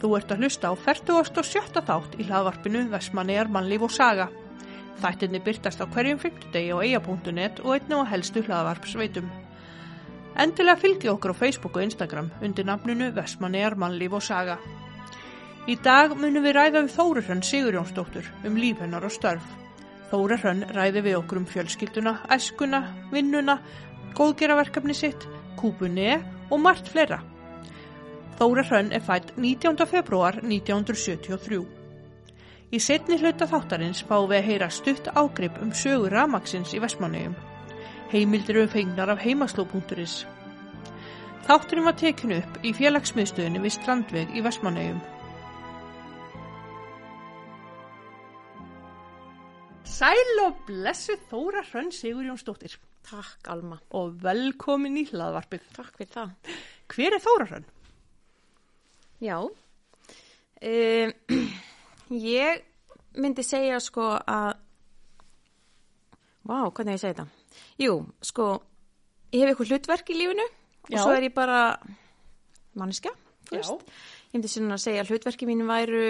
Þú ert að hlusta á 47. þátt í hlaðvarpinu Vestmannegar mannlíf og saga. Þættinni byrtast á hverjum 50 degi á eia.net og einnig á helstu hlaðvarpsveitum. Endilega fylgji okkur á Facebook og Instagram undir nafninu Vestmannegar mannlíf og saga. Í dag munum við ræða við Þóru Hrönn Sigurjónsdóttur um líf hennar og störf. Þóru Hrönn ræði við okkur um fjölskylduna, æskuna, vinnuna, góðgeraverkefni sitt, kúpunni og margt fleira. Þóra Hrönn er fætt 19. februar 1973. Í setni hluta þáttarins fáum við að heyra stutt ágrip um sögur ramaksins í Vestmannegjum. Heimildir eru fengnar af heimasló.is. Þátturinn var tekinu upp í félagsmiðstöðinu við Strandveg í Vestmannegjum. Sæl og blessu Þóra Hrönn Sigurjónsdóttir Takk Alma, og velkomin í hlaðvarpið. takk fyrir það. Hver er Þóra Hrönn? Já, um, ég myndi segja sko að, vá, hvernig á ég segi þetta? Jú, sko, ég hef eitthvað hlutverk í lífinu og Já. svo er ég bara manneskja, þú Já. veist. Ég myndi sinna að segja að hlutverki mín væru,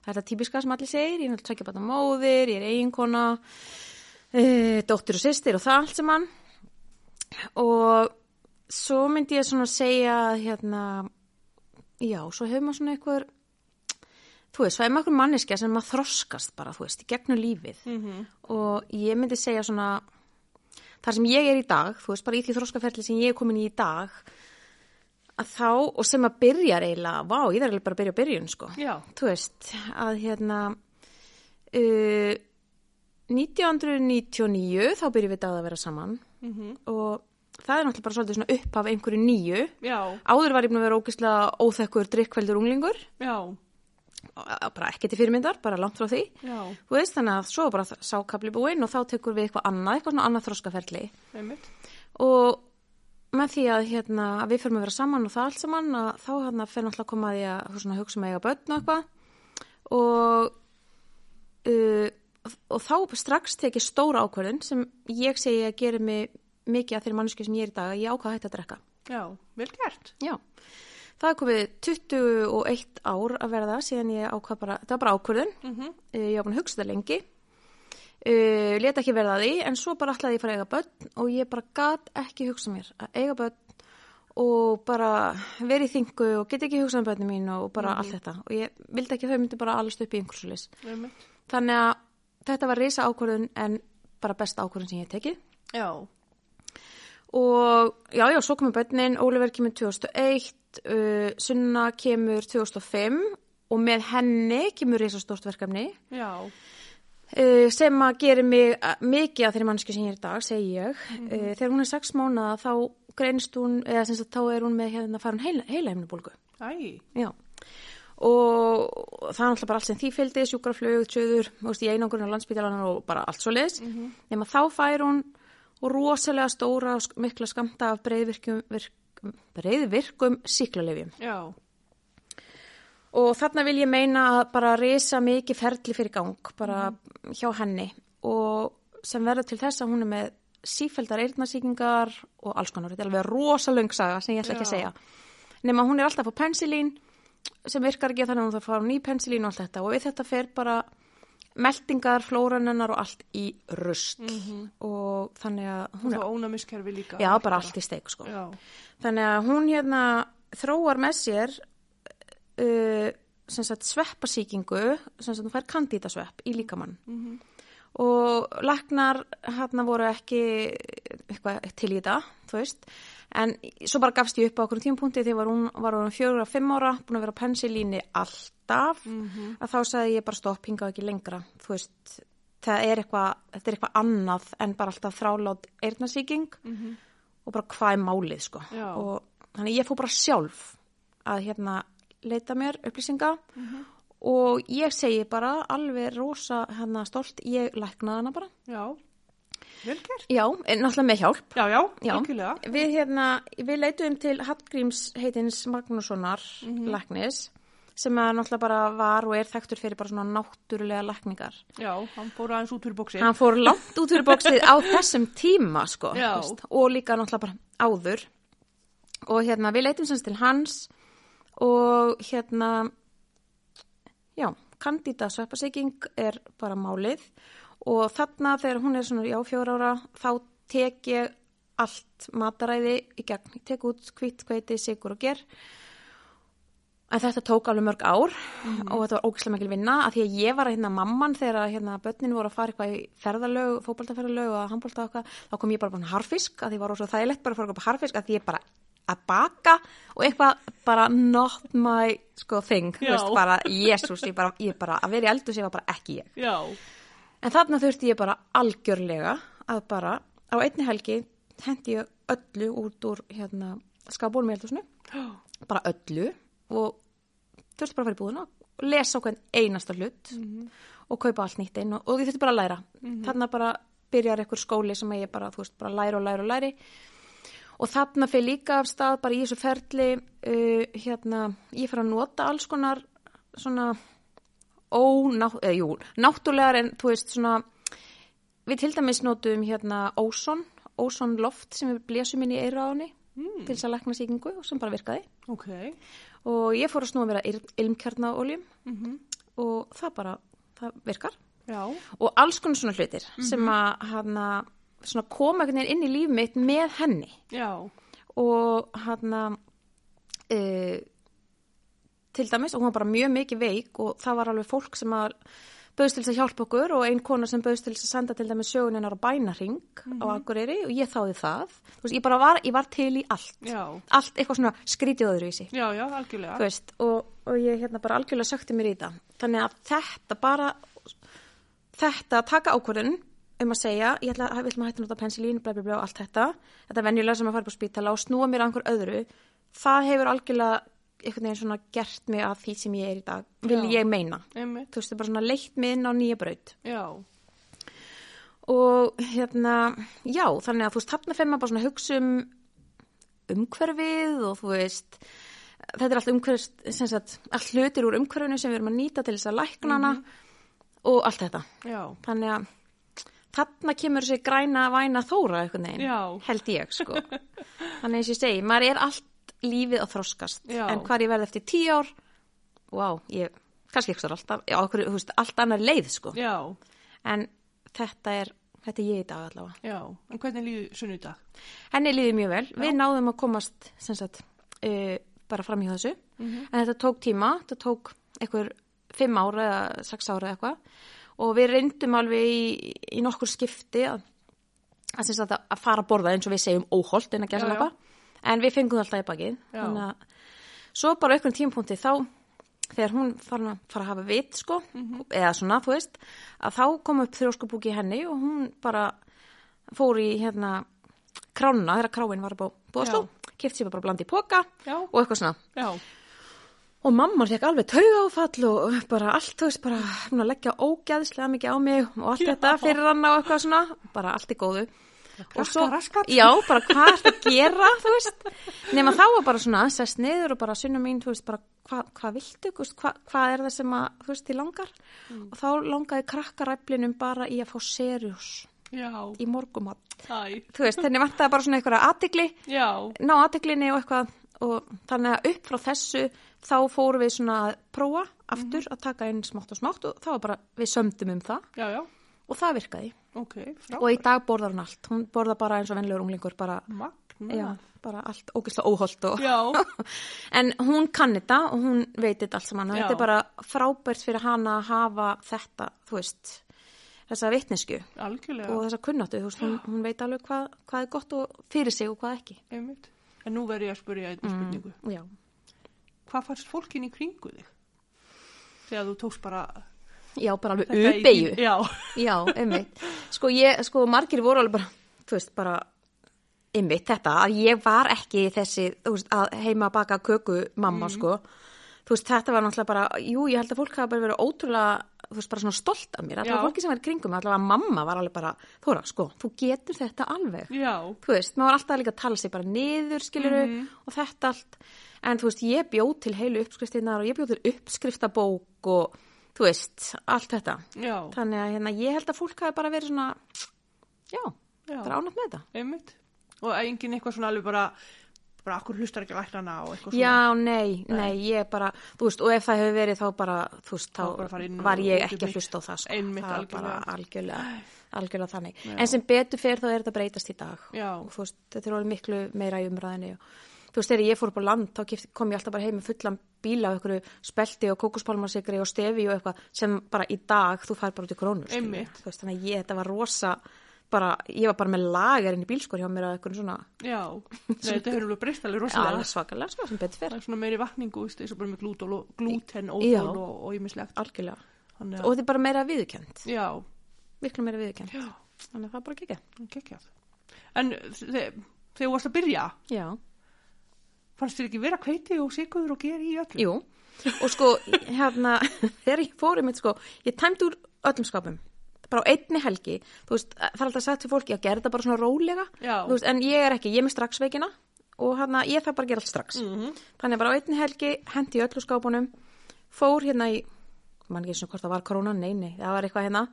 það er það típiska sem allir segir, ég vil tvekja bara móðir, ég er eiginkona, uh, dóttir og systir og það allt sem hann. Og svo myndi ég svona segja að, hérna, já, svo hefur maður svona eitthvað, þú veist, það er maður eitthvað manneskja sem maður þroskast bara, þú veist, í gegnum lífið. -hmm. Og ég myndi segja svona, þar sem ég er í dag, þú veist, bara í því þroskaferli sem ég er komin í í dag, að þá, og sem að byrjar eiginlega, vá, ég þarf eiginlega bara að byrja á byrjun, sko. Já. Þú veist, að hérna, uh, 1999 þá byrjum við dag að vera saman -hmm. og það er náttúrulega bara svolítið svona upp af einhverju nýju. Já, Áður var ég búin að vera ógeðslega óþekkur drikkveldur unglingur, já, bara ekki til fyrirmyndar, bara langt frá því. já, Þú veist þannig að svo er bara sákabli búinn og þá tekur við eitthvað annað, eitthvað svona annað þroskaferli. einmitt. Og með því að, hérna, að við fyrir að vera saman og það allt saman, að þá hérna, fyrir náttúrulega að koma að því að þú svona, hugsa með eiga börn og eitthvað. Og, uh, og þá strax tekið stóra ákvörðun sem ég segi að gera mig mikið að þeirri mannsku sem ég er í dag að ég ákvað að hætta að drekka. Já, vel gert. Já, það er komið 21 ár að verða síðan ég ákvað bara, þetta var bara ákvörðun, -hmm. ég var búin að hugsa þetta lengi, uh, leta ekki verða að því en svo bara ætlaði ég að fara að eiga börn og ég bara gat ekki hugsa mér að eiga börn og bara verið þingu og get ekki hugsað um börnum mín og bara allt þetta og ég vildi ekki að þau myndi bara allast upp í einhversu lis. Einmitt. Þannig að þetta var risa ákvörðun en bara besta ákvörðun sem ég hef tekið. Já, Og já, já, svo komið bönnin, Óliver kemur 2001, uh, Sunna kemur 2005 og með henni kemur risastórt verkefni já, uh, sem að gera mig uh, mikið að þeirri mannsku sem ég er í dag, segi ég. Uh, þegar hún er sex mánaða þá greinst hún, eða sem sagt þá er hún með hérna farin heila, heila æ, Já. Og það er alltaf bara allt sem því fylgdi, sjúkraflög, tjöður, þú veist, í einangurinn á landsbytjalanar og bara allt svo leiðis. Mm -hmm. Nefn að þá fær hún rosalega stóra og sk- mikla skamta af breyðvirkum, virk, breyðvirkum síklarlefjum. já, Og þarna vil ég meina að bara risa mikið ferli fyrir gang, bara hjá henni. Og sem verður til þess að hún er með sífældar eyrnarsýkingar og alls konar. Þetta er alveg rosalöng saga sem ég ætla ekki að Já. segja. Nefn að hún er alltaf á pensilín sem virkar ekki þannig að hún þarf að fara á ný pensilín og allt þetta og við þetta fer bara meldingar, flóranennar og allt í rusl og þannig að hún og er, þá ónæmiskerfi líka. já bara allt í steik sko. Já, Þannig að hún hérna þróar með sér uh, sem sagt sveppasíkingu, sem sagt hún fær kandítasvepp í líkamann. Mhm. Og læknar hérna voru ekki eitthvað til í þetta, þú veist. En svo bara gafst ég upp á okkur tímpunkti þegar hún var hún fjögur að fimm ára, búin að vera á pensilíni alltaf, Mhm. að þá sagði ég bara stopp, hingað ekki lengra, þú veist. Það er eitthvað, þetta er eitthvað annað en bara alltaf þrálát eyrnasíking Mhm. og bara hvað er málið sko Já. og þannig ég fór bara sjálf að hérna leita mér upplýsinga og ég segi bara alveg rosa hérna stolt, ég læknaði hana bara já, vel gert. já, en náttúrulega með hjálp Já, já, Já. algjörlega. Við, hérna, við leituðum til Hallgríms heitins Magnússonar læknis sem að náttúrulega bara var og er þekktur fyrir bara svona náttúrulega lækningar. Já, hann fór aðeins út fyrir bóksi. Hann fór langt út fyrir bóksið á þessum tíma sko Já. þú veist, og líka náttúrulega bara áður og hérna við leitum semst til hans og hérna Já, kandida sveppaseyking er bara málið og þarna þegar hún er svona já fjóra ára þá tek ég allt mataræði í gegn. Ég tek út hvitt, hveiti, sigur og ger. En þetta tók alveg mörg ár og þetta var ógislega mikil vinna að því að ég var að hérna mamman þegar að, hérna börnin voru að fara eitthvað í ferðalög, fótboltaferðalög og handbolta og eitthvað, þá kom ég bara bara harfisk að því var ósvo þægilegt bara að fara upp á harfisk að því ég bara að baka og eitthvað bara not my sko thing, þú Já. veist bara, jésús, ég bara, ég bara að vera í eldur sem var bara ekki ég. Já, En þarna þurfti ég bara algjörlega að bara á einni helgi hendi ég öllu út úr hérna skapbólum í eldhúsinu bara öllu og þurfti bara að fara í búðina og lesa okkur einasta hlut og kaupa allt nýtt inn og, og ég þurfti bara að læra. Þarna bara byrjar einhver skóli sem ég bara, þú veist, bara læra og læra og læri og þarna fyrir líka af stað bara í þessu ferli uh, hérna, ég fyrir að nota alls konar svona óná, eða jú, náttúrlegar en þú veist svona við til dæmis notum hérna óson, óson loft sem við blésum inn í eiraðunni mm. til þess að lækna sýkingu og sem bara virkaði ok. og ég fór að snúa mér að ilmkjarnaoljum og það bara, það virkar Já, og alls konar svona hlutir sem að hana, svona koma einhvern veginn inn í líf mitt með henni já, og hana e, til dæmis og hún var bara mjög mikið veik og það var alveg fólk sem að bauðst til þess að hjálpa okkur og ein kona sem bauðst til þess að senda til dæmis söguninnar á bænaring á Akureyri og ég þáði það þú veist, ég bara var, ég var til í allt já, allt eitthvað svona skrítið öðruvísi já, já, algjörlega. þú veist, og, og ég hérna bara algjörlega sökti mér í það. Þannig að þetta bara, þetta að taka ákvörðun um að segja, ég ætla að við ætlum að hætta að nota pensilín, bla bla bla og allt þetta, þetta venjulega sem að fara upp á spítala og snúa mér að einhver öðru, það hefur algjörlega einhvern veginn svona gert mig að því sem ég er í dag, vil Já. ég meina. Einmitt, Þú veist, það bara svona leitt mig inn á nýja braut já, og hérna, já, þannig að þú veist, þarna fyrir maður bara svona að hugsa um umhverfið og þú veist, þetta er allt umhverfis, sem sagt, allt hlutir úr umhverfinu sem við erum að nýta til þess að lækna hana Mhm. og allt þetta. já, Þannig að þarna kemur þessi græna væna þóra eitthvað neginn, Já. held ég sko. þannig að eins og ég segi, maður er allt lífið að þroskast, Já. en hvar ég verði eftir tíu ár, wow, ég, kannski ekki alltaf, já, okkur, þú veist, allt annar leið sko. já, En þetta er, þetta er ég í dag allavega. já. En hvernig líður sunnudag? Henni líði mjög vel. Við náðum að komast, sem sagt, uh, bara fram hjá þessu. Mhm. En þetta tók tíma, þetta tók einhver fimm ára eða sex ára eða eitthvað. Og við reyndum alveg í, í nokkur skipti að, að, sem sagt, að fara að borða eins og við segjum óholt en að Já, gæsa já. En við fengum það alltaf í bakið. Já. Þannig að svo bara á einhvern tímpunkti þá þegar hún farin að fara að hafa vit sko, Mhm. eða svona, þú veist að þá kom upp þrjóskubúki henni og hún bara fór í hérna kránuna, þegar kráin var búið að sló, kefti sér bara bland í póka Já. og eitthvað svona Já, og mamman fekk alveg tauga áfall og bara allt, þú veist, bara hún að leggja ógæðslega mikið á mig og allt Já. þetta fyrir hann á eitthvað svona, bara allt í góðu og svo, raskat. já, bara hvað er að gera, þú veist nema þá var bara svona, sest niður og bara sunna mín, þú veist, bara hva, hvað viltu, þú veist, hva, hvað er það sem að, þú veist, þið langar og þá langaði krakkaræflinum bara í að fá serjus já, í morgumat, æ, þú veist, henni vantaði bara svona einhverja aðtigli já, ná aðteglinni og eitthvað og þannig að upp frá þessu þá fórum við svona að prófa aftur Mhm. að taka inn smátt og smátt og þá var bara við sömdum um það já, já, og það virkaði ok, frá. og í dag borðar hún allt, hún borðar bara eins og venlegur unglingur bara, Magna. já, bara allt ógeðslega óholt og Mm. Já, en hún kann þetta og hún veit þetta allt saman og Já. þetta er bara frábært fyrir hana að hafa þetta, þú veist þessa vitnesku algjörlega. og þessa kunnáttu, þú veist, hún, hún veit alveg hvað, hvað er gott og fyrir sig og hvað ekki Einmitt. En nú verður ég að spyrja Mm. einnig spurningu. já Hvað fannst fólkin í kringu þig? Þegar þú tókst bara... Já, bara alveg þetta í þín- uppeigju. Já, Já, einmitt. Sko, ég, sko, margir voru alveg bara, þú veist, bara, einmitt þetta, að ég var ekki þessi, þú veist, að heima að baka köku Mhm. mamma, sko. Þú veist, þetta var náttúrulega bara, jú, ég held að fólk hafa bara verið ótrúlega, þú veist, bara svona stolt af mér. Já. Allavega fólki sem var í kringum, mig, allavega mamma var alveg bara, Þóra, sko, þú getur þetta alveg. já, Þú veist, maður var alltaf líka að tala sig bara niður, skiluru, og þetta allt. En þú veist, ég bjóð til heilu uppskriftinnar og ég bjóð til uppskriftabók og, þú veist, allt þetta. já, Þannig að hérna, ég held að fólk hafi bara verið svona, já, Já. bara ánætt með þetta. einmitt. Og enginn eitthvað svona alveg bara bara akkur hlustar ekki læknana og eitthvað svona Já, nei, nei, ég bara, þú veist, og ef það hefur verið þá bara, þú veist, þá bara fara inn og var ég út um ekki að mitt. hlusta á það, sko. Einmitt, það var bara algjörlega. algjörlega, algjörlega þannig. En sem betur fer þá er þetta að breytast í dag. Já. Og þú veist, þetta er alveg miklu meira í umræðinni og þú veist, þegar ég fór upp á land, þá keypti- kom ég alltaf bara heim með fullan bíla og einhverju spelti og kókuspálmarsikri og stefi og eitthvað sem bara í dag þú fær bara út í krónur. skilurðu. Einmitt. Þú veist, þannig að ég, þetta var rosa, bara, ég var bara með lagarinn í bílskur hjá mér að eitthvað svona, Já, Nei, þetta hefur alveg breyst alveg rosalega alveg svakalega, sko, sem betur fer. Það er svona meiri vakningu, veist, eins og bara með glútól og glúten, Já. óþól og, og ímislegt Algjörlega. Þannig og þetta er bara meira viðkjönd Já, miklu meira viðkjönd já, þannig að það er bara kekja geggjað En þe- þegar þú varst að byrja, já, fannst þér ekki vera kveiti og sigur og geri í öllu? jú og sko, hérna, þegar ég fór um sko, ég tæmdi úr öllum skapum bara á einni helgi, þú veist það er alltaf sagt til fólki að gera þetta bara svona rólega Já. þú veist, en ég er ekki, ég er með strax veikina og hérna, ég þarf bara að gera allt strax -hmm. þannig að bara á einni helgi, hendi öllu skápunum fór hérna í mann ekki eins og hvort það var korona, nei, nei það var eitthvað hérna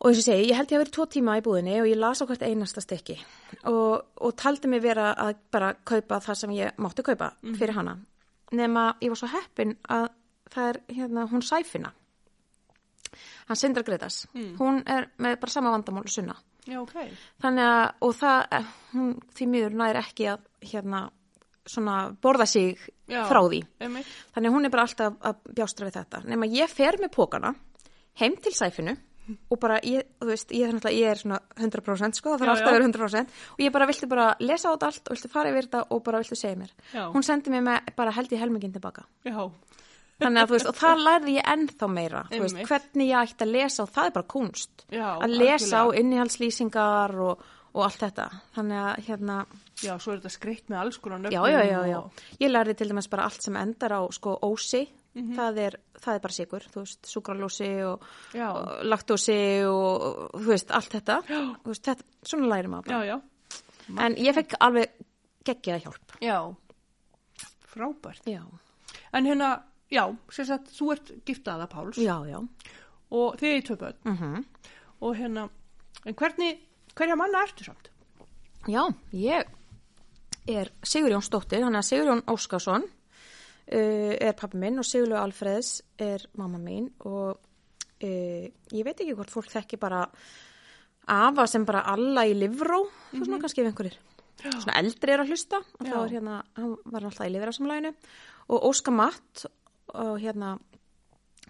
Og eins og ég segi, ég held ég að vera tvo tíma í búðinni og ég las á hvert einasta stykki og, og taldi mig vera að bara kaupa það sem ég mátti kaupa fyrir hana. Nefna ég var svo heppin að það er hérna, hún sæfina. Hann Sindra Gretas. Hún er með bara sama vandamál og sunna. Já, ok Þannig að, og það, eh, hún því miður nær ekki að hérna svona borða sig Já. frá því. Einmitt. Þannig að hún er bara alltaf að bjástra við þetta. Nefn að ég fer með pókana heim til sæfinu og bara, ég, þú veist, ég er náttúrulega, ég er svona 100% sko, það þarf Já, alltaf já. að vera 100% og ég bara viltu bara lesa át allt og viltu fara yfir þetta og bara viltu segja mér. Já. Hún sendi mér með bara held ég helmingin tilbaka. Já, Þannig að þú veist, og það lærði ég ennþá meira, þú veist, Einmitt. hvernig ég ætti að lesa og það er bara kunst. Já, að lesa algjörlega. á innihaldslýsingar og, og allt þetta. Þannig að, hérna, já, svo er þetta skreitt með alls konar já, nöfnum já, já, já. og- Ég lærði til dæmis bara allt sem endar á sko ósi, Mhm. það, er, það er bara sigur, þú veist, súkralósi og, Já. og laktósi og þú veist, allt þetta, Þú veist, þetta svona læri maður bara. Já, já, En ég fekk alveg geggjaða hjálp. já Frábært Já, En hérna, já, sem sagt, þú ert giftaða Páls já, já. og þið er tvö börn Mhm. og hérna, en hvernig, hverja manna ertu samt? Já, ég er Sigurjón Stóttir, hann er Sigurjón Óskarsson uh, er pappi minn og Sigurjón Alfreðs er mamma mín og uh, ég veit ekki hvort fólk þekki bara afa sem bara alla í livró, þú svona kannski ef einhverjir svona eldri er að hlusta og þá Já. er hérna, hann var alltaf í livrasamlæginu og Óskar Matt og hérna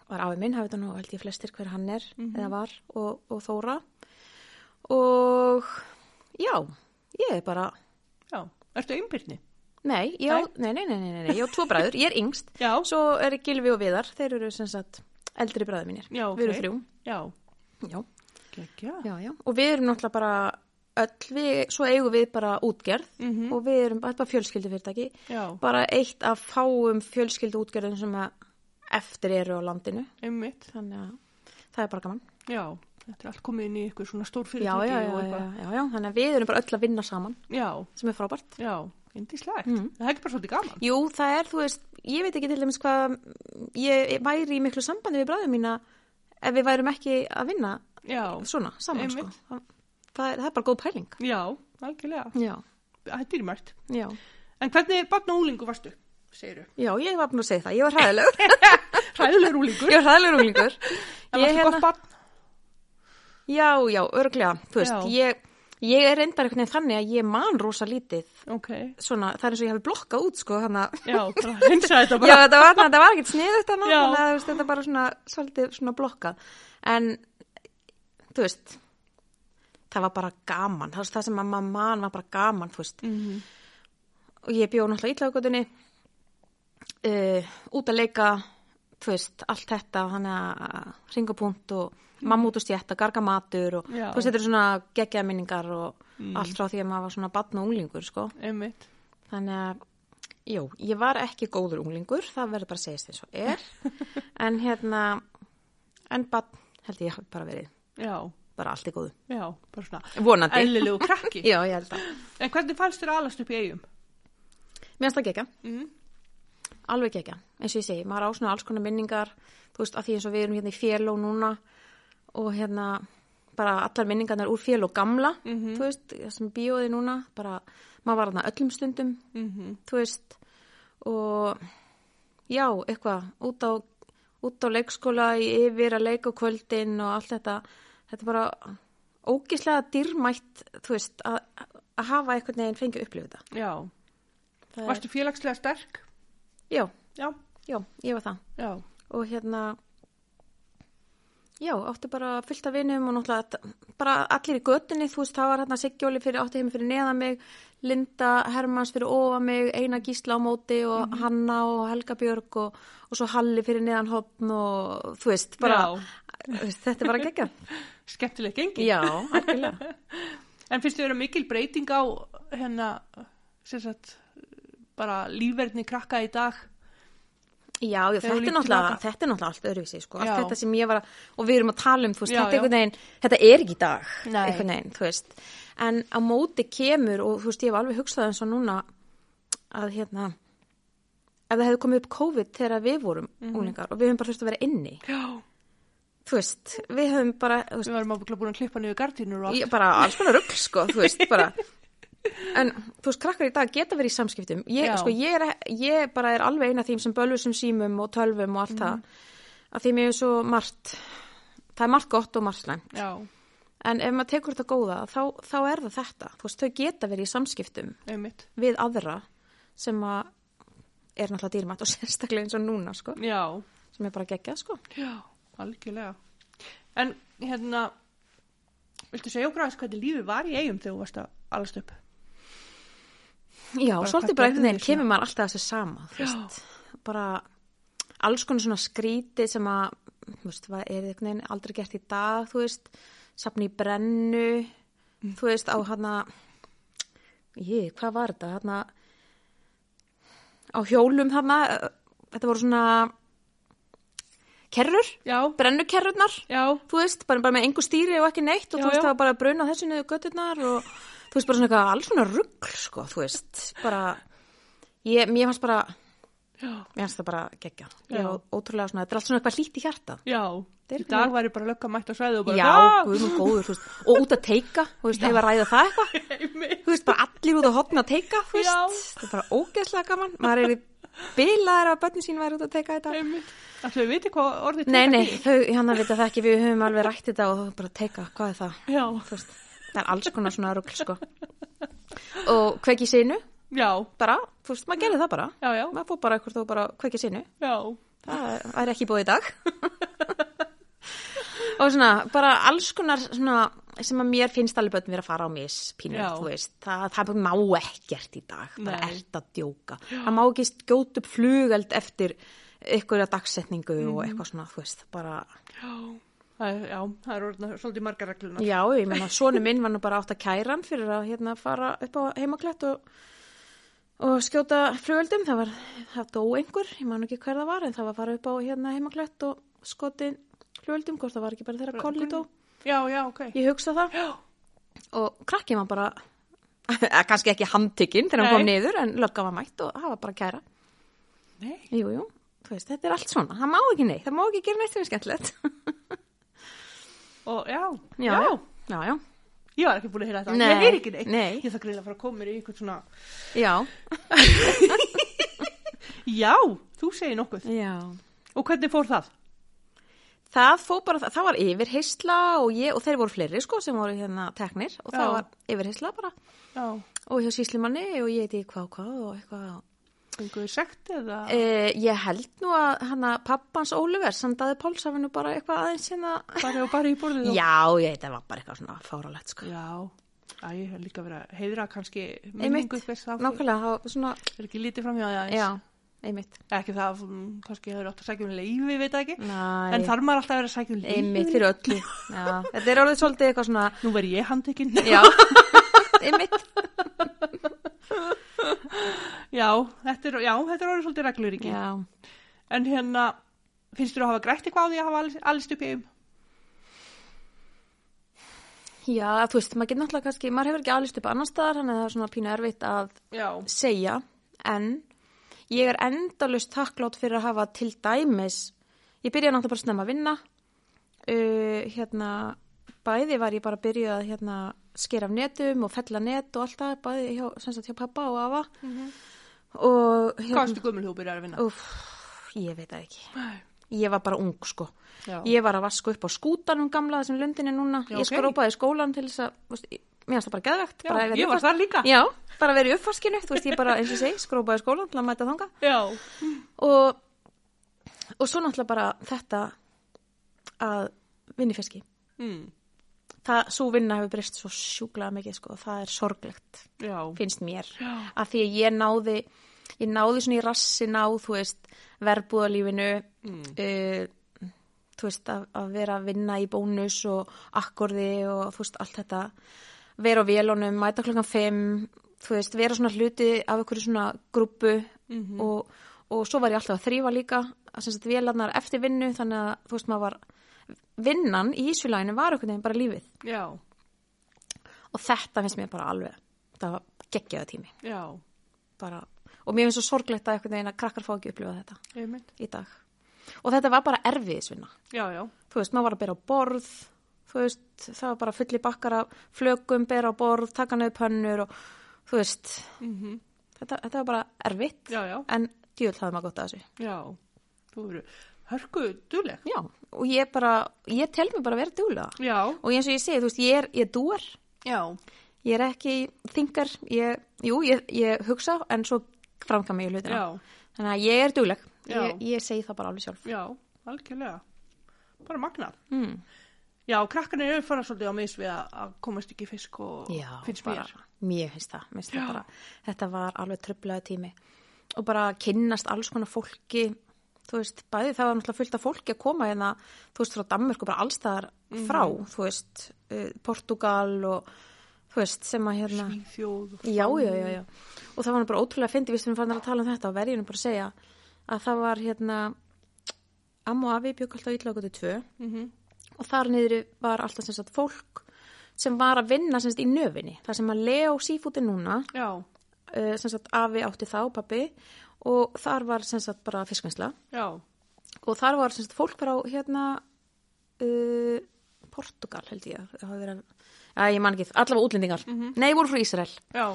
var afi minn, hafði þetta nú held ég flestir hver hann er eða var og, og Þóra og já, ég er bara Já, ertu einbyrni? nei, já, nei, nei, nei, nei, nei, nei, ég á tvo bræður ég er yngst, Já. svo er Gilvi og Viðar þeir eru sem sagt eldri bræður mínir Já, ok. við erum þrjú, Já, já, geggja já, já og við erum náttúrulega bara öll, við, svo eigum við bara útgerð Mhm. og við erum bara, þetta er bara fjölskyldu fyrirtæki Já, bara eitt af fáum fjölskyldu útgerðum sem að eftir eru á landinu einmitt, þannig að það er bara gaman já Þetta er allt komið inn í ykkur svona stór já, fyrirtæki já, já, og já, eitthvað já, já, þannig að við erum bara öll að vinna saman Já, sem er frábært. já, indislegt Mhm. Það er ekki bara svolítið gaman Jú, það er, þú veist, ég veit ekki til dæmis hvað, ég væri í miklu sambandi við bræðum mína ef við værum ekki að vinna Já, svona saman, sko. Einmitt. Það, það, er, það er bara góð pæling. já, algjörlega Já, Það er dýrmært já, En hvernig barn og úlingu varstu, segiru? já, ég var búin að segja það, ég var hræðilegur, Hræðulegur úlingur ég var hræðilegur unglingur. Það Ég varstu hérna- gott barn Já, já, örglega, þú veist, Já. ég, ég er reyndar einhvern veginn þannig að ég man rosa lítið, Ok, svona, það er eins og ég hefði blokkað út, sko, þannig að já, bara hinsaði þetta Já, bara þetta var, þetta var ekkert sniðugt hana, Já. þannig að þú veist, þetta er bara svona, svolítið svona blokkað. En, þú veist, það var bara gaman, það, það sem mamma man var bara gaman, þú veist. Mhm. Og ég bjóð náttúrulega ítlaðugutinni, uh, út að leika, þú veist, allt þetta, þannig að ringapunkt og mamma út og stjætta, garga matur og, Já. Mm. þú veist, þetta eru svona geggjaða minningar og allt frá því að maður var svona batn og unglingur, sko. Einmitt Þannig að, jú, ég var ekki góður unglingur, það verður bara að segist eins og er. En hérna, en bara, held ég hafi bara verið, Já, bara allt í góðu. já, bara svona Vonandi. Eðlilegu krakki Já, ég held að. En hvernig fannst þér að alast upp í eigum? Mér finnst það gekka, Mm. alveg gekka, eins og ég segi, maður á svona alls konar minningar, þú veist, að því eins og við erum hérna í féló núna og hérna bara allar minningarnar úr féló gamla, þú veist, það sem er bíóði núna, bara maður var þarna öllum stundum mm -hmm. þú veist og já, eitthvað út á, út á leikskóla í yfir að leika á kvöldin og allt þetta þetta er bara ógislega dýrmætt þú veist, að, að hafa einhvern veginn fengið upplifið það, Já, það varstu félagslega sterk? já, Já, já, ég var það já, og hérna já, átti bara fullt af vinum og náttúrulega þetta- bara allir í götunni, þú veist, það var hérna Siggjóli fyrir átti heimi fyrir neða mig, Linda Hermanns fyrir ofa mig, Einar Gísla á móti og Hanna og Helga Björg og, og svo Halli fyrir neðan hopn og þú veist, bara Já. þú veist, þetta er bara geggjað. skemmtileg gengi. já, algjörlega En finnst þið vera mikil breyting á hérna, sem sagt, bara lífverðni krakka í dag? Já, já þetta, þú er lítur náttúrulega- baka. þetta er náttúrulega allt öðruvísi sko. Já. allt þetta sem ég var að, og við erum að tala um þú veist, Já, þetta, er já. einhvern veginn, þetta er ekki í dag Nei. einhvern veginn, þú veist en á móti kemur og þú veist ég hef alveg hugsað eins og núna að hérna ef það hefði komið upp COVID þegar við vorum Mhm. úlingar og við höfum bara þurft að vera inni Já. þú veist, við höfum bara, þú veist, Við varum ábyggla búin að klippa niður gardínur og allt. ég, bara alls konar rugg sko, þú veist, bara en þú veist, krakkar í dag geta verið í samskiptum ég, Já. sko, ég, er, ég bara er alveg eina þeim sem bölvusum símum og tölvum og allt það að því mér er svo margt það er margt gott og margt slæmt Já, en ef maður tekur þetta góða þá, þá er það þetta, þú veist, þau geta verið í samskiptum einmitt. við aðra sem að er náttúrulega dýrmætt og sérstaklega eins og núna sko, Já, sem er bara geggjað sko já, algjörlega. En hérna, viltu segja okkur aðeins hvernig lífið var í eigum þegar þú varst að allast upp? Já, Bara hvað svolítið bara einhvern gerðist veginn kemur maður alltaf þessu sama, þú Já. veist, bara alls konar svona skríti sem að, þú veist, hvað er einhvern veginn aldrei gert í dag, þú veist, safni í brennu, Mm. þú veist, á hana, ég, hvað var þetta, hana, á hjólum hana, ö, þetta voru svona kerrur, Já, brennukerrurnar, já, þú veist, bara, bara með engu stýri og ekki neitt Já, og þú veist, já. það var bara að bruna þessu niður götturnar og þú veist, bara svona eitthvað, alls svona rugl, sko, þú veist, bara, ég, mér fannst bara, já. mér fannst það bara geggja. Ég Já. var ótrúlega svona, þetta er allt svona eitthvað hlýtt í hjarta. Já, Þetta er í dag væri bara lögga mætt á svæðu og bara Já, "Ah!" guðum og góður, þú veist, og út að teika, þú veist, hefur að ræða það eitthvað, Einmitt. þú veist, bara allir út á hotna að teika, þú veist, Já. það er bara ógeðslega gaman, maður er í bilaðar að börnin sín væri út að teika þetta. Einmitt. Ætli við viti hvað orðið Nei, tekur nei, í? þau, hann að vita það ekki, við höfum alveg rætt þetta og þá bara teika, hvað er það? Já, þú veist, það er alls konar svona rugl sko. og kveiki sinu já, bara, þú veist, maður gerir það bara já, já, maður fór bara eitthvað og bara kveiki sinu já, það er- væri ekki búið í dag og svona, bara alls konar svona, sem að mér finnst alveg börn vera að fara á mis pínu, Já. þú veist, það, það bara má ekkert í dag, bara Nei. ert að djóka það má ekki skjóta upp flugeld eftir einhverja dagsetningu Mhm. og eitthvað svona, þú veist, bara já, það er, já, það er orðna svolítið margar regluna. Já, ég meina, sonu minn var nú bara átt að kæra hann fyrir að hérna fara upp á heimaklett og, og skjóta flugöldum. Það var, það dó einhver, ég man ekki hver það var, en það var að fara upp á hérna heimaklett og skotin flugöldum, hvort það var ekki bara þeirra kolli dó. Já, já, ok. Ég hugsa það Já, og krakkið var bara, eða Eh, kannski ekki handtikinn þegar Nei. hann kom niður, en lögga var mætt og það var bara að kæra. nei, Jú, jú, þú veist, þetta er allt svona. Það má ekki neitt, það má ekki gera neitt sem er skemmtilegt. og já, já, Já, já, já, ég var ekki búin að heyra þetta. Nei, Ég heyri ekki neitt. nei. Ég þakka reyla að fara að koma mér í eitthvað svona, já, já, þú segir nokkuð. já. Og hvernig fór það? Það fór bara, það, það var yfirheysla og ég, og þeir voru fleiri sko sem voru hérna teknir og það Já. var yfirheysla bara Já, og hjá síslimanni og ég heiti hvað og hvað og eitthvað. fenguðu sekt eða? E, ég held nú að hana pappans Ólivers, hann daði Pálsafinu bara eitthvað aðeins hérna. Bara og bara í borðið og... Já, ég þetta var bara eitthvað svona fáralegt sko. Já, æ, ég hef líka verið að heiðra kannski Einmitt, minningu þess að nákvæmlega, það var svona, er ekki lítið framhjá það aðeins. já, einmitt. ekki það, mm, kannski hefur átt að sækja um leifi, veit það ekki Næ, en þarf maður alltaf að vera að sækja um leifi einmitt fyrir öllu. Já, þetta er orðið svolítið eitthvað svona, nú verð ég handtekinn já, einmitt. já, þetta er, já, þetta er orðið svolítið reglur ekki Já. en hérna, finnst þú að hafa grætt eitthvað á því að hafa alls, alls upp í um Já, þú veist, maður getur náttúrulega kannski, maður hefur ekki aðlist upp annar staðar, þannig að það er svona pínu erfitt að já, segja, en ég er endalust takklátt fyrir að hafa til dæmis, ég byrjaði náttúrulega bara snemma að vinna, uh, hérna, bæði var ég bara byrjuð að hérna, skera af netum og fella net og allt það, bæði hjá, sem sagt hjá pappa og afa. Og Hvað stu gömul þú byrjar að vinna? Úf, ég veit það ekki. Nei, Ég var bara ung, sko. Já. Ég var að vaska upp á skútanum gamla þessum lundinni núna. Já, Ég ok. skrópaði skólan til þess að, þú veist, ég- mér finnst það bara geðvegt. Já, bara að vera í ég var uppvask- þar líka. Já, bara að vera í uppfaskinu, þú veist, ég bara, eins og ég segi, skrópaði skólan til að mæta þanga. Já. og, og svo náttúrulega bara þetta að vinni fiski Mm. það, svo vinna hefur breyst svo sjúklega mikið sko, og það er sorglegt, Já. finnst mér Já. af því að ég náði ég náði svona í rassin á þú veist, verbúðalífinu uh, þú veist að, að vera að vinna í bónus og akkorði og þú veist allt þetta vera á vélunum, mæta klokkan 5 þú veist, vera svona hluti af einhverju svona grúpu og, og svo var ég alltaf að þrýfa líka að sem sagt vélarnar eftir vinnu þannig að þú veist maður var vinnan í Ísfélaginu var einhvern veginn bara lífið Já. og þetta finnst mér bara alveg það var geggjaða tími Já. bara, og mér finnst svo sorglegt að einhvern veginn að krakkar fá ekki upplifa þetta Ég mynd. í dag og þetta var bara erfiðisvinna Já, já. þú veist, maður var að bera á borð þú veist, það var bara fulli bakkar af flökum, bera á borð, taka niður pönnur og þú veist Mhm. þetta, þetta var bara erfitt Já, já. en djúl hafði maður gott að þessu Já. Þú eru hörku duleg. já, og ég bara, ég tel mér bara að vera djúla Já. og eins og ég segi, þú veist, ég er, ég dúar Já. ég er ekki þingar ég, jú, ég, ég hugsa en svo framkama ég hlutina Já. þannig að ég er dugleg Já. ég, ég segi það bara alveg sjálf Já. Algjörlega. Bara magnað. mm. Já, krakkarnir eru fara svolítið á mis við að- að komast ekki í fisk og já, finnst bara, mér. mér finnst það, mér finnst Já. það bara, þetta var alveg tröflaði tími og bara að kynnast alls konar fólki þú veist, bæði það var náttúrulega fullt af fólki að koma hérna, þú veist, frá Danmörku bara allstaðar Mhm. frá, þú veist uh, Portugal og þú veist, sem að hérna Svíþjóð. og- já, já, já, já, og það var nú bara ótrúlega fyndi, við sem fannum að tala um þetta og verjunum bara að segja að það var hérna Amma og Afi bjökk alltaf ítlaugutu tvö Mhm. og þar niðri var alltaf sem sagt fólk sem var að vinna sem sagt í nöfinni þar sem að Leo Seafood er núna Já. eh, sem sagt afi átti þá, pappi og þar var sem sagt bara fiskvinsla Já. og þar var sem sagt fólk frá hérna uh, Portugal held ég að hafa verið að Já, ég man ekki, allavega útlendingar. Nei, voru frá Ísrael. Já.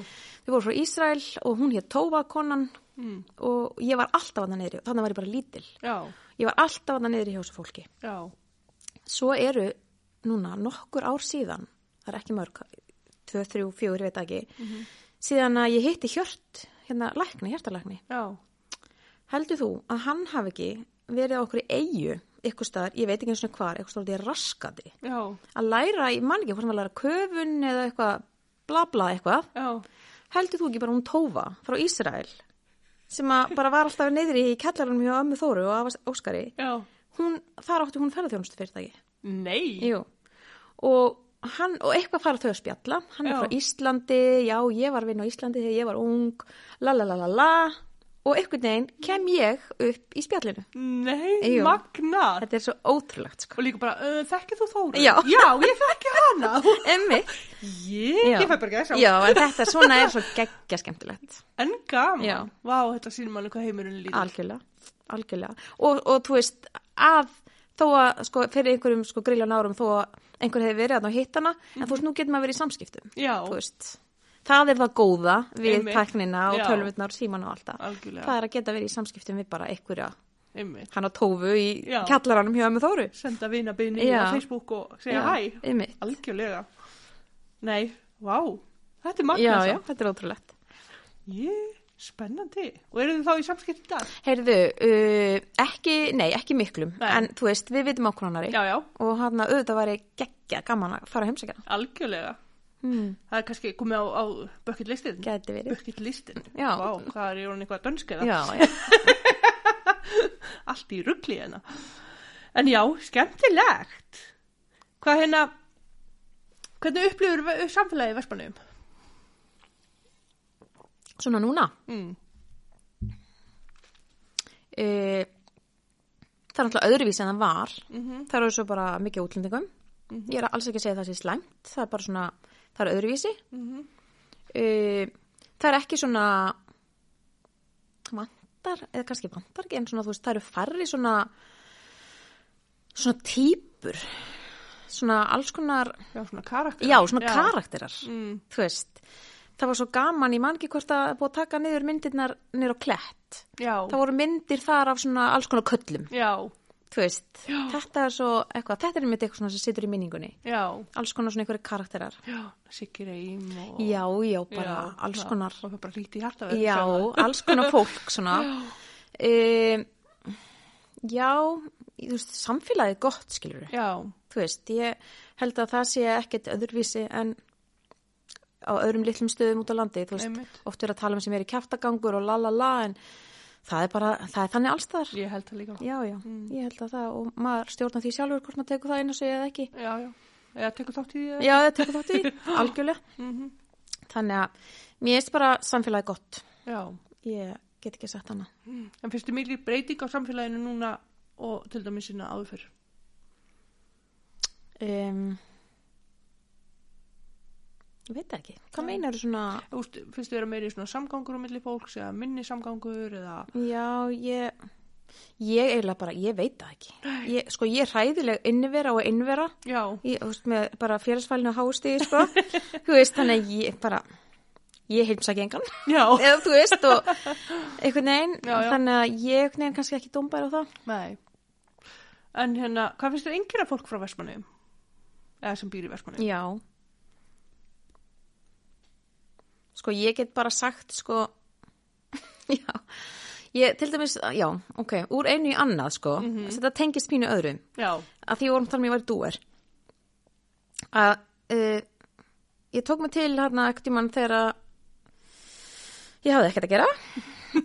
Þau voru frá Ísrael og hún hér Tóva konan Mm. og ég var alltaf að það niðri. Þannig var ég bara lítil. Já. Ég var alltaf að það niðri hjá þessu fólki. Já. svo eru núna nokkur ár síðan, það er ekki mörg, 2, 3, 4, veit það ekki, síðan að ég hitti Hjört, hérna lækni, hjertalækni. Já. Heldur þú að hann hafi ekki verið á okkur í eigu, ykkur staðar, ég veit ekki eins og hvar, ykkur staðar ég raskandi, Já. að læra, ég man ekki hvort hann var að læra köfun eða eitthvað, bla bla eitthvað, Já. heldur þú ekki bara hún Tófa frá Ísrael, sem að bara var alltaf neyðri í kellarunum hjá ömmu Þóru og afa Óskari, Já. hún, þar átti hún ferðarþjónustu fyrirtæki. Nei. Jú, og, hann, og eitthvað fara þau að spjalla, hann Já. er frá Íslandi, já, ég var vinn á Íslandi þegar ég var ung, la la la la la, og einhvern veginn kem ég upp í spjallinu. Nei, Jú. magnað. Þetta er svo ótrúlegt, sko. Og líka bara, uh, þekkið þú Þóru? Já. ég þekki hana. Emmi. Ég, ég fæ bara ekki þess að Já, en þetta svona er svo geggja skemmtilegt. En gaman. Já. Vá, þetta sýnir manni hvað heimurinn líður. Algjörlega, algjörlega. Og, og þú veist, að þó að, sko, fyrir einhverjum, sko, griljan árum, þó að einhver hefði verið að ná hittana, en þú veist, nú getur maður verið í samskiptum. Já, þú veist, það er það góða við Einmitt. tæknina og Já. tölvurnar og síman og allt það. Algjörlega. Það er að geta verið í samskiptum við bara einhverja einmitt. hana tófu í Já. kjallaranum hjá ömmu Þóru. Senda vinabinni Já. á Facebook og segja Já, hæ. einmitt. Algjörlega. Nei, vá, þetta er Já, magnað. já, samt. þetta er ótrúlegt. Ég, spennandi. Og eru þið þá í samskipt í dag? Heyrðu, uh, ekki, nei, ekki miklum, Nei. en þú veist, við vitum okkur hannari Já, já, og hann að auðvitað væri geggja gaman að fara að heimsækja hana. algjörlega. Hmm. Það er kannski komið á, á bucket listin. Gæti verið. Bucket listin. Já. Vá, hvað er ég orðin eitthvað dönsk eða? Já, já. allt í ruggli hérna. En já, skemmtilegt. Hvað hérna, hvernig upplifur ve- samfélagið Vespanum? Svona núna, Mm. uh, það er alltaf öðruvísi en það var. Mm -hmm. Það eru svo bara mikið útlendingum. Ég er alls ekki að segja að það sé slæmt, það er bara svona, það er öðruvísi. uh, það er ekki svona vantar, eða kannski vantar ekki en svona þú veist, það eru færri svona svona típur svona alls konar, Já, svona karakter. já, svona karakterar, Mm, þú veist. Það var svo gaman, ég man ekki hvort að búið að taka niður myndirnar niður á klett. já, Það voru myndir þar af svona alls konar köllum, já, þú veist. Þetta er svo eitthvað, þetta er einmitt eitthvað svona sem situr í minningunni. já, Alls konar svona einhverju karakterar. já, Siggi Reym og... Já, já, bara Já, alls það- konar. Og það bara hlýti hjarta Já, alls konar fólk svona. Um, já, þú veist, samfélagið er gott, skilur við. Já, Þú veist, ég held að það sé ekkert öðruvísi en á öðrum litlum stöðum út á landi, þú veist, Einmitt. oft er að tala um sem er í kjaftagangur og la la la, en það er bara, það er þannig allstaðar. ég held það líka. Já, Mm. já, ég held að það og maður stjórna því sjálfur hvort maður tekur það inn og segja það ekki. Já, já. Eða tekur þátt í því? eða- Já, Mhm. það tekur þátt í, algjörlega. Þannig að mér erst bara samfélagið gott. Já. Ég get ekki sagt hana. En finnst þið mikil breyting á samfélaginu núna og til dæmis sinna áður fyrr? Um, ég veit það ekki. Hvað meinar þú svona... Þú veist, finnst þið vera meiri svona samgangur á milli fólks eða minni samgangur eða... Já, ég... Ég eiginlega bara, ég veit það ekki. Ég, sko, ég er hræðileg innvera og innvera. Já, Ég, þú veist, með bara félagsfælinu hásti, sko. þú veist, þannig að ég bara... Ég heimsæki engan, já. eða þú veist, og einhvern veginn, Já, já. þannig að ég einhvern veginn kannski ekki dómbær á það. Nei. En hérna, hvað finnst þér einhverja fólk frá Vestmanniðum? Eða sem býr í Vestmanniðum? Já. Sko, ég get bara sagt, sko, já, ég, til dæmis, já, ok, úr einu í annað, sko, Mhm. þetta tengist mínu öðru, Já, að því vorum þar mér var dúer, að uh, ég tók mig til hérna ekkert í mann þegar að ég hafði ekkert að gera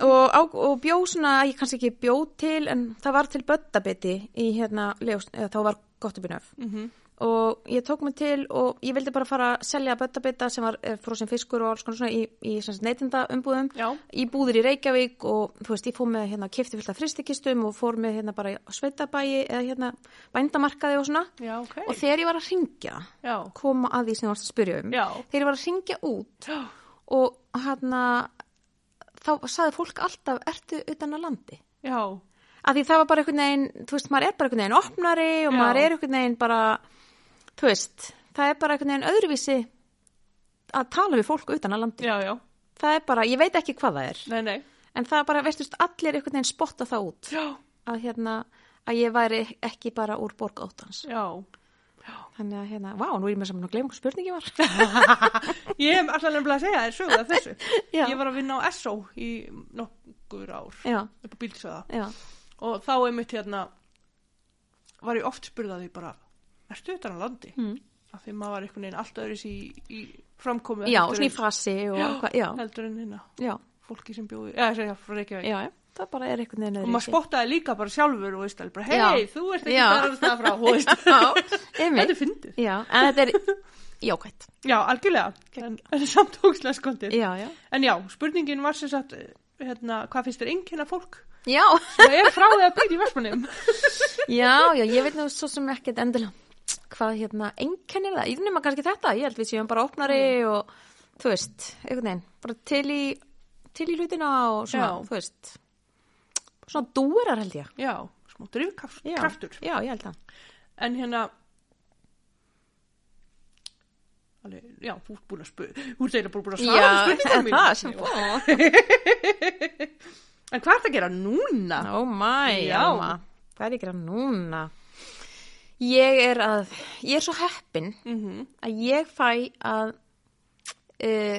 og, á, og bjó svona, ég kannski ekki bjó til, en það var til böddabiti í hérna, ljós, eða, þá var gott upp í nöf mhm, og ég tók mig til og ég vildi bara fara að selja bötabita sem var eh, frosin fiskur og alls konar svona í, í neytinda umbúðum já, í búðir í Reykjavík og þú veist, ég fór með hérna kifti fullt af fristikistum og fór með hérna bara í sveitabæi eða hérna bændamarkaði og svona já, ok. og þegar ég var að ringja Já, koma að því sem ég varst að spyrja um já, þegar ég var að ringja út já, og hérna þá saði fólk alltaf, ertu utan að landi? já, að því það var bara einhvern veginn, þú veist, maður er bara einhvern veginn opnari Já. og maður er einhvern veginn bara, þú veist, það er bara einhvern veginn öðruvísi að tala við fólk utan að landi. já, já, Það er bara, ég veit ekki hvað það er, nei, nei, en það er bara, veistu, allir einhvern veginn spotta það út já, að hérna, að ég væri ekki bara úr borg áttans. já. Þannig að hérna, vá, nú er ég með saman að gleyma hvað spurningi var. Ég hef alltaf nefnilega að segja þér sögu að þessu. Já. Ég var að vinna á SO í nokkur ár, já, upp á bílsöða. já, Og þá einmitt hérna var ég oft spurð að því bara, ertu utan á landi? Mm. Af því maður var einhvern veginn allt öðris í, í framkomu. já, heldur svona í en- frasi og Já. hvað, já, Heldur en hérna. já, fólki sem bjóði, eða segja frá Reykjavík já, já, það bara er einhvern veginn og maður öðruvísi. spottaði líka bara sjálfur og veist alveg bara, Já. hei, þú ert ekki Já. þar að staða frá, þú veist, Já, einmitt. þetta er fyndið Já, en þetta er jákvæmt. já, algjörlega, en, en samt ókslega skondið Já, já. en já, spurningin var sem sagt eh, hérna, hvað finnst þér einkenna fólk Já, það er frá því að býr í Vestmannum já, já, ég veit nú svo sem ekkert endilega hvað hérna, einkennir það, ég nema kannski þetta, ég held við séum bara opnari og þú veist, einhvern veginn, bara til í, til í hlutina og svona, Já. þú veist, svona dúrar held ég. já, smá Já, drifkraftur Já, ég held það. en hérna alveg, já, þú ert búin að spö þú ert eiginlega bara búin að svara er spurningunum það sem fór. en hvað er það að gera núna? Oh my, Já. amma. hvað er ég að gera núna? Ég er að, ég er svo heppin Mm að ég fæ að uh,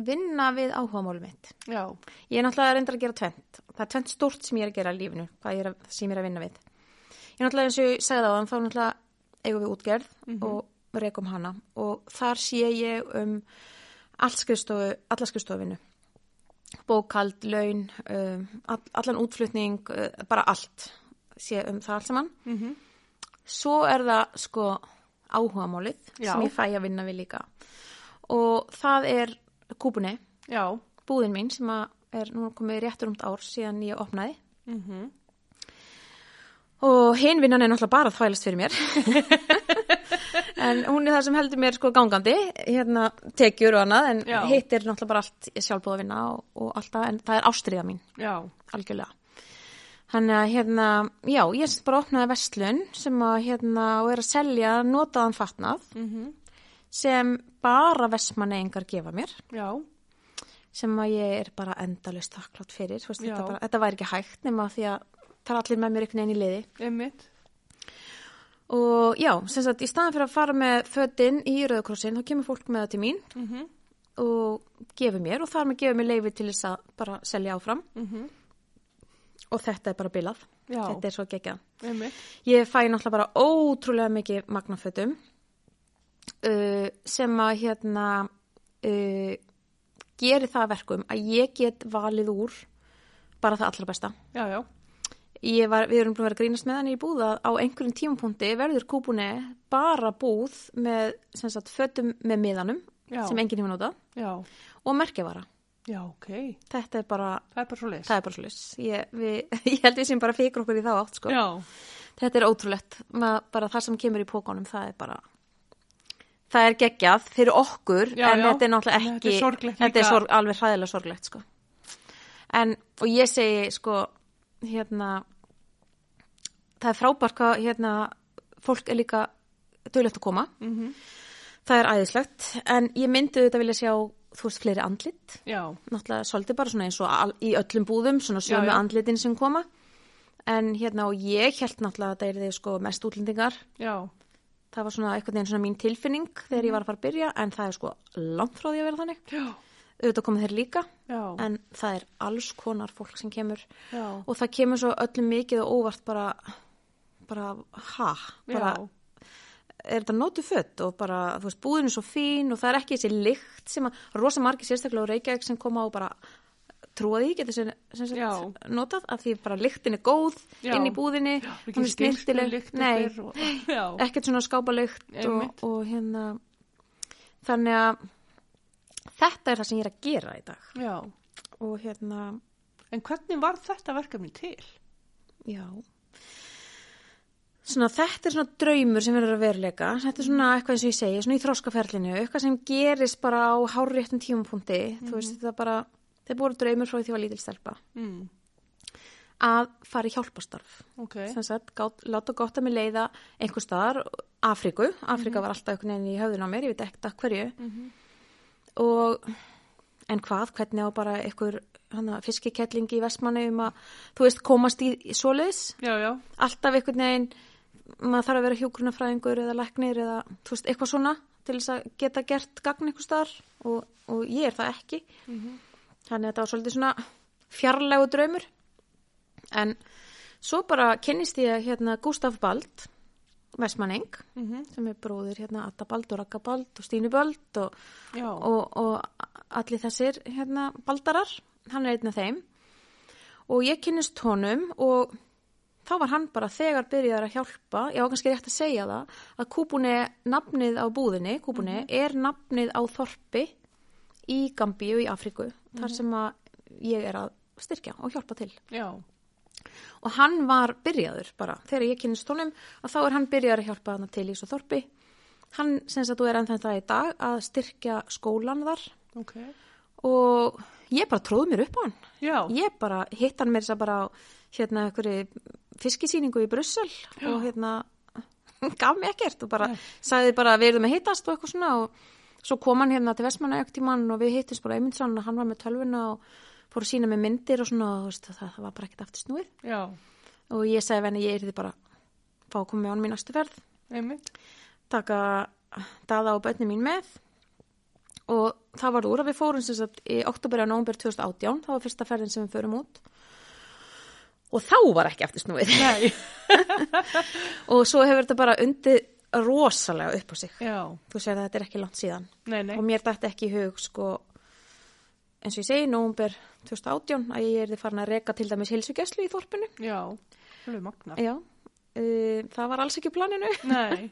vinna við áhugamálum mitt. já, Ég er náttúrulega reyndar að gera tvent. Það er tvent stórt sem ég er að gera í lífinu, hvað ég er að, sem ég er að vinna við. Ég er náttúrulega eins og ég segði á þann, þá er náttúrulega eigum við útgerð og rekum hana og þar sé ég um allt skrifstofu, alla skrifstofinu. Bókald, laun, um, all, allan útflutning, uh, bara allt sé um það allt saman. mm Svo er það sko áhugamálið Já. sem ég fæ að vinna við líka og það er kúpunni, já búðin mín sem að er núna komið réttur umt ár síðan ég opnaði mhm og hinn vinnan er náttúrulega bara að þvælast fyrir mér en hún er það sem heldur mér sko gangandi hérna tekjur og annað en Já. hitt er náttúrulega bara allt sjálfbúða vinna og, og alltaf en það er ástriða mín Já, algjörlega Þannig að hérna, já, ég sem sagt bara opnaði vestlun sem að hérna og er að selja notaðan fatnað Mhm. sem bara vestmanneingar gefa mér Já, sem að ég er bara endalust þakklátt fyrir, þú veist, Já. þetta, bara, þetta væri ekki hægt nema því að það er allir með mér einhvern veginn í liði. einmitt. Og já, sem sagt, í staðan fyrir að fara með fötin í Rauðakrossin, þá kemur fólk með það til mín Mm -hmm. og gefur mér og þar með gefur mér leifi til þess að bara selja áfram og þetta er bara bilað. Já. Þetta er svo geggjað. Einmitt. Ég fæ náttúrulega bara ótrúlega mikið magnafötum uh, sem að hérna uh, geri það að verkum að ég get valið úr bara það allra besta. Já, já. Ég var, við erum búin að vera að grínast með hann í búð að á einhverjum tímapunkti verður kúpunni bara búð með sem sagt, fötum með miðanum Já. sem enginn hefur notað Já, og merkjavara. já, ok. Þetta er bara, Það er bara svo leys. það er bara slis. Ég, við, ég held við sem bara fikir okkur í þá átt sko. Já, Þetta er ótrúlegt, Mað, bara það sem kemur í pókanum, það er bara, það er geggjað fyrir okkur, Já, en já. þetta er náttúrulega Nei, þetta ekki, er sorglegt þetta er líka. sorg, alveg hræðilega sorglegt, sko. En, og ég segi, sko, hérna, það er frábært hvað, hérna, fólk er líka dögulegt að koma, Mhm. það er æðislegt, en ég myndi auðvitað vilja sjá, þú veist, fleiri andlit, já, náttúrulega svolítið bara svona eins og al, í öllum búðum, svona sömu Já, já. andlitin sem koma. En hérna og ég held náttúrulega að það er þið sko mest útlendingar. já, Það var svona eitthvað einn svona mín tilfinning þegar Mhm. ég var að fara að byrja en það er sko langt frá því að vera þannig. já, Auðvitað komið þeir líka já, en það er alls konar fólk sem kemur já, og það kemur svo öllum mikið og óvart bara, bara, ha, bara, já, er þetta nótu fött og bara, þú veist, búðin er svo fín og það er ekki þessi lykt sem að rosa margir sérstaklega á Reykjavík sem koma og bara trúa því, getur sem, sem Já. sagt notað af því bara lyktin er góð Já. inn í búðinni, Við hún er getum skilst snirtileg við lykt nei, eftir og- Já, ekkert svona skápalykt Einmitt. og, og hérna þannig að þetta er það sem ég er að gera í dag já. og hérna, En hvernig var þetta verkefni til? já svona þetta er svona draumur sem verður að veruleika þetta er svona eitthvað eins og ég segi, svona í þróskaferlinu eitthvað sem gerist bara á háréttum tímapunkti, þú veist þetta bara þetta er búin draumur frá því að ég var lítil stelpa Mm. að fara í hjálparstarf Ok, sem sagt, gát, láta gott að mér leiða einhver staðar, Afríku Afríka var alltaf einhvern veginn í höfðun á mér, ég veit ekkert að hverju og en hvað, hvernig á bara einhver hana, fiskikettlingi í Vestmanni um að, þú veist, komast í, í svoleiðis já, já, alltaf einhvern veginn maður þarf að vera hjókrunafræðingur eða læknir eða þú veist, eitthvað svona til þess að geta gert gagn einhvers staðar og, og ég er það ekki þannig að þetta var svolítið svona fjarlægu draumur en svo bara kynnist ég hérna Gustaf Bald Vestmanning Mhm. sem er bróðir hérna Atta Bald og Ragga Bald og Stínu Bald og, já, og, og allir þessir hérna baldarar, hann er einn af þeim og ég kynnist honum og þá var hann bara þegar byrjaður að hjálpa, ég á kannski rétt að segja það, að kúpunni, nafnið á búðinni, kúpunni, er nafnið á þorpi í Gambíu í Afriku, þar sem að ég er að styrkja og hjálpa til. já, Og hann var byrjaður bara, þegar ég kynnist honum, að þá er hann byrjaður að hjálpa hana til í þessu þorpi. Hann, sem sagt, þú er ennþá þetta í dag að styrkja skólan þar ok, og ég bara tróð mér upp á hann já, ég bara hitt hann mér þess að bara á, hérna einhverju fiskisýningu í Brussel og hérna gaf mér ekkert og bara sagði bara við erum að hittast og eitthvað svona og svo kom hann hérna til Vestmanna ekkert í mann og við hittist bara einmittsann og hann var með tölvuna og fór að sína með myndir og svona og þú veist, það, það var bara ekkert aftur snúið já, og ég sagði venni ég er því bara fá að koma með honum í næstu ferð einmitt, taka daða og bönni mín með og það var úr að við fórum sem sagt í oktober og nómber 2018 það var fyrsta ferðin sem við förum út og þá var ekki eftir snúið nei, og svo hefur þetta bara undið rosalega upp á sig já, þú segir að þetta er ekki langt síðan nei, nei, og mér dætti ekki í hug sko eins og ég segi, nómber 2018 að ég er þið farin að reka til dæmis hilsugeslu í þorpinu já, hljóðu magna, já, uh, það var alls ekki planinu nei,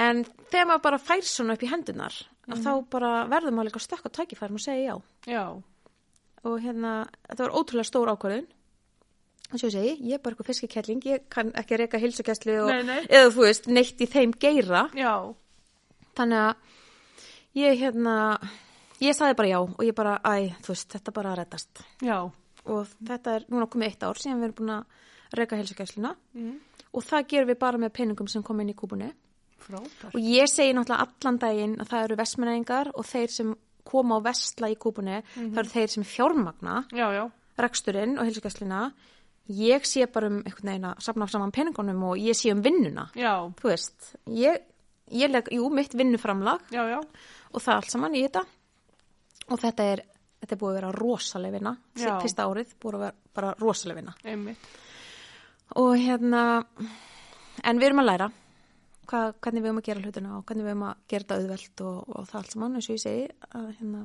En þegar maður bara fær svona upp í hendunar, Mhm. mm. þá bara verður maður líka stökk á tækifærin og segja já. já, Og hérna, þetta var ótrúlega stór ákvörðun. Og svo ég segi, ég er bara eitthvað fiskikettling, ég kann ekki reyka hilsugæslu og, Nei, nei. eða þú veist, neitt í þeim geira. já, Þannig að ég hérna, ég sagði bara já og ég bara, æ, þú veist, þetta bara reddast. já, og þetta er núna komið eitt ár síðan við erum búin að reyka helsugæsluna Mm. og það gerum við bara með peningum sem kom inn í kúbunni Frábært. og ég segi náttúrulega allan daginn að það eru vestmenningar og þeir sem koma á vestla í kúbunni það eru þeir sem fjármagna Já, já. reksturinn og helsugæsluna ég sé bara um einhvern veginn að sapna saman peningunum og ég sé um vinnuna Já, þú veist, ég, ég leg, jú, mitt vinnuframlag já, já. og það allt saman í þetta og þetta er, þetta er búið að vera rosaleg vinna Já. fyrsta árið búið að vera bara rosaleg vinna Einmitt. og hérna en við erum að læra hva, hvernig við erum að gera hlutina og hvernig við erum að gera þetta auðvelt og, og það allt saman eins og ég segi að, hérna,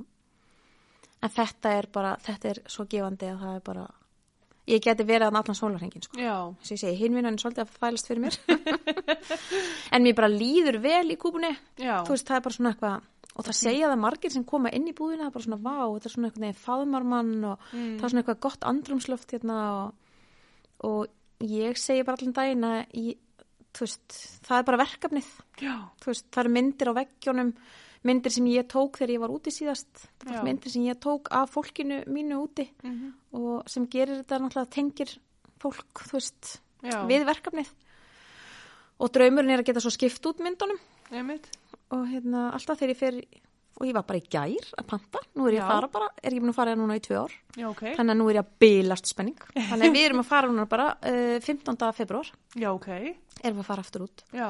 en þetta er bara þetta er svo gefandi að það er bara ég geti verið að allan sólarhengin sko Já, eins og ég segi, hinvinnan er svolítið að fælast fyrir mér en mér bara líður vel í kúbunni Já. þú veist, það er bara svona eitthvað og það segja það margir sem koma inn í búðina það er bara svona, vá, þetta er svona eitthvað neginn faðmarmann og Mm. það er svona eitthvað gott andrumsloft hérna og, og ég segi bara allan daginn að ég, þú veist, það er bara verkefnið já, þú veist, það eru myndir á veggjónum myndir sem ég tók þegar ég var úti síðast Það Já. voru myndir sem ég tók af fólkinu mínu úti Mhm. og sem gerir þetta náttúrulega tengir fólk, þú veist Já. við verkefnið og draumurinn er að geta svo skipt út myndunum einmitt. og hérna, alltaf þegar ég fer og ég var bara í gær að panta nú er ég Já. að fara bara, er ég búin að fara hérna núna í tvö ár Já, ok. þannig að nú er ég að bylast spenning þannig að við erum að fara núna bara uh, 15. februar Já, ok. erum við að fara aftur út Já.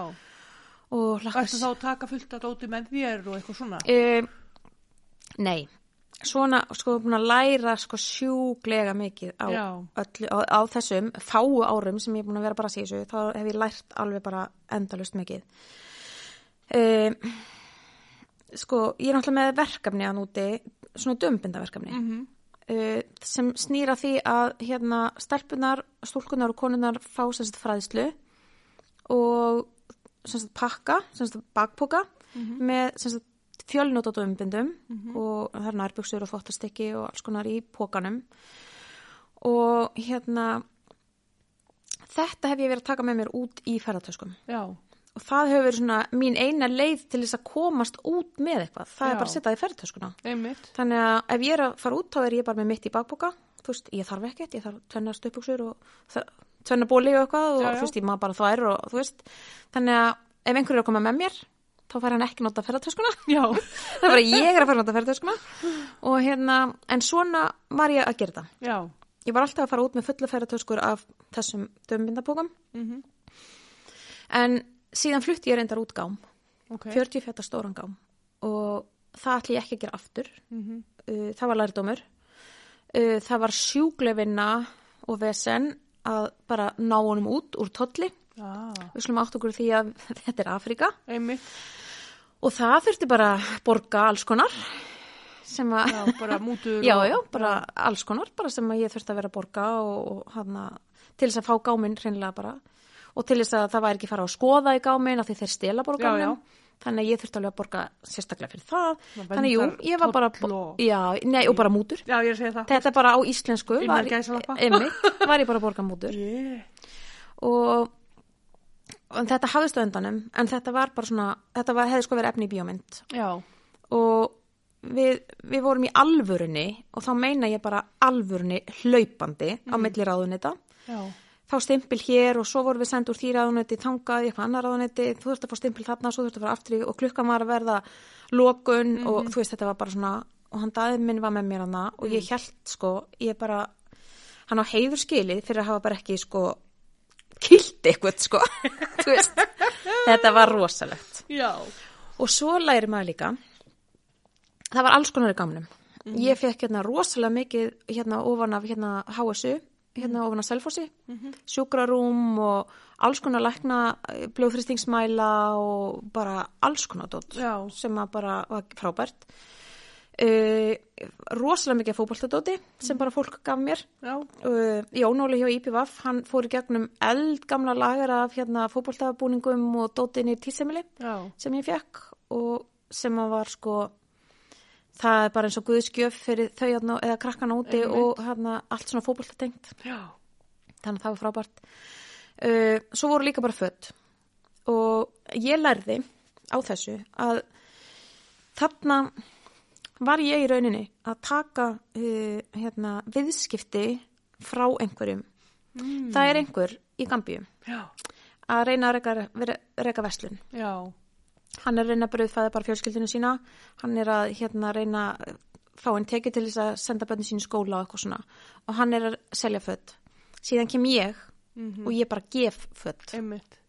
og hlakka Æstu þá að taka fullt að dóti með þér og eitthvað svona? um, Nei Svona, sko, búin að læra sko sjúglega mikið á, Já. öllu, á, á þessum fáu árum sem ég er búin að vera bara að segja þessu, þá hef ég lært alveg bara endalust mikið. Um, sko, ég er náttúrulega með verkefni að núti, svona dömbindaverkefni, mm Mhm. -hmm. sem snýra því að hérna stelpunar, stúlkunar og konunar fá sem sagt fræðslu og sem sagt, pakka, sem sagt, bakpoka með sem sagt, fjölnótat umbindum og það er nærbuksur og þvottastekki og alls konar í pokanum og hérna þetta hef ég verið að taka með mér út í ferðartöskum Já, og það hefur verið svona mín eina leið til þess að komast út með eitthvað það er Já. bara að setja það í ferðartöskuna einmitt. Þannig að ef ég er að fara út þá er ég bara með mitt í bakboka, þú veist, ég þarf ekkert, ég þarf tvenna stöpuksur og tvenna bóli og eitthvað og Já, já. þú veist, ég maður bara þvær og þú veist, þannig að ef einhverju er að koma með mér, þá fær hann ekki nota ferðartöskuna, Já, það er bara ég er að fara að nota ferðartöskuna og hérna, en svona var ég að gera það. já, Ég var alltaf að fara út með fulla ferðartöskur af þessum dömbindabókum, Mhm. en síðan flutti ég reyndar út gám. ok. 40 feta stóran gám og það ætli ég ekki að gera aftur mhm. uh, það var lærdómur uh, það var sjúglefinna og vesen að bara ná honum út úr tolli Ah, við slum átt okkur á því að þetta er Afrika einmitt. og það þurfti bara að borga alls konar sem að Já, bara mútur já, og... já, bara alls konar bara sem að ég þurfti að vera að borga og, og hana, til þess að fá gáminn hreinlega bara og til þess að það væri ekki fara að skoða í gáminn af því þeir stela bara Já, gáminn þannig að ég þurfti alveg að borga sérstaklega fyrir það Það þannig jú, verndar ég var bara toll og- já, nei, og bara mútur Já, ég er að segja það. þetta bara á íslensku Innan var, gæsalappa. einmitt, var ég bara að borga mútur Yeah. og, og þetta hafðist á endanum en þetta var bara svona þetta var, hefði sko verið efni í bíómynd Já, og við, við vorum í alvörunni og þá meina ég bara alvörunni hlaupandi á milli ráðunita já, þá stimpil hér og svo vorum við send úr því ráðuniti þangað í eitthvað annar ráðuniti þú þurft að fá stimpil þarna, svo þurft að fara aftur í og klukkan var að verða lokun og þú veist þetta var bara svona og hann daðið minn var með mér hana og ég held sko, ég bara hann á heiður skilið fyrir að hafa bara ekki sko kilt eitthvað sko Þú veist, þetta var rosalegt já. Og svo læri maður líka, það var alls konar í gamnum. Ég fekk hérna rosalega mikið hérna ofan af hérna HSU, hérna ofan af Selfossi, sjúkrarúm og alls konar lækna eh, blóðþrýstingsmæla og bara alls konar dótt Já. sem að bara var frábært. Uh, rosalega mikið fótboltadóti sem bara fólk gaf mér Já, uh, Jón Óli hjá IPVF hann fór í gegnum eldgamla lagar af hérna fótboltabúningum og dótinir tísemili já, sem ég fekk og sem að var sko það er bara eins og guðskjöf fyrir þau hérna, eða krakkana úti Einmitt. og hérna, allt svona fótboltatengt já, þannig að það var frábært uh, svo voru líka bara fött og ég lærði á þessu að þarna var ég í rauninni að taka uh, hérna, viðskipti frá einhverjum. Mm. Það er einhver í Gambíu Já, að reyna að reka, vera- reka verslun. já, Hann er að reyna að brauðfæða bara fjölskyldinu sína, hann er að hérna, reyna að fá einn tekið til þess að senda bönni sínu í skóla og eitthvað svona og hann er að selja fött. Síðan kem ég Mhm. og ég bara gef fött. einmitt.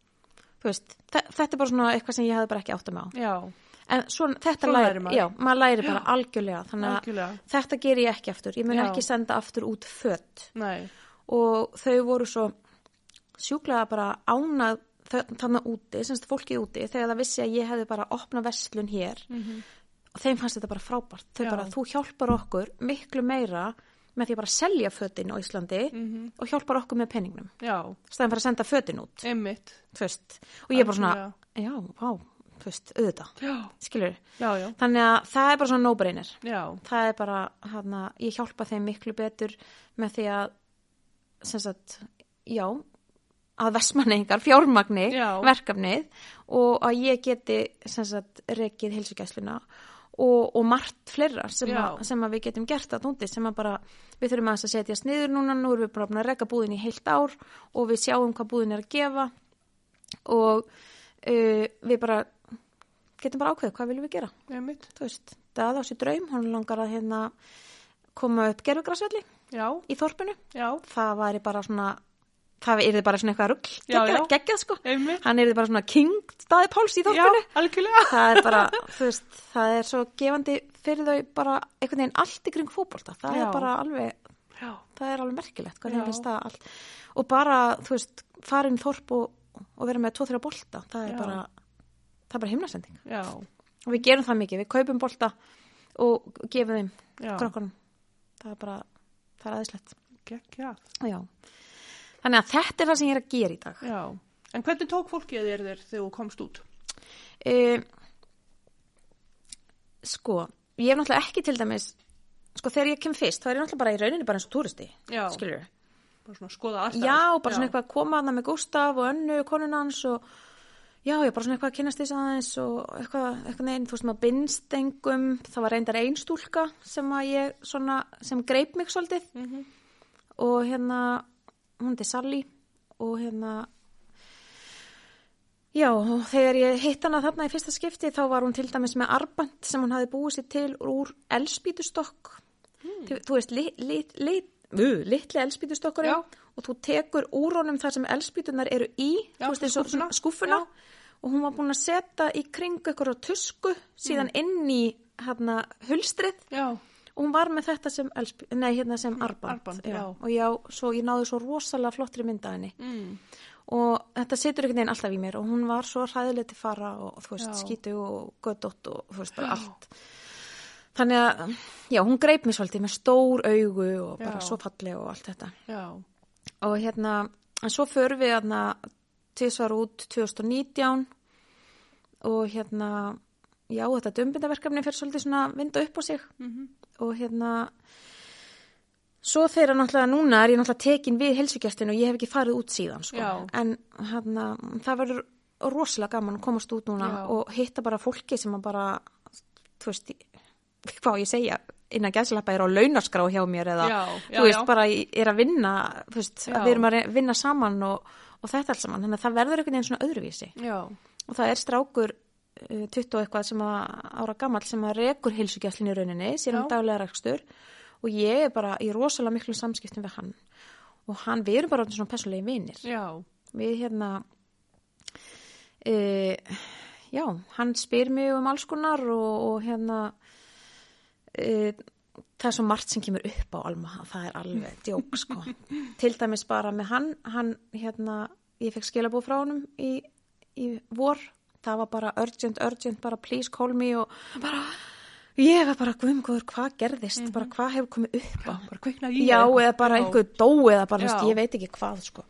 Þú veist, þe- þetta er bara svona eitthvað sem ég hefði bara ekki átt að með á. Já, En svona, þetta Svona læri, lærir maður. Já, maður læri bara algjörlega. Þannig að algjörlega. þetta ger ég ekki aftur. Ég mun Já. ekki senda aftur út fött. Nei, Og þau voru svo sjúklega bara ánað þannig úti, semst fólkið úti, þegar það vissi að ég hefði bara opnað verslun hér. Og þeim fannst þetta bara frábært. Þau Já. bara, þú hjálpar okkur miklu meira með því að bara selja fötin á Íslandi Mhm. og hjálpar okkur með peningnum. já, Stæðan fyrir að senda fötin út, einmitt. þú veist. Og ég bara svona, já, vá, þú veist, auðvitað. Já, Skilur já, já, Þannig að það er bara svona no-brainer. já, Það er bara, hana, ég hjálpa þeim miklu betur með því að, sem sagt, já, að versmanningar, fjármagni, Já. verkefnið og að ég geti, sem sagt, rekið heilsugæsluna og, og margt fleira sem, Já. að, sem að við getum gert að núndi sem að bara, við þurfum aðeins að setja sniður núna, nú erum við bara búin að reka búðin í heilt ár og við sjáum hvað búðin er að gefa og uh, við bara getum bara ákveðið hvað viljum við gera einmitt. þú veist, það á sér draum, hún langar að hérna koma upp gerfugrasvelli Já, í þorpinu. já, Það væri bara svona, það yrði bara svona eitthvað rugl, Já, geggjað, já. geggjað sko. einmitt. Hann yrði bara svona king staði Páls í Já, þorpinu. algjörlega. Það er bara, þú veist, það er svo gefandi fyrir þau bara einhvern veginn allt í kring fótbolta. Það Já. er bara alveg, Já, það er alveg merkilegt hvernig Já. þeim finnst það allt. Og bara, þú veist, farin þorp og, og vera með tvo-þrjá bolta, það er Já. bara, það er bara himnasending já, og við gerum það mikið, við kaupum bolta og gefum þeim já, krakkanum það er bara, það er aðeinslegt geggjað. já. þannig að þetta er það sem ég er að gera í dag Já, en hvernig tók fólkið þér þér þegar þú komst út? e, sko, ég hef náttúrulega ekki til dæmis sko þegar ég kem fyrst þá er ég náttúrulega bara í rauninni bara eins og túristi Já, skilur við bara svona skoða aðstæður. Já, bara svona eitthvað að koma að það með Gustaf og önnu konun hans og já, ég bara svona eitthvað að kynast því aðeins og eitthvað, eitthvað neginn, þú veist maður binnst engum, það var reyndar ein stúlka sem að ég svona, sem greip mig svolítið Mhm. og hérna, hún heiti Sally og hérna Já, og þegar ég hitt hana þarna í fyrsta skipti þá var hún til dæmis með arband sem hún hafi búið sér til úr elspítustokk. Hmm. Þú, þú veist, lit, lit, lit, uh, litli elspítustokkur Já. og þú tekur úr honum þar sem elspítunar eru í, Já, þú veist, eins og skúffuna. svona skúffuna og hún var búin að setja í kring ykkur á tusku síðan Hmm. inn í hérna hulstrið Já, og hún var með þetta sem, elsp, nei, hérna sem arband. arband, já. Og já, svo ég náði svo rosalega flottri mynda henni mm. og þetta situr einhvern veginn alltaf í mér og hún var svo hræðileg til fara og þú veist, Já. skítu og göddótt og þú veist, bara Já. allt þannig að, já, hún greip mér svolítið með stór augu og bara Já. svo falleg og allt þetta já, og hérna, en svo förum við hérna, tvisvar út 2019 og hérna já, þetta dömbindaverkefni fyrir svolítið svona að vinda upp á sig Mhm. og hérna svo þegar náttúrulega núna er ég náttúrulega tekin við helsugjastinu og ég hef ekki farið út síðan sko. Já. en hérna, það verður rosalega gaman að komast út núna Já. og hitta bara fólki sem að bara þú veist, ég- hvað á ég að segja innan gæðslappa er á launaskrá hjá mér eða Já, já, þú veist, já. bara ég er að vinna þú veist, Já. að við erum að re- vinna saman og, og þetta alls saman, þannig að það verður einhvern veginn svona öðruvísi já, og það er strákur uh, 20 og eitthvað sem að ára gamall sem að rekur heilsugjæslinn í rauninni sér Já. um daglega rekstur og ég er bara í rosalega miklu samskiptum við hann og hann, við erum bara orðnir svona persónlega vinir já, við hérna e, já, hann spyr mig um alls konar og, og hérna e, það er svo margt sem kemur upp á Alma, það er alveg djók sko, til dæmis bara með hann hann hérna, ég fekk skilabóð frá honum í, í vor það var bara urgent, urgent bara please call me og bara ég var bara guðumgóður, hvað gerðist bara hvað hefur komið upp á bara kviknaði í Já, þér. eða bara Já. einhver dó eða bara, þú veist, Já. ég veit ekki hvað, sko.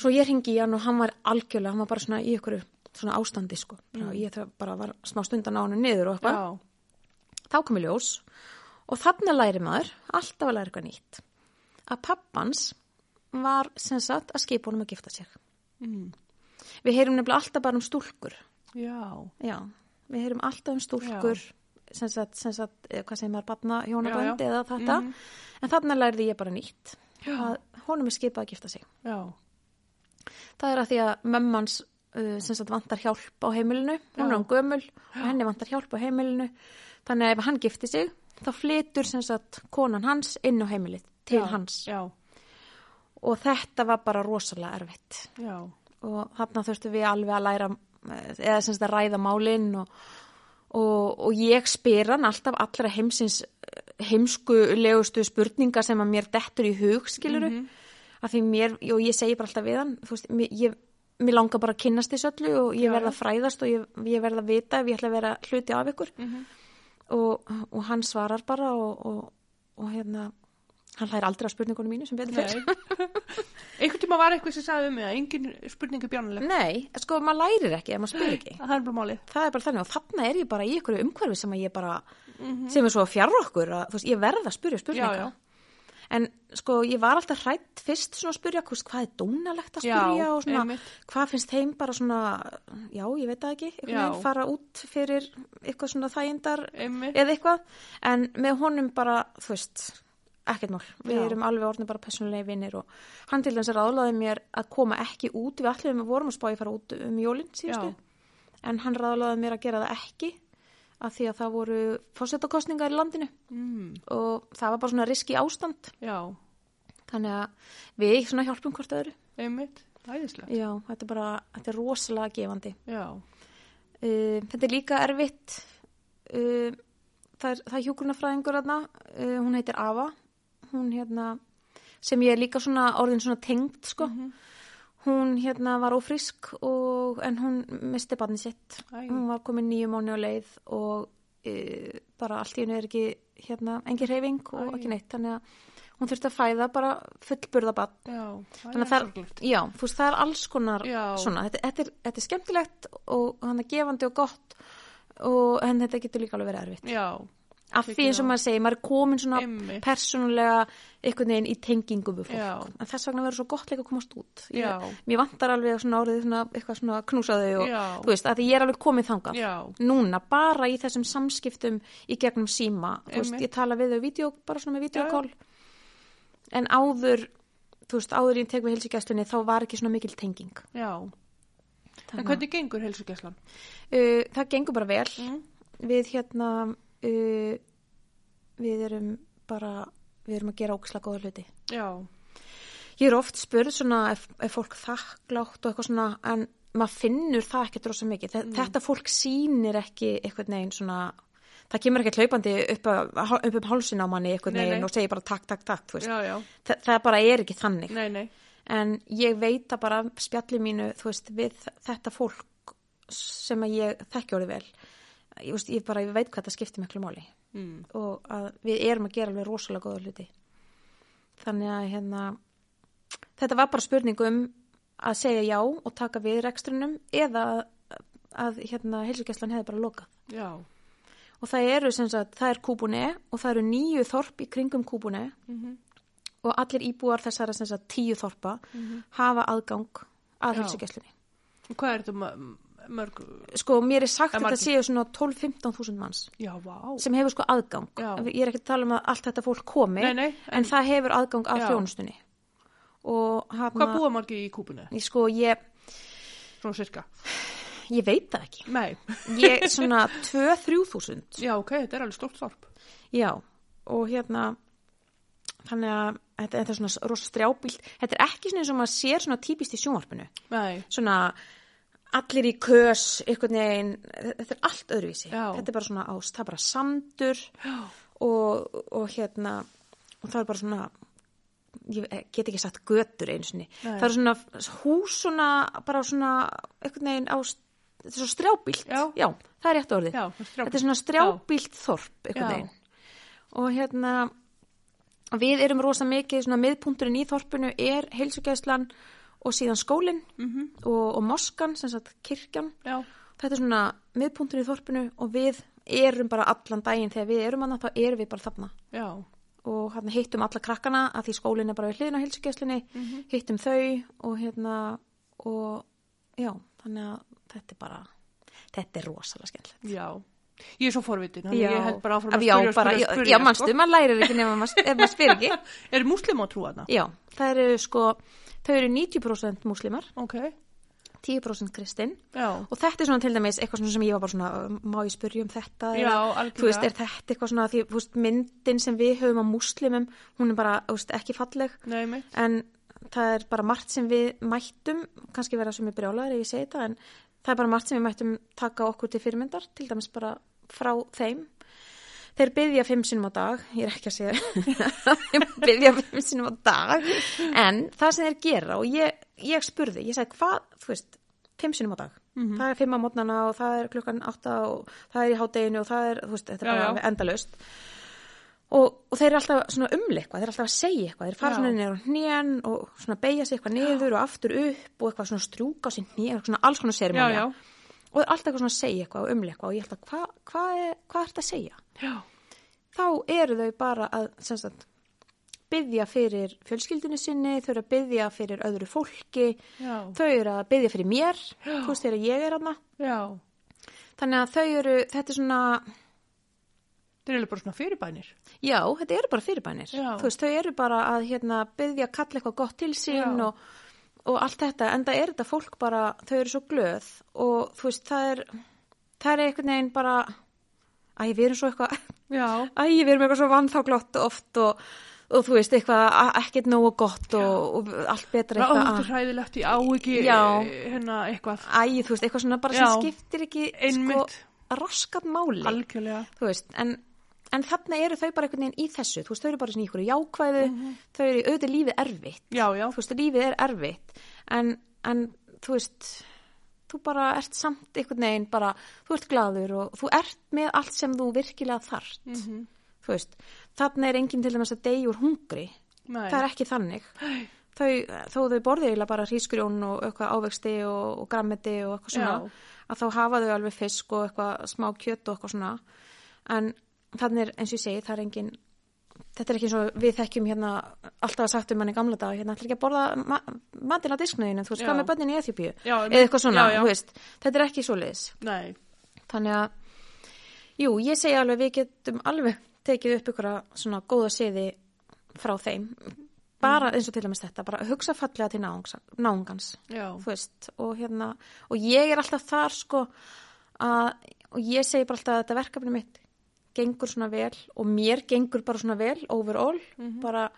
Svo ég ringi í hann og hann var algjörlega, hann var bara svona í einhverju svona ástandi, sko. Bara, Ég þarf bara var smá stundan á hann niður og Mm. eitthvað. Já, Þá kom í ljós og þannig læri maður, alltaf að læra eitthvað nýtt, að pappans var sem sagt að skipa honum að gifta sig. Mm. Við heyrum nefnilega alltaf bara um stúlkur. já, Já, við heyrum alltaf um stúlkur sem sagt, sem sagt, eh, hvað segir maður, batna Já, hjónabönd já. eða þetta. Mhm. En þarna lærði ég bara nýtt. Já. Að honum er skipað að gifta sig. já, Það er að því að mömmans uh, sem sagt vantar hjálp á heimilinu, hún Já. er hann gömul og henni vantar hjálp á heimilinu. Þannig að ef hann gifti sig, þá flytur sem sagt konan hans inn á heimilið til já, hans. já, Og þetta var bara rosalega erfitt. já, Og þarna þurftum við alveg að læra, eh, eða sem sagt að ræða málinn og, og, og ég spyr hann alltaf allra heimsins heimskulegustu spurningar sem að mér dettur í hug, skiluru Mhm. af því mér, jú, ég segi bara alltaf við hann þú veist, mér, ég, mér langar bara að kynnast þessu öllu og ég Já, verð að fræðast og ég, ég verð að vita ef ég ætla að vera hluti af ykkur Mhm. og, og hann svarar bara og, og, og hérna hann hlæðir aldrei að spurningunum mínu sem betur fyrir nei einhvern tíma var eitthvað sem sagði um mig að engin spurningu bjánuleg, Nei, sko, maður lærir ekki ef maður spyr ekki það er bara málið það er bara þannig og þarna er ég bara í einhverju umhverfi sem að ég bara, sem er svo fjarr okkur að, þú veist, ég verð að spyrja spurninga Mhm. Já, já. en sko ég var alltaf hrætt fyrst svona að spyrja hvist, hvað er dónalegt að Já, spyrja og svona einmitt. hvað finnst þeim bara svona já, ég veit það ekki, einhvern Já. veginn fara út fyrir eitthvað svona þægindar Einmitt. eða eitthvað, en með honum bara, þú veist, ekkert mál við Já. erum alveg orðin bara persónulegi vinnir og hann til þess að ráðlaði mér að koma ekki út, við allir við vorum að spá í að fara út um jólinn Já. síðustu en hann ráðlaði mér að gera það ekki af því að það voru fórsetakostningar í landinu mm, og það var bara svona riski ástand já, þannig að við svona hjálpum hvort öðru einmitt æðislega, já, þetta er bara, þetta er rosalega gefandi já, uh, þetta er líka erfitt uh, það er, það er hjúkurnafræðingur þarna, uh, hún heitir Ava hún hérna sem ég er líka svona orðin svona tengd sko Mhm. hún hérna var ófrísk og, en hún misti barni sitt Æ. hún var komin nýju mánu á leið og uh, bara allt í hennu er ekki hérna, engin reyfing Æ. og ekki neitt þannig að hún þurfti að fæða bara fullburða barn já þannig að það, er- já, þú veist, það er alls konar Já. svona, þetta, þetta, er, þetta er skemmtilegt og hann er gefandi og gott og en þetta getur líka alveg verið erfitt já, af því eins og maður segir, maður er komin svona Einmitt. persónulega einhvern veginn í tengingu við fólk, Já. en þess vegna verður svo gott líka að komast út, Já. ég, mér vantar alveg svona orðið svona, eitthvað svona knúsaði og Já. þú veist, að því ég er alveg komin þangað já núna, bara í þessum samskiptum í gegnum síma, þú veist, Einmitt. ég tala við þau vídeo, bara svona Já, með já. videokól en áður þú veist, áður ég tek við helsugæslinni þá var ekki svona mikil tenging já, en hvernig Mm. gengur helsugæslan? uh, það gengur bara vel við hérna uh, við erum bara við erum að gera ógislega góða hluti já, ég er oft spurð svona ef, ef fólk þakklátt og eitthvað svona en maður finnur það ekkert rosa mikið Mm. Þe- þetta fólk sýnir ekki eitthvað neginn svona það kemur ekkert hlaupandi upp, að, upp um hálsin á manni eitthvað Nei, nei. neginn og segir bara takk, takk, takk þú veist. já, já, Þa, það bara er ekki þannig nei, nei en ég veit að bara af spjalli mínu, þú veist, við þetta fólk sem að ég þekki orðið vel, ég, veist, ég bara ég veit hvað það skiptir miklu máli mm. og að við erum að gera alveg rosalega góða hluti þannig að hérna þetta var bara spurning um að segja já og taka við rekstrunum eða að hérna heilsugæslan hefði bara lokað já, og það eru sem sagt, það er Kúbune og það eru nýju þorp í kringum Kúbune Mhm. og allir íbúar þessara sem sagt tíu þorpa hafa aðgang Mhm. Já. að helsugæslunni. Og hvað er þetta ma- mörg Sko, mér er sagt En að þetta margir- séu svona 12-15 þúsund manns já, vá, sem hefur sko aðgang. Já. Ég er ekki að tala um að allt þetta fólk komi, Nei, nei, en- en það hefur aðgang að Já. þjónustunni. Og hafna, hvað búa margir í kúpunni? Sko, ég, Svona cirka, ég veit það ekki. nei Ég svona 2-3 þúsund. já, ok, þetta er alveg stórt þorp Já, og hérna þannig að þetta, þetta er svona rosa strjábílt, þetta er ekki svona eins og maður sér svona típist í sjónvarpinu nei, svona allir í kös einhvern veginn, þetta er allt öðruvísi Já. þetta er bara svona ást, það er bara sandur já, og, og hérna og það er bara svona ég get ekki sagt götur einu sinni Nei. það er svona hús svona bara svona einhvern veginn ást þetta er svo strjábílt, Já. það er rétt orðið Já, það er strjábýlt. þetta er svona strjábílt þorp einhvern Já. veginn og hérna við erum rosa mikið, svona miðpunturinn í þorpinu er heilsugæslan og síðan skólinn Mhm. -hmm. og, og moskan, sem sagt kirkjan já, þetta er svona miðpunturinn í þorpinu og við erum bara allan daginn þegar við erum annað, þá erum við bara þarna já, og hérna hittum alla krakkana að því skólinn er bara við hliðin á heilsugæslinni Mhm. hittum þau og hérna og já, þannig að þetta er bara þetta er rosalega skemmtilegt já Ég er svo forvitin, þannig ég held bara áfram Af- að já, spyrja og bara, spyrja sko. og já, spyrja. já, manstu, maður lærir ekki nema maður, ef maður spyr ekki. sko. Er múslim á trúana? Já, það eru sko, þau eru 90% múslimar, Ok, 10% kristinn já. og þetta er svona til dæmis eitthvað svona sem ég var bara svona, uh, má ég spyrja um þetta? Já, algjörlega. Þú veist, er þetta eitthvað svona, því, þú veist, myndin sem við höfum á múslimum, hún er bara, þú veist, ekki falleg, Nei, mitt. en það er bara margt sem við mættum, kannski vera sem ég brjólaður ef ég segi þetta, en það er bara margt sem við mættum taka okkur til fyrirmyndar, til dæmis bara frá þeim. Þeir byggja fimm sinnum á dag, ég er ekki að segja, þeir byggja fimm sinnum á dag, en það sem þeir gera og ég, ég spurði, ég sagði hvað, þú veist, fimm sinnum á dag, Mhm. það er fimm á mótnana og það er klukkan átta og það er í hádeginu og það er, þú veist, þetta er Já, bara já. endalaust og, og þeir eru alltaf svona umli eitthvað, þeir eru alltaf að segja eitthvað, þeir fara Já. svona niður á hnén og svona beigja sig eitthvað niður og aftur upp og eitthvað svona strjúka á sér hnén, svona alls konar Já, sérimónia já. og þeir eru alltaf eitthvað svona að segja eitthvað og umli eitthvað og ég held að hvað hva, er- hvað er þetta að segja? Já, Þá eru þau bara að, sem sagt, byggja fyrir fjölskyldinu sinni, þau eru að byggja fyrir öðru fólki, já, þau eru að byggja fyrir mér, þú veist þegar ég er aðna, já. þannig að þau eru, þetta er svona, Þeir eru bara svona fyrirbænir. Já, þetta eru bara fyrirbænir. Já. Þú veist, þau eru bara að hérna, byggja að kalla eitthvað gott til sín Já. og, og allt þetta. Enda er þetta fólk bara, þau eru svo glöð og þú veist, það er, það er einhvern veginn bara, æ, við erum svo eitthvað, Já, æ, við erum eitthvað svo vannþáglott oft og, og þú veist, eitthvað a- ekkert nógu gott og, og allt betra og þetta eitthvað. er hræðilegt, ég á ekki Já. eh, hérna eitthvað Æ, þú veist, eitthvað svona bara sem Já. skiptir ekki Einmitt. sko raskat máli. algjörlega. þú veist, en, en þarna eru þau bara einhvern veginn í þessu, þú veist, þau eru bara svona í ykkur jákvæðu, Mhm. þau eru auðvitað er lífið erfitt, Já, já, þú veist, lífið er erfitt, en, en þú veist, þú bara ert samt einhvern veginn bara, þú ert glaður og þú ert með allt sem þú virkilega þart, Mhm. þú veist, þarna er enginn til dæmis að deyja úr hungri, nei. það er ekki þannig. Nei. Þau, þó þau borðið eiginlega bara hrísgrjón og eitthvað ávegsti og, og grammeti og eitthvað svona Já. að þá hafa þau alveg fisk og eitthvað smá kjöt og eitthvað svona en þannig er eins og ég segi það er engin þetta er ekki eins og við þekkjum hérna alltaf að sagt um hann í gamla dag hérna ætlar ekki að borða ma matinn á disknöðinu þú veist Já. hvað með börnin í Eþjópíu Já, eða einmitt. eitthvað svona, Já, já. þú veist þetta er ekki svoleiðis Nei, þannig að jú, ég segi alveg við getum alveg tekið upp ykkur svona góða siði frá þeim bara eins og til dæmis þetta, bara hugsa fallega til náungs- náungans já, þú veist, og hérna og ég er alltaf þar sko að, og ég segi bara alltaf að þetta verkefni mitt gengur svona vel og mér gengur bara svona vel overall, Mhm. bara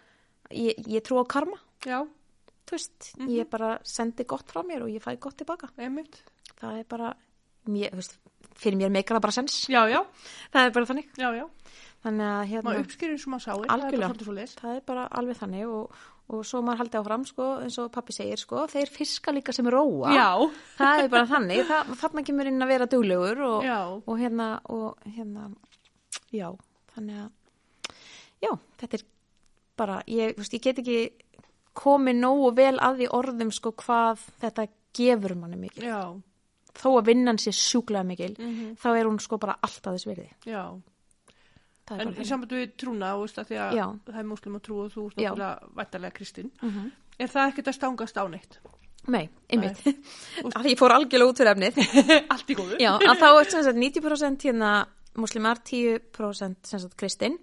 ég, ég trú á karma, já, þú veist Mhm. ég bara sendi gott frá mér og ég fæ gott tilbaka einmitt. það er bara, mér, þú veist fyrir mér meikar það bara sens, Já, já, það er bara þannig já, já. þannig að hérna, Maður uppskýrir eins og maður sáir. Það er Algjörlega. bara svolítið svo það er bara alveg þannig og, og svo maður haldið áfram sko, eins og pappi segir sko, þeir fiska líka sem róa Já, það er bara þannig, það, þarna kemur inn að vera duglegur og, Já. og hérna og hérna, já þannig að, já, þetta er bara, ég, þú veist, ég get ekki komið nógu vel að því orðum sko hvað þetta gefur manni mikil, já, þó að vinnan sé sjúklega mikil, þá er hún sko bara alltaf þess virði, já. það er En bara í þannig samband við trúna, þú veist, að því að Já. það er múslum að trú og þú ert Já. Mhm. náttúrulega vættalega kristinn. Er það ekkert að stangast á neitt? Nei, einmitt, að ég fór algjörlega út fyrir efnið Eh, Allt í góðu? Já, að þá er sem sagt 90% hérna muslimar, 10% sem sagt kristinn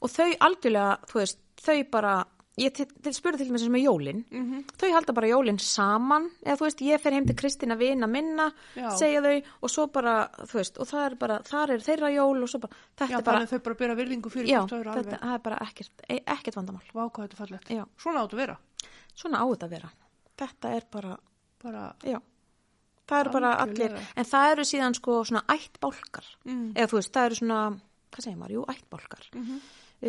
og þau algjörlega, þú veist, þau bara ég til, til spurði til mér sem er jólin Mhm. þau halda bara jólin saman eða þú veist, ég fer heim til Kristina vina minna Já. segja þau og svo bara þú veist, og það er bara, þar er þeirra jól og svo bara, Já, þetta er þannig bara að þau bara byrja virðingu fyrir já, hvort þau eru þetta alveg. það er bara ekkert, e- ekkert vandamál Vá, hvað þetta er fallegt. Já. Svona áttu að vera. svona á þetta að vera þetta er bara, Bara, já það eru bara allir, Algjörlega. en það eru síðan sko svona ætt bálkar mm, eða þú veist, það eru svona, hvað segir maður, jú, ættbálkar Mhm. um,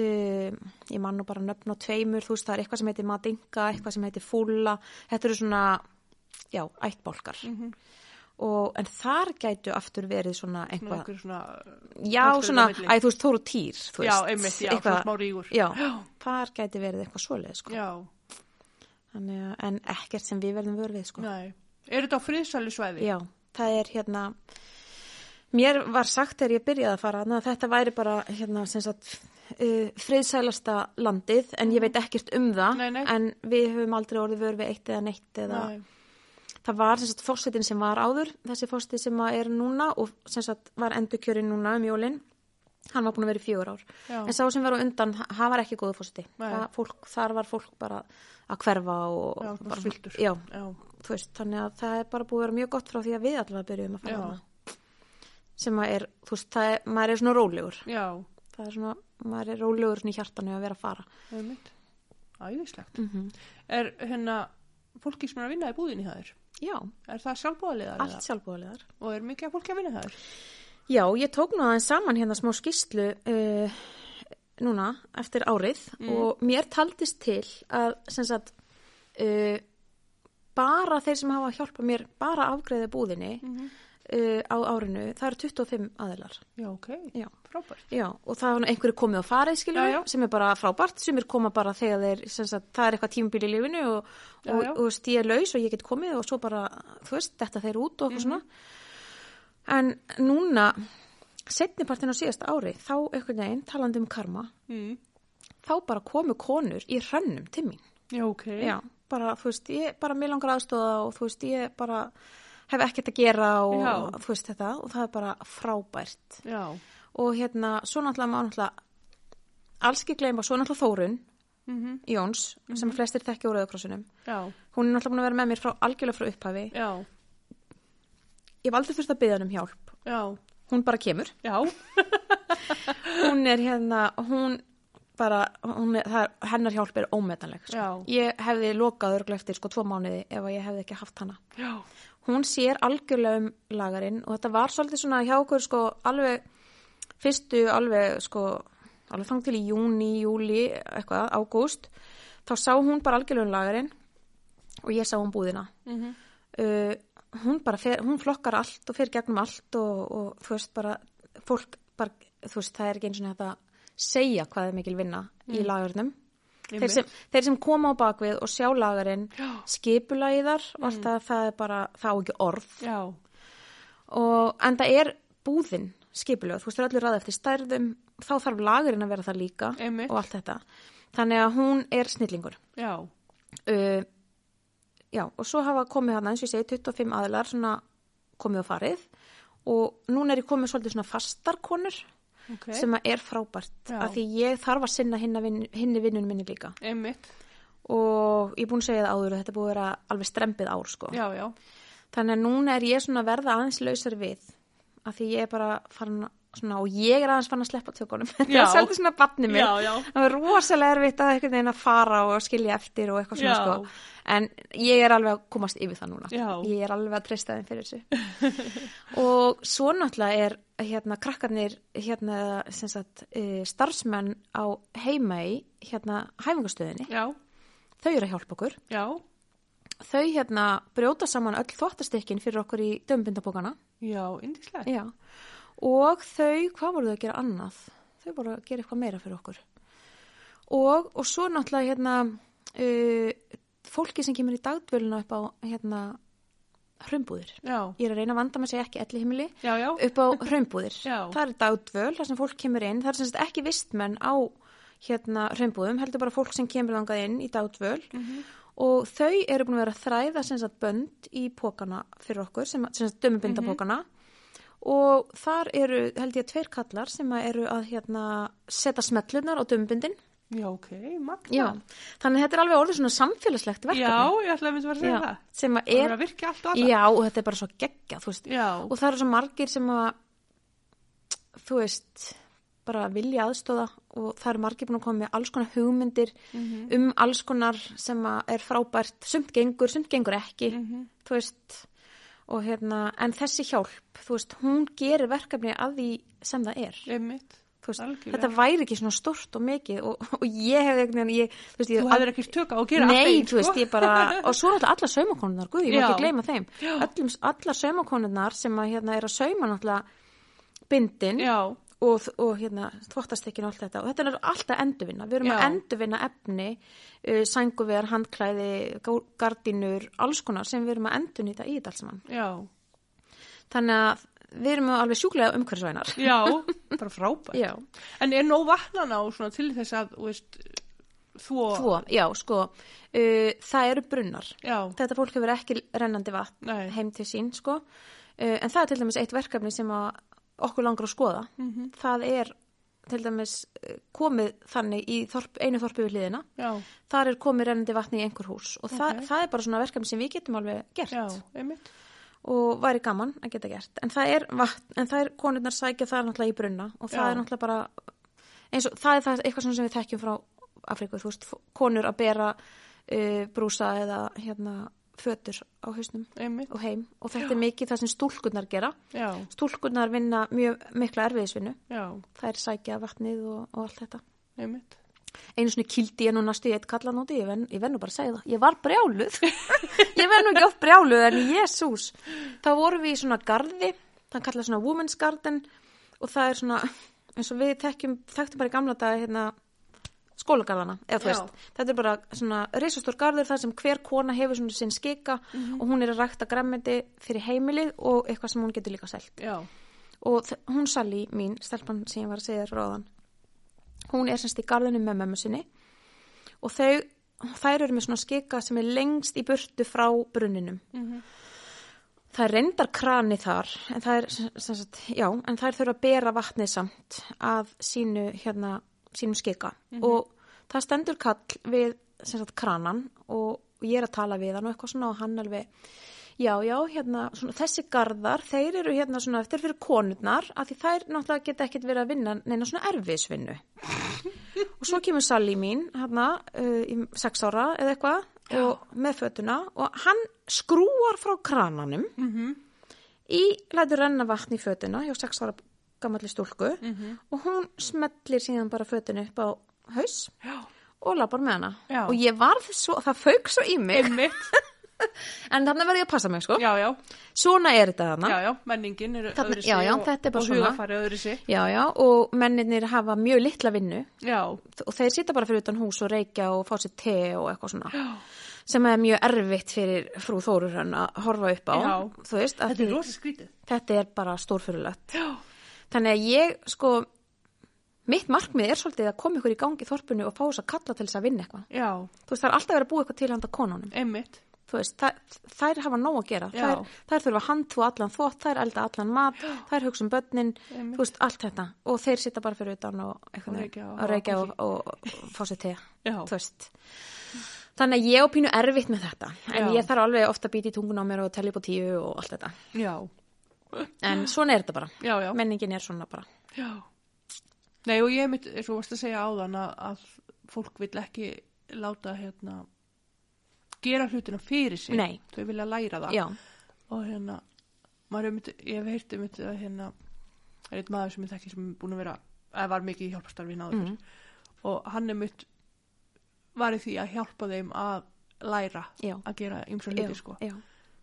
ég man nú bara nöfn á tveimur, þú veist, það er eitthvað sem heitir Madinka, eitthvað sem heitir Fúla þetta eru svona, já, ættbálkar og, en þar gætu aftur verið Mhm. svona svona eitthvað, einhver svona... já, Allt svona fyrir milli. æ, þú veist, Tóru Týr, þú veist Já, einmitt, já, svona smá rígur. já, Já. þar gæti verið eitthvað svoleið, sko Já, Þannig, að- en ekkert sem við verðum vör við, sko nei. Er þetta á friðsæli svæði? Já, það er hérna mér var sagt þegar ég byrjaði að fara að þetta væri bara hérna sem sagt uh, friðsælasta landið en ég veit ekkert um það Mhm. Nei, nei. en við höfum aldrei orðið vör við eitt eða neitt eða Nei. það var sem sagt fórsetin sem var áður, þessi fórsetin sem að er núna og sem sagt var endurkjörin núna um jólin, hann var búin að vera í fjögur ár. Já. En sá sem var á undan, ha- hann var ekki góðu fórseti. Nei. Það, fólk, þar var fólk bara að hverfa og... Já, og bara bara, spilltur. Já, Já, þú veist, þannig að það er bara búið að vera mjög gott frá því að við allavega byrjuðum að Já. fara hana. Sem að er, þú veist, það er, maður er svona rólegur. já, Það er svona, maður er rólegur svona í hjartanu að vera að fara. einmitt. Æðislegt. Mm Er hérna fólki sem er að vinna í búðinni það er? Já, Er það sjálfbúðaliðar? allt sjálfbúðalegar. Og er mikið af fólki að vinna það er? Já, ég tók nú aðeins saman hérna smá skýslu uh, núna eftir árið og mér taldist til að sem sagt uh, bara þeir sem hafa hjálpað mér bara afgreða búðinni uh, á árinu, það eru 25 aðilar. Já, ok. Já. Frábært. Já, og það er nú einhverju komið og farið skiljum Já, já. sem er bara frábært, sem er koma bara þegar þeir, sem sagt, það er eitthvað tímabíl í lífinu og, Já, og, já. og stíða laus og ég get komið og svo bara, þú veist, þetta þeir út og eitthvað Mhm. svona. En núna, setnipartin á síðasta ári, þá einhvern veginn, talandi um karma, Mm. þá bara komu konur í hrönnum til mín. Já, ok. Já, bara, þú veist, ég bara mér langar aðstóða og þú veist, ég bara hef ekkert að gera og, Já. og þú veist þetta og það er bara frábært Já. og hérna, svo náttúrulega maður náttúrulega alls ekki gleyma, svo náttúrulega Þórun Mhm. Jóns, sem flestir þekki úr auðkrossunum Já, hún er náttúrulega búin að vera með mér frá algjörlega frá upphafi já, ég hef aldrei fyrst að byggja hann um hjálp já, hún bara kemur, já, hún er hérna hún bara, hún er, það, er- hennar hjálp er ómetanleg sko. Já. ég hefði lokað örglega eftir sko tvo mánuði ef að ég hefði ekki haft hana já, hún sér algjörlega um lagarinn og þetta var svolítið svona hjá okkur sko alveg fyrstu alveg sko alveg þang til í júni, júli eitthvað, ágúst þá sá hún bara algjörlega um lagarinn og ég sá um búðina Mhm. uh, hún bara fer, hún flokkar allt og fer gegnum allt og, og þú veist bara fólk bara, þú veist það er ekki eins og þetta segja hvað er mikil vinna í lagarinnum þeir Einmitt. sem, þeir sem koma á bakvið og sjá lagarinn Já. skipulagiðar og allt það, það er bara það á ekki orð já, og en það er búðin skipulöð, þú veist, það er allir ræða eftir stærðum þá þarf lagurinn að vera það líka Einmitt. og allt þetta, þannig að hún er snillingur já, uh, já, og svo hafa komið hann eins og ég segi 25 aðlar svona komið og farið og núna er ég komið svolítið svona fastarkonur ok. sem að er frábært Já. af því ég þarf að sinna hinna vin- hinni vinnun minni líka Einmitt, og ég er búin að segja það áður að þetta er búið að vera alveg strempið ár sko já, já, þannig að núna er ég svona að verða aðeins lausar við af því ég er bara farin að- svona og ég er aðeins farin að sleppa tökunum það Já. er svolítið svona barni mig Já, já. það var rosalega erfitt að einhvern veginn að fara og skilja eftir og eitthvað svona Já. sko en ég er alveg að komast yfir það núna Já. ég er alveg að treysta þeim fyrir þessu og svo náttúrulega er hérna krakkarnir hérna sem sagt eh, starfsmenn á heima í hérna hæfingastöðinni já, þau eru að hjálpa okkur já, þau hérna brjóta saman öll þvottastekkin fyrir okkur í dömbindabókana já, indislegt. Já, og þau, hvað voru þau að gera annað? Þau voru að gera eitthvað meira fyrir okkur. Og, og svo náttúrulega hérna, uh, fólki sem kemur í dagdvölinu upp á hérna, hraumbúðir. Já, Ég er að reyna að vanda með sig ekki elli heimili, já, já, upp á hraumbúðir. Já. Það er dagdvöl, þar sem fólk kemur inn, það er semst ekki vistmenn á hérna hraumbúðum, heldur bara fólk sem kemur langað inn í dagdvöl og þau eru búin að vera að þræða semst bönd í pókana fyrir okkur, sem semst Mhm. dömubindapókana og þar eru held ég tveir kallar sem að eru að hérna setja smetlunar á dömubindin. já, ok, magna. Já. Þannig að þetta er alveg orðið svona samfélagslegt verkefni. já, ég ætlaði að mynda bara að segja Já, það. sem að Það er að er, virka allt og alla. já, og þetta er bara svo geggja, þú veist, Já, og það eru svo margir sem að þú veist bara vilja aðstóða og það eru margir búin að koma með alls konar hugmyndir Mhm. um alls konar sem að er frábært sumt gengur, sumt gengur ekki Mhm. þú veist og hérna, en þessi hjálp þú veist, hún gerir verkefni að því sem það er einmitt. Þú veist, Algjörlega. þetta væri ekki svona stort og mikið og, og ég hefði einhvern veginn ég, þú veist, ég Þú hefur ekki tök á að gera allt Nei, eins, sko. þú veist, ég bara, og svo er alltaf allar saumakonunnar, guð, ég má Já. ekki gleyma þeim. Öllum, allar saumakonunnar sem að hérna er að sauma náttúrulega bindin Já, og, og hérna þvottastekkin og allt þetta og þetta er alltaf endurvinna. Við erum Já. að endurvinna efni, uh, sænguvegar, handklæði, gá- gardínur, alls konar sem við erum að endurnýta í þetta alls mann. já, Þannig að við erum alveg sjúklega umhverfisvænar. já, bara frábært. Já. En er nóg vatnan á svona til þess að, þú veist, Þvó. Þvó, já, sko, uh, það eru brunnar. Já, Þetta fólk hefur ekki rennandi vatn nei. heim til sín, sko. Uh, en það er til dæmis eitt verkefni sem að okkur langar að skoða. Mhm. Það er til dæmis eh, komið þannig í þorp, einu þorpi við hliðina. Já, Þar er komið rennandi vatni í einhver hús og það, Ok. það er bara svona verkefni sem við getum alveg gert já, einmitt. og væri gaman að geta gert. En það er, vatn, en það er konurnar sækja það náttúrulega í brunna og það Já. er náttúrulega bara, eins og það er það, eitthvað svona sem við þekkjum frá Afríku, þú veist, f- konur að bera uh, brúsa eða hérna fötur á hausnum Einmitt, og heim og þetta er mikið það sem stúlkurnar gera. já, Stúlkurnar vinna mjög mikla erfiðisvinnu, já, það er sækja vatnið og, og allt þetta. einmitt. Einu svona kildi ég nú næstu í eitt kallan úti, ég venn, ég venn nú bara að segja það. Ég var brjáluð, ég venn nú ekki oft brjáluð en jésús. Þá vorum við í svona garði, það kallað svona women's garden og það er svona, eins og við þekkjum, þekktum bara í gamla dag hérna skólagarðana, eða þú Já. veist. Þetta er bara svona risastór garður þar sem hver kona hefur svona sinn skika og hún er að rækta græmmeti fyrir heimilið og eitthvað sem hún getur líka selt Já, og þ- hún Sally mín, stelpan sem ég var að segja þér ráðan hún er semst í garðinu með mömmu sinni og þau, þær eru með svona skika sem er lengst í burtu frá brunninum Mhm. það er reyndar krani þar en það er, sem- sem sagt, já, en þær þurfa að bera vatnið samt að sínu hérna, sínum skika og það stendur kall við sem sagt kranan og ég er að tala við hann og eitthvað svona og hann alveg Já, já, hérna, svona, þessi garðar, þeir eru hérna svona, þeir eru fyrir konurnar, af því þær náttúrulega geta ekkert verið að vinna neina svona erfiðsvinnu. og svo kemur Sally mín, hérna, uh, í sex ára eða eitthvað, og með fötuna, og hann skrúar frá krananum í, lætur renna vatn í fötuna hjá sex ára gamalli stúlku, Mhm. og hún smellir síðan bara fötuna upp á haus já, og lapar með hana. Já. Og ég varð svo, það fauk svo í mig, einmitt. en þannig verði ég að passa mig, sko. Já, já, Svona er þetta þarna. já, já, menningin er Þarna- öðru sig já, já, og, þetta er bara og svona. hugafarið öðru sig. Já, já, og menninir hafa mjög litla vinnu Já, og þeir sita bara fyrir utan hús og reykja og fá sér te og eitthvað svona sem er mjög erfitt fyrir frú Þórur hann að horfa upp á Já. þú veist, þetta þetta, er því, rosa skrítið. þetta er bara stórfyrirlegt Já, þannig að ég sko mitt markmið er svolítið að koma ykkur í gangi í þorpinu og fá þess að kalla til þess að vinna eitthvað já, þú veist, það er alltaf verið að búa eitthvað til handa konunum einmitt. þú veist, þær, þær hafa nóg að gera Já. þær, þær þurfa að handþvo allan þvott, þær elda allan mat þær hugsa um börnin, Einmitt. þú veist, allt þetta og þeir sitta bara fyrir utan og, Og einhvern reykja veginn- og og reykja hafa og, og, og fá sér te Já. þú veist þannig að ég á pínu erfitt með þetta en Já. ég þarf alveg ofta að býta í tungun á mér og telja upp á tíu og allt þetta Já, en svona er þetta bara, já, já. menningin er svona bara Já. Nei og ég mitt, eins og þú varst að segja áðan að, að fólk vill ekki láta hérna gera hlutina fyrir sig. Nei. Þau vilja læra það. já, Og hérna, maður er mitt, ég hef heyrti mitt að hérna, það er einn maður sem ég þekki sem er búin að vera, að var mikið í hjálpastarfi náður. Mhm. Og hann er mitt, var í því að hjálpa þeim að læra Já. að gera ymsa já, hluti sko. já,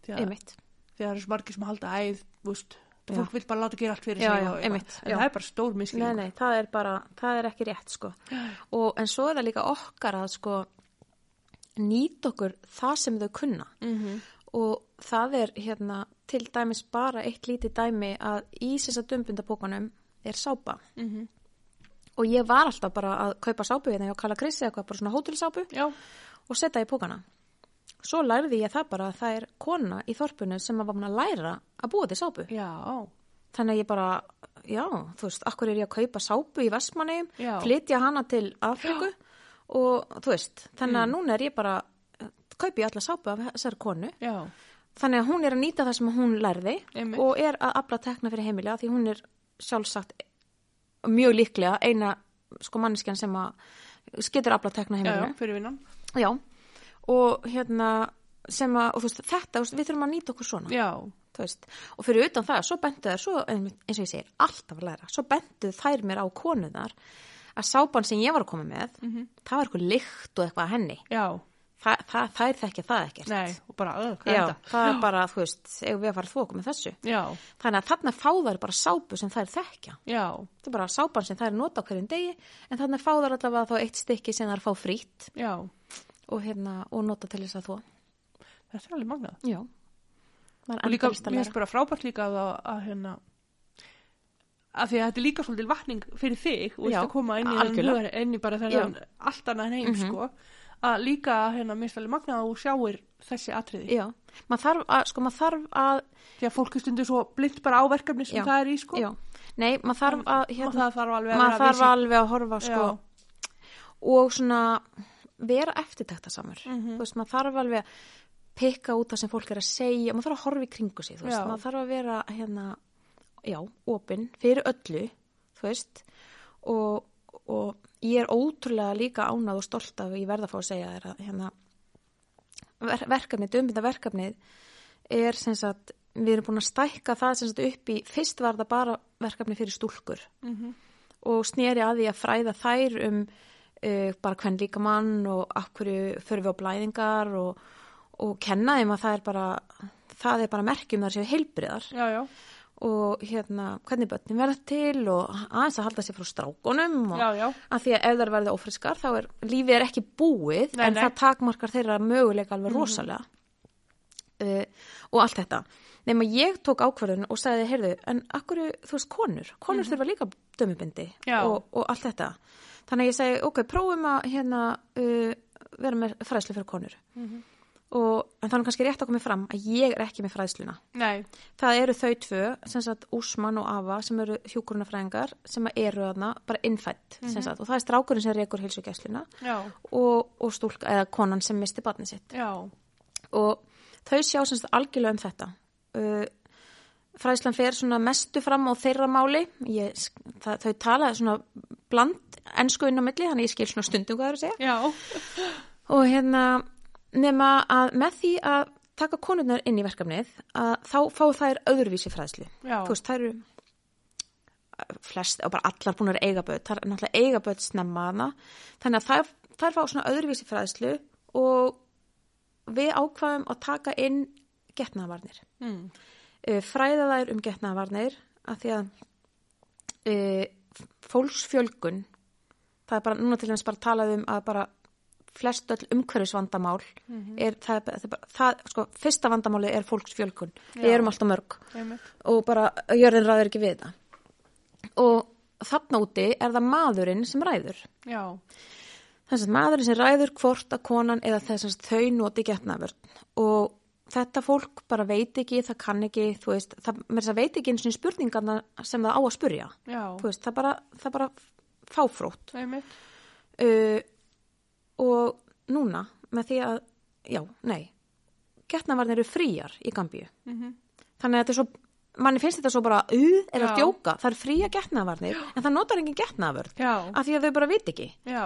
Því að- einmitt því að það eru svo margir sem halda æð, vúst, Já. fólk vil bara láta gera allt fyrir Já, sig. já, og- einmitt, En já. það er bara stór miskilning. Nei, nei, það er bara, það er ekki rétt sko. Og en svo er það líka okkar að sko nýta okkur það sem þau kunna. Mhm. Og það er hérna til dæmis bara eitt lítið dæmi að í þess að dömbundapókanum er sápa. Mhm. Og ég var alltaf bara að kaupa sápu hérna hjá Kalla Krissi eitthvað, bara svona hótelsápu Já, og setja í pókana. Svo lærði ég það bara að það er kona í þorpunu sem að var búin að læra að búa til sápu. já, Þannig að ég bara, já, þú veist, akkur er ég að kaupa sápu í Vestmanneum, Já. flytja hana til Afriku og þú veist, þannig Mm. að núna er ég bara, kaupi ég alla sápu af þessari konu. já, Þannig að hún er að nýta það sem hún lærði Einmitt. og er að afla tekna fyrir heimilega því hún er sjálfsagt mjög líklega eina sko manneskjan sem að getur afla tekna já, heimilega. já, fyrir vinnan. Já, og hérna sem að, og þú veist, þetta, þú veist, við þurfum að nýta okkur svona Já, þú veist, og fyrir utan það, svo bentu þær, svo, einmitt, eins og ég segir, alltaf að læra, svo bentu þær mér á konunar að sápan sem ég var að koma með, Mhm. það var eitthvað lykt og eitthvað að henni, já, Þa, það, þær þekkja það ekkert. nei, og bara, öð, hvað er Já, þetta? það er bara, þú veist, ef við að fara að þóka með þessu. Já, Þannig að þarna fá þær bara sápu sem þær þekkja. já, Það er bara sápan sem þær nota á hverjum degi, en þannig fá þær allavega þá eitt stykki sem þær fá frýtt já, og, hérna, og nota til þess að þó. þetta er alveg magnað. Já. Maður Og líka, endalaust að mér læra. finnst bara frábært líka að, að, að hérna, af því að þetta er líka svolítið vatning fyrir þig og veist Já, að koma inn í, algjörlega. hugar, inn í bara þennan allt annað heim sko að líka hérna mistfæli magna og sjáir þessi atriði já, maður þarf að, sko, maður þarf að, því að fólk er stundu svo blind bara á verkefni sem Já. það er í sko já, nei, maður þarf að, og hérna, það þarf alveg að maður vera þarf alveg að horfa, sko, Já. og svona vera eftirtakta samur, Mhm. þú veist, maður þarf alveg að pikka út það sem fólk er að segja, maður þarf að horfa í kringu sig, þú veist, Já. maður þarf að vera, hérna, já, opinn fyrir öllu, þú veist, og, og ég er ótrúlega líka ánað og stolt af, ég verð að fá að segja þér að, hérna, ver verkefnið, dömbinda verkefnið er sem sagt, við erum búin að stækka það sem sagt upp í, fyrst var það bara verkefni fyrir stúlkur Mhm. og sneri að því að fræða þær um uh, bara hvern líka mann og af hverju förum við á blæðingar og, og kenna þeim að það er bara það er bara merkjum þar séu heilbriðar já, já, og hérna hvernig börnin verða til og aðeins að halda sér frá strákunum og já, já, af því að ef þær verða ófriskar þá er lífið er ekki búið Nei, en nei. Mhm. það takmarkar þeirra möguleika alveg rosalega uh, og allt þetta nema ég tók ákvarðun og sagði heyrðu, en akkur, þú veist, konur konur þurfa líka dömubindi Mhm. Já. og, og allt þetta þannig að ég segi, ok, prófum að hérna uh, vera með fræðslu fyrir konur Mhm. og en þannig kannski rétt að komið fram að ég er ekki með fræðsluna nei Það eru þau tvö, sem sagt Úsmann og Ava, sem eru hjúkurunafræðingar sem eru þarna bara innfætt mm sagt, og það er strákurinn sem rekur hilsugjæsluna já, og, og stúlka, eða konan sem misti barnið sitt já, og þau sjá sem sagt algjörlega um þetta uh, fræðslan fer svona mestu fram á þeirra máli ég, það, þau tala svona bland ensku inn á milli, þannig ég skil svona stundum hvað það er að segja já og hérna nema að með því að taka konurnar inn í verkefnið að þá fá þær öðruvísi fræðslu Já. þú veist, þær eru eh, flest og bara allar búin að eiga börn þær er náttúrulega eiga börn snemma hana þannig að þær, þær fá svona öðruvísi fræðslu og við ákvaðum að taka inn getnaðvarnir mm. Eh, fræða þær um getnaðvarnir af því að uh, fólksfjölgun það er bara, núna til þess bara talað um að bara flest öll umhverfisvandamál Mhm. er, það, er, bara- það, er bara, það sko, fyrsta vandamáli er fólksfjölgun við Já. erum alltaf mörg einmitt. og bara jörðin ræður ekki við það og þarna úti er það maðurinn sem ræður já, þess að maðurinn sem ræður hvort að konan eða þess að þau noti getnaverð og þetta fólk bara veit ekki, það kann ekki, þú veist, það með þess að veit ekki eins og spurningarna sem það á að spurja, já, þú veist, það bara, það bara fáfrótt einmitt uh, og núna með því að, já, nei, getnaverðin eru fríjar í Gambíu, Mhm. þannig að þetta er svo, manni finnst þetta svo bara, uh, er að Já. djóka, það er fríja getnaverðin, en það notar engin getnaverð, já, af því að þau bara veit ekki já,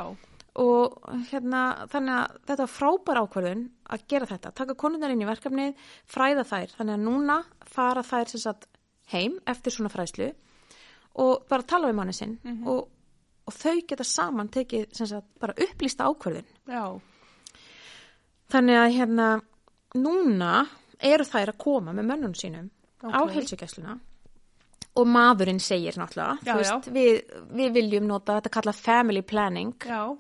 og hérna þannig að þetta var frábær ákvörðun að gera þetta, taka konundar inn í verkefnið fræða þær, þannig að núna fara þær sem sagt heim eftir svona fræðslu og bara tala við manni sinn Mhm. og, og þau geta saman tekið sem sagt bara upplýsta ákvörðun já þannig að hérna núna eru þær að koma með mönnun sínum á Ókei. heilsugæsluna og maðurinn segir náttúrulega, Já, já. þú veist, við, við viljum nota þetta kalla family planning já,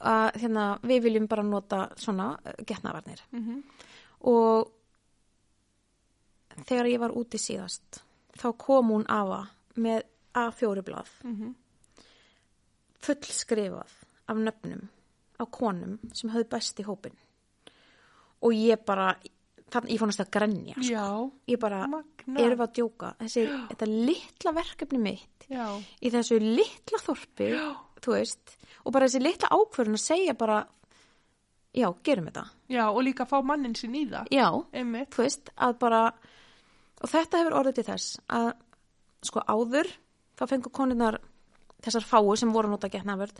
að hérna, við viljum bara nota svona getnavarnir mhm og þegar ég var úti síðast þá kom hún afa með A4 blað Mhm. fullskrifað af nöfnum á konum sem höfðu bæst í hópin og ég bara þannig ég fannst að grenja sko. já, ég bara, Magnað. erum við að djóka þessi, þetta litla verkefni mitt já, í þessu litla þorpi þú veist, og bara þessi litla ákvörðun að segja bara já, gerum þetta, já, og líka fá mannin sinn í það, já einmitt, þú veist, að bara og þetta hefur orðið til þess að sko áður, þá fengur konunnar þessar fáu sem voru að nota getnavörð,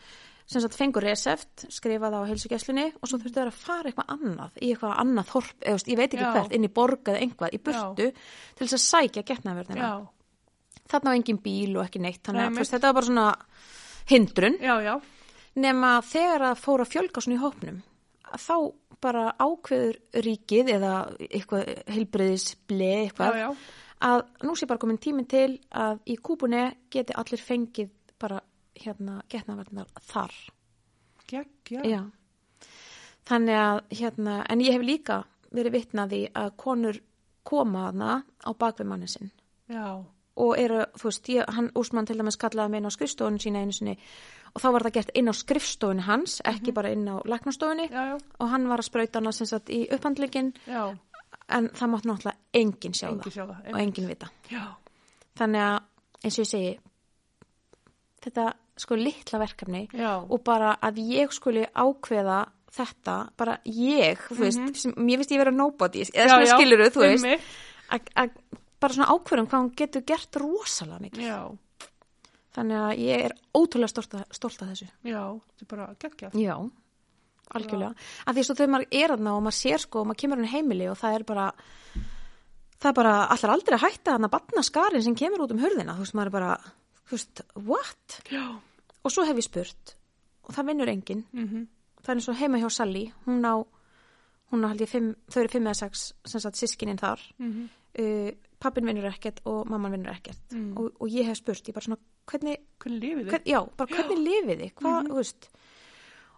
sem sagt fengur reseft skrifað á heilsugesslunni og svo þurftu þær að fara eitthvað annað, í eitthvað annað þorp, eða, þú veist, ég veit ekki Já. hvert, inn í borg eða einhvað, í burtu, til þess að sækja getnavörðina já, þarna var engin bíl og ekki neitt þannig Nei, að þú veist, mitt. þetta var bara svona hindrun já, já, nema þegar það fór að fjölga svona í hópnum að þá bara ákveður ríkið eða eitthvað heilbriðis bleið eitthvað Já, já. að nú sé bara komin tíminn til að í kúbunni geti allir fengið bara hérna getnaverðinar þar gegg, já, Já. Þannig að hérna, en ég hef líka verið vitnaði að konur koma hana á bakvið manni sinn já, og eru, þú veist, ég, hann Úsmann til dæmis kallaði mig inn á skrifstofunni sína einu sinni og þá var það gert inn á skrifstofunni hans, ekki bara inn á læknastofunni Mhm. já, já, og hann var að sprauta hana sem sagt í upphandlingin já, en það mátt náttúrulega enginn sjá engi það sjá það. og enginn vita. Já, Þannig að eins og ég segi, þetta sko litla verkefni já, og bara að ég skuli ákveða þetta, bara ég, þú veist, sem, mér finnst ég vera nobody, eða Mhm. já, svona já, skiluru, þú veist, einmitt, að- að bara svona ákveðum hvað hún getur gert rosalega mikið. Já, Þannig að ég er ótrúlega stolt að, stolt að þessu. já, þetta er bara geggjað. Já, algjörlega. Af því svo þegar maður er aðna og maður sér sko og maður kemur hann heimili og það er bara, það er bara allar aldrei að hætta hann að batna skarin sem kemur út um hurðina. Þú veist, maður er bara, þú veist, what? Já, Og svo hef ég spurt og það vinnur enginn. mhm, Það er eins og heima hjá Sally, hún á, hún á held ég fimm, þau eru fimm eða sex, sem sagt sískininn þar. mhm, Uh, pappin vinnur ekkert og mamman vinnur ekkert. Mm. Og, og ég hef spurt, ég bara svona, hvernig, hvernig lifið þið? hvern, já, Mhm. bara hvernig lifið þið, hvað, þú veist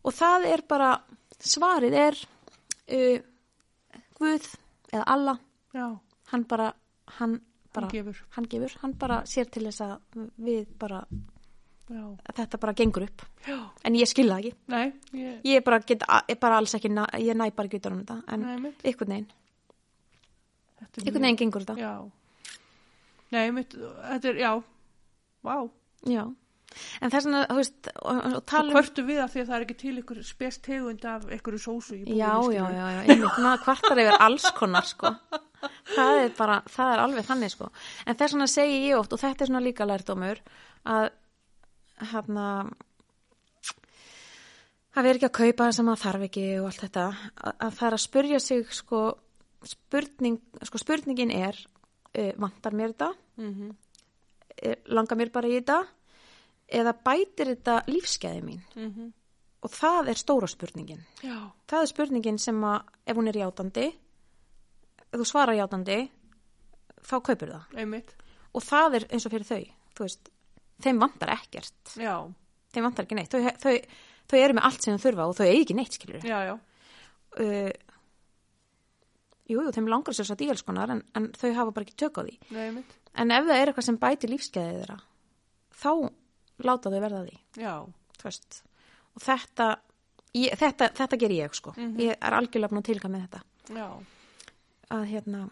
og það er bara, svarið er uh, Guð eða Allah, Já, hann bara hann bara, hann gefur, hann gefur, hann bara sér til þess að við bara, já, að þetta bara gengur upp, já, en ég skil það ekki nei, ég, ég bara get, ég bara alls ekki na- ég næ bara ekki utan um þetta, en nei, mitt, einhvern veginn, þetta er einhvern veginn gengur þetta, Mhm. já. Já, nei, mitt, þetta er, já, vá, en þess vegna, þú veist og, og svo tala um kvörtu við að því að það er ekki til ykkur spes tegund af ykkur sósu í búinu. Já, já, skilurðu. já, já, einmitt, maður kvartar yfir alls konar, sko. Það er bara, það er alveg þannig, sko. En þess vegna segi ég oft, og þetta er svona líka lærdómur, að, hérna, að vera ekki að kaupa það sem maður þarf ekki og allt þetta, að, að það er að spurja sig, sko, spurning, sko, spurningin er, uh, vantar mér þetta, Mhm. uh, langar mér bara í þetta, eða bætir þetta lífskeiði mín? Mhm. Og það er stóra spurningin. Já, Það er spurningin sem að ef hún er játandi, ef þú svarar játandi, þá kaupir það. einmitt, Og það er eins og fyrir þau, þú veist, þeim vantar ekkert, já, þeim vantar ekki neitt. Þau, þau, þau eru með allt sem þau þurfa og þau eigi ekki neitt, skilur við. já, já, Uh, jú, jú, þeim langar sér satt í alls konar en, en þau hafa bara ekki tök á því. nei, einmitt, En ef það er eitthvað sem bæti lífskeiðið þeirra, þá láta þau verða að því. já, þú veist og þetta, ég, þetta, þetta ger ég sko ég er algjörlega búin að tilga með þetta já, að hérna,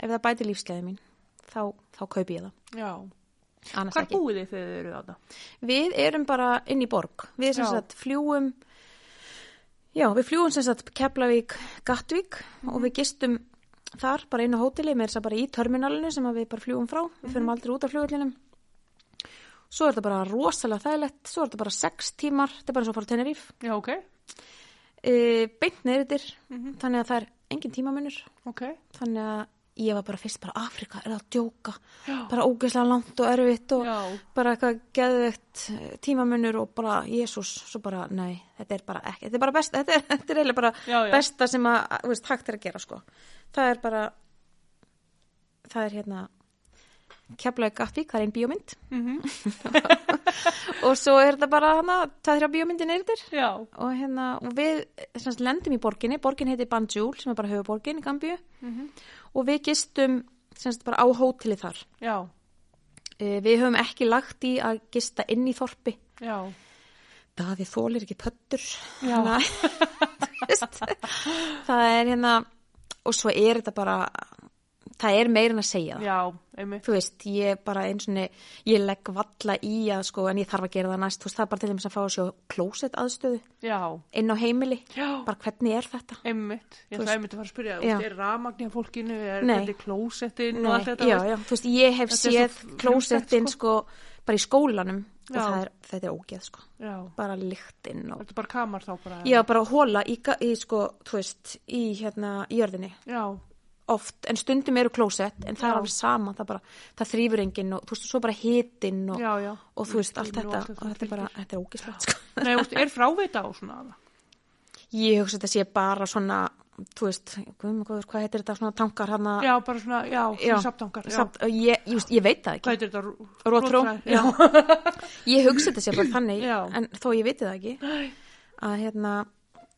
ef það bæti lífskeiði mín þá, þá kaupi ég já. það annars Hvar ekki búið þið þegar þið eru þarna? við erum bara inn í borg við sem Já. sagt fljúum já, við fljúum sem sagt Keflavík, Gattvík og við gistum þar bara inn á hóteli með þess að bara í terminalinu sem að við bara fljúum frá við förum aldrei út af flugullinum svo er þetta bara rosalega þægilegt svo er þetta bara sex tímar, þetta er bara eins og að fara á Teneríf Já, ok, uh, beint neðritir þannig að það er engin tímamunur ok, þannig að ég var bara fyrst bara Afrika er það að djóka, Já. bara ógeðslega langt og erfitt og já, bara eitthvað geðvegt eh, tímamunur og bara Jésús, svo bara nei, þetta er bara ekki, þetta er bara best þetta er, þetta er eiginlega bara Já, já. besta sem að, að, þú veist, hægt er að gera sko það er bara það er hérna Keflavík Gattvík, það er einn bíómynd mhm, og svo er þetta bara hana, það er að bíómyndin er yfir já, og hérna, og við semst, lendum í borginni, borgin heitir Banjul sem er bara höfuborgin í Gambíu Mhm. og við gistum semst, bara á hóteli þar já, e, við höfum ekki lagt í að gista inn í þorpi já, Daði þólir ekki pöttur Já. Þannig að- þú veist, það er hérna og svo er þetta bara það er meira en að segja það já, einmitt, þú veist, ég bara eins og ég legg valla í að sko en ég þarf að gera það næst, þú veist, það er bara til þess að fá að sjá klósett aðstöðu já, inn á heimili já, bara hvernig er þetta einmitt. Ég Þú ætla veist- einmitt að fara að spyrja, Já. þú veist, er rafmagn í fólkinu, er Nei. þetta klósettinn og Nei, allt þetta? já, veist? já, þú veist, ég hef Þetta er séð svo klósettinn sko. bara í skólanum og Já. það er, þetta er ógeð sko, já. bara lyktinn og Þetta er bara kamar þá bara? já, bara hóla í, ga- í sko, þú veist, í hérna, í jörðinni Já, oft, en stundum eru klósett en það Já. er alveg sama, það bara, það þrýfur enginn og þú veist, svo bara hitinn og, já, já. og þú veist, allt Lyktin og þetta allt þetta og þetta er bara, þetta er ógeðslegt sko Nei, þú veist, er frávita á svona aða? ég hugsa þetta sé bara svona, þú veist, guðum, guður, hvað heitir þetta svona tankar hana Já, bara svona, já, svona saptangar. Já. samt, ég, just, ég veit það ekki Hvað heitir þetta? Rú- Rótró, rótfræði? já. Ég hugsa þetta sé bara þannig, Já. en þó ég viti það ekki, Já, að hérna,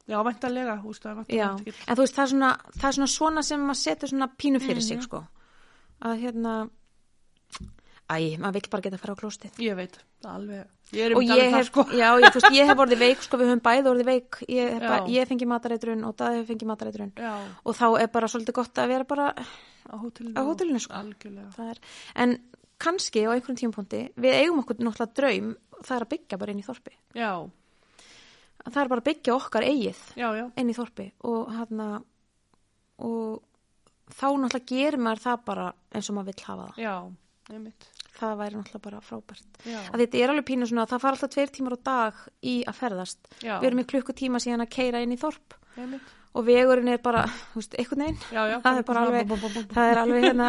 já væntalega, þú veist, það er já, væntalega ekki. en þú veist, það er svona, Mhm. það er svona, svona sem maður setur svona pínu fyrir sig, sko, að hérna, Æ, maður vill bara geta að fara á klóstið. Ég veit, það er alveg, ég er um og ég það hef, sko. já, ég, þú veist, ég hef orðið veik, sko, við höfum bæði orðið veik, ég, hef Já. bara, ég fengi matareitrun og það hefur fengið matareitrun Já, og þá er bara svolítið gott að vera bara, á hótelinu. Á hótelinu, sko. Algjörlega. það er, en kannski á einhverjum tímapunkti, við eigum okkur náttúrulega draum, það er að byggja bara inn í þorpi, Já, það er bara að byggja okkar eigið já, já, inn í þorpi og hérna, og þá náttúrulega gerir maður það bara eins og maður vill hafa það, já, einmitt. það væri náttúrulega bara frábært. Já, að þetta er alveg pínu svona að það fara alltaf tveir tímar á dag í að ferðast. Já. Við erum í klukkutíma síðan að keira inn í þorp einmitt. og vegurinn er bara, þú veist, einhvern veginn. Já, já. Það er bara alveg, það er alveg hérna,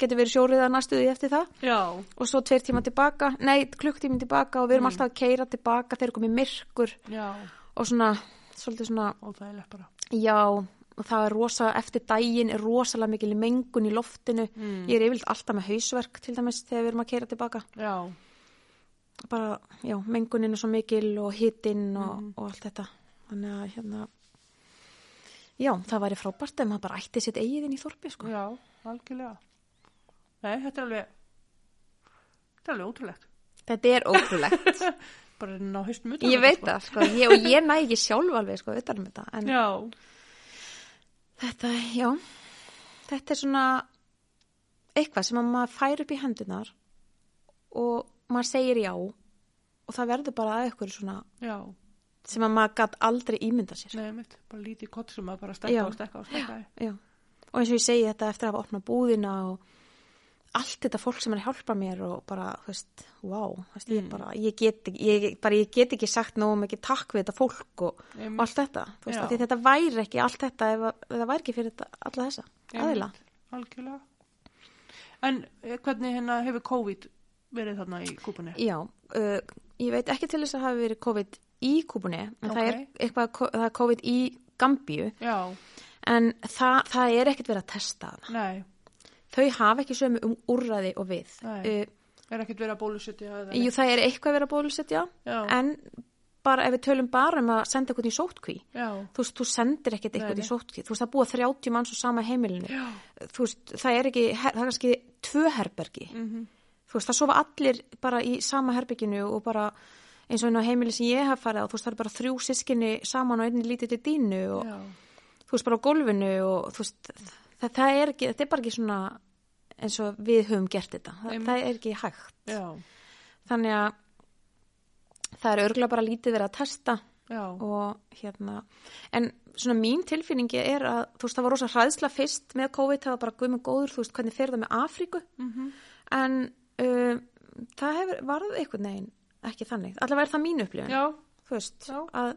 getur verið sjóriða næstuði eftir það Já, og svo tveir tíma tilbaka, nei, klukkutíma tilbaka og við erum alltaf að keira tilbaka þegar komið myrkur já, og svona, svolítið svona, óþægilegt bara. já, og það er rosa, eftir daginn er rosalega mikil mengun í loftinu. Mm. Ég er yfirleitt alltaf með hausverk til dæmis þegar við erum að keira tilbaka. Já, bara, já, mengunin er svo mikil og hitinn og, og allt þetta þannig að hérna já, það væri frábært ef maður bara ætti sitt eigið inn í þorpi, sko já, algjörlega. Nei, þetta er alveg, þetta er alveg ótrúlegt. þetta er ótrúlegt, Bara að ná haustum utan. ég veit það, sko ég, og ég næ ekki sjálf alveg, sko, utan um þetta en Já, þetta, já þetta er svona eitthvað sem að maður fær upp í hendunar og maður segir já og það verður bara að eitthvað svona já, sem að maður gat aldrei ímynda sér nei, mitt, bara lítið kott sem að bara stekka Já. og stekka og stekka. Já, og eins og ég segi þetta eftir að hafa opnað búðina og allt þetta fólk sem er að hjálpa mér og bara, þú veist, wow, þú veist, Mm. ég bara, ég get, ekki- ég, bara, ég get ekki sagt nóg mikið takk við þetta fólk og, og Einmitt. allt þetta, þú veist, Mm. Já. af því þetta væri ekki allt þetta ef að- ef það væri ekki fyrir þetta, alla þessa, aðila. Einmitt, Algjörlega. En eh, hvernig hérna hefur COVID verið þarna í kúpunni? Já, uh, ég veit ekki til þess að hafi verið COVID í kúbunni, en það er Ókei. eitthvað, ko- það er COVID í Gambíu, Já, en það, það er ekkert verið að testa það. nei, Þau hafa ekki sömu um úrræði og við. Nei. Uh, er ekkert verið að bólusetja eða Jú, það er eitthvað verið að bólusetja, Já. en bara ef við tölum bara um að senda eitthvað í sótkví, Já, þú veist, þú sendir ekkert eitthvað Nei, nei. í sótkví, þú veist, það búa 30 manns á sama heimilinu, já, þú veist, það er ekki, her- það er kannski tvö herbergi, Mhm, þú veist, það sofa allir bara í sama herberginu og bara eins og einu á heimili sem ég hef farið á, þú veist, það er bara þrjú sískinni saman og einni lítið til dínu og já, þú veist, bara á gólfinu og þú veist, það, það er ekki, þetta er bara ekki svona eins og við höfum gert þetta, það, Einmitt. það er ekki hægt já, þannig að það er örgulega bara lítið verið að testa já, og hérna en svona mín tilfinningi er að þú veist það var rosa hræðsla fyrst með COVID það var bara guð með góður, þú veist hvernig fer það með Afríku Mhm. en uh, það hefur, varð einhvern veginn ekki þannig, allavega er það mín upplifun já, þú veist Já. að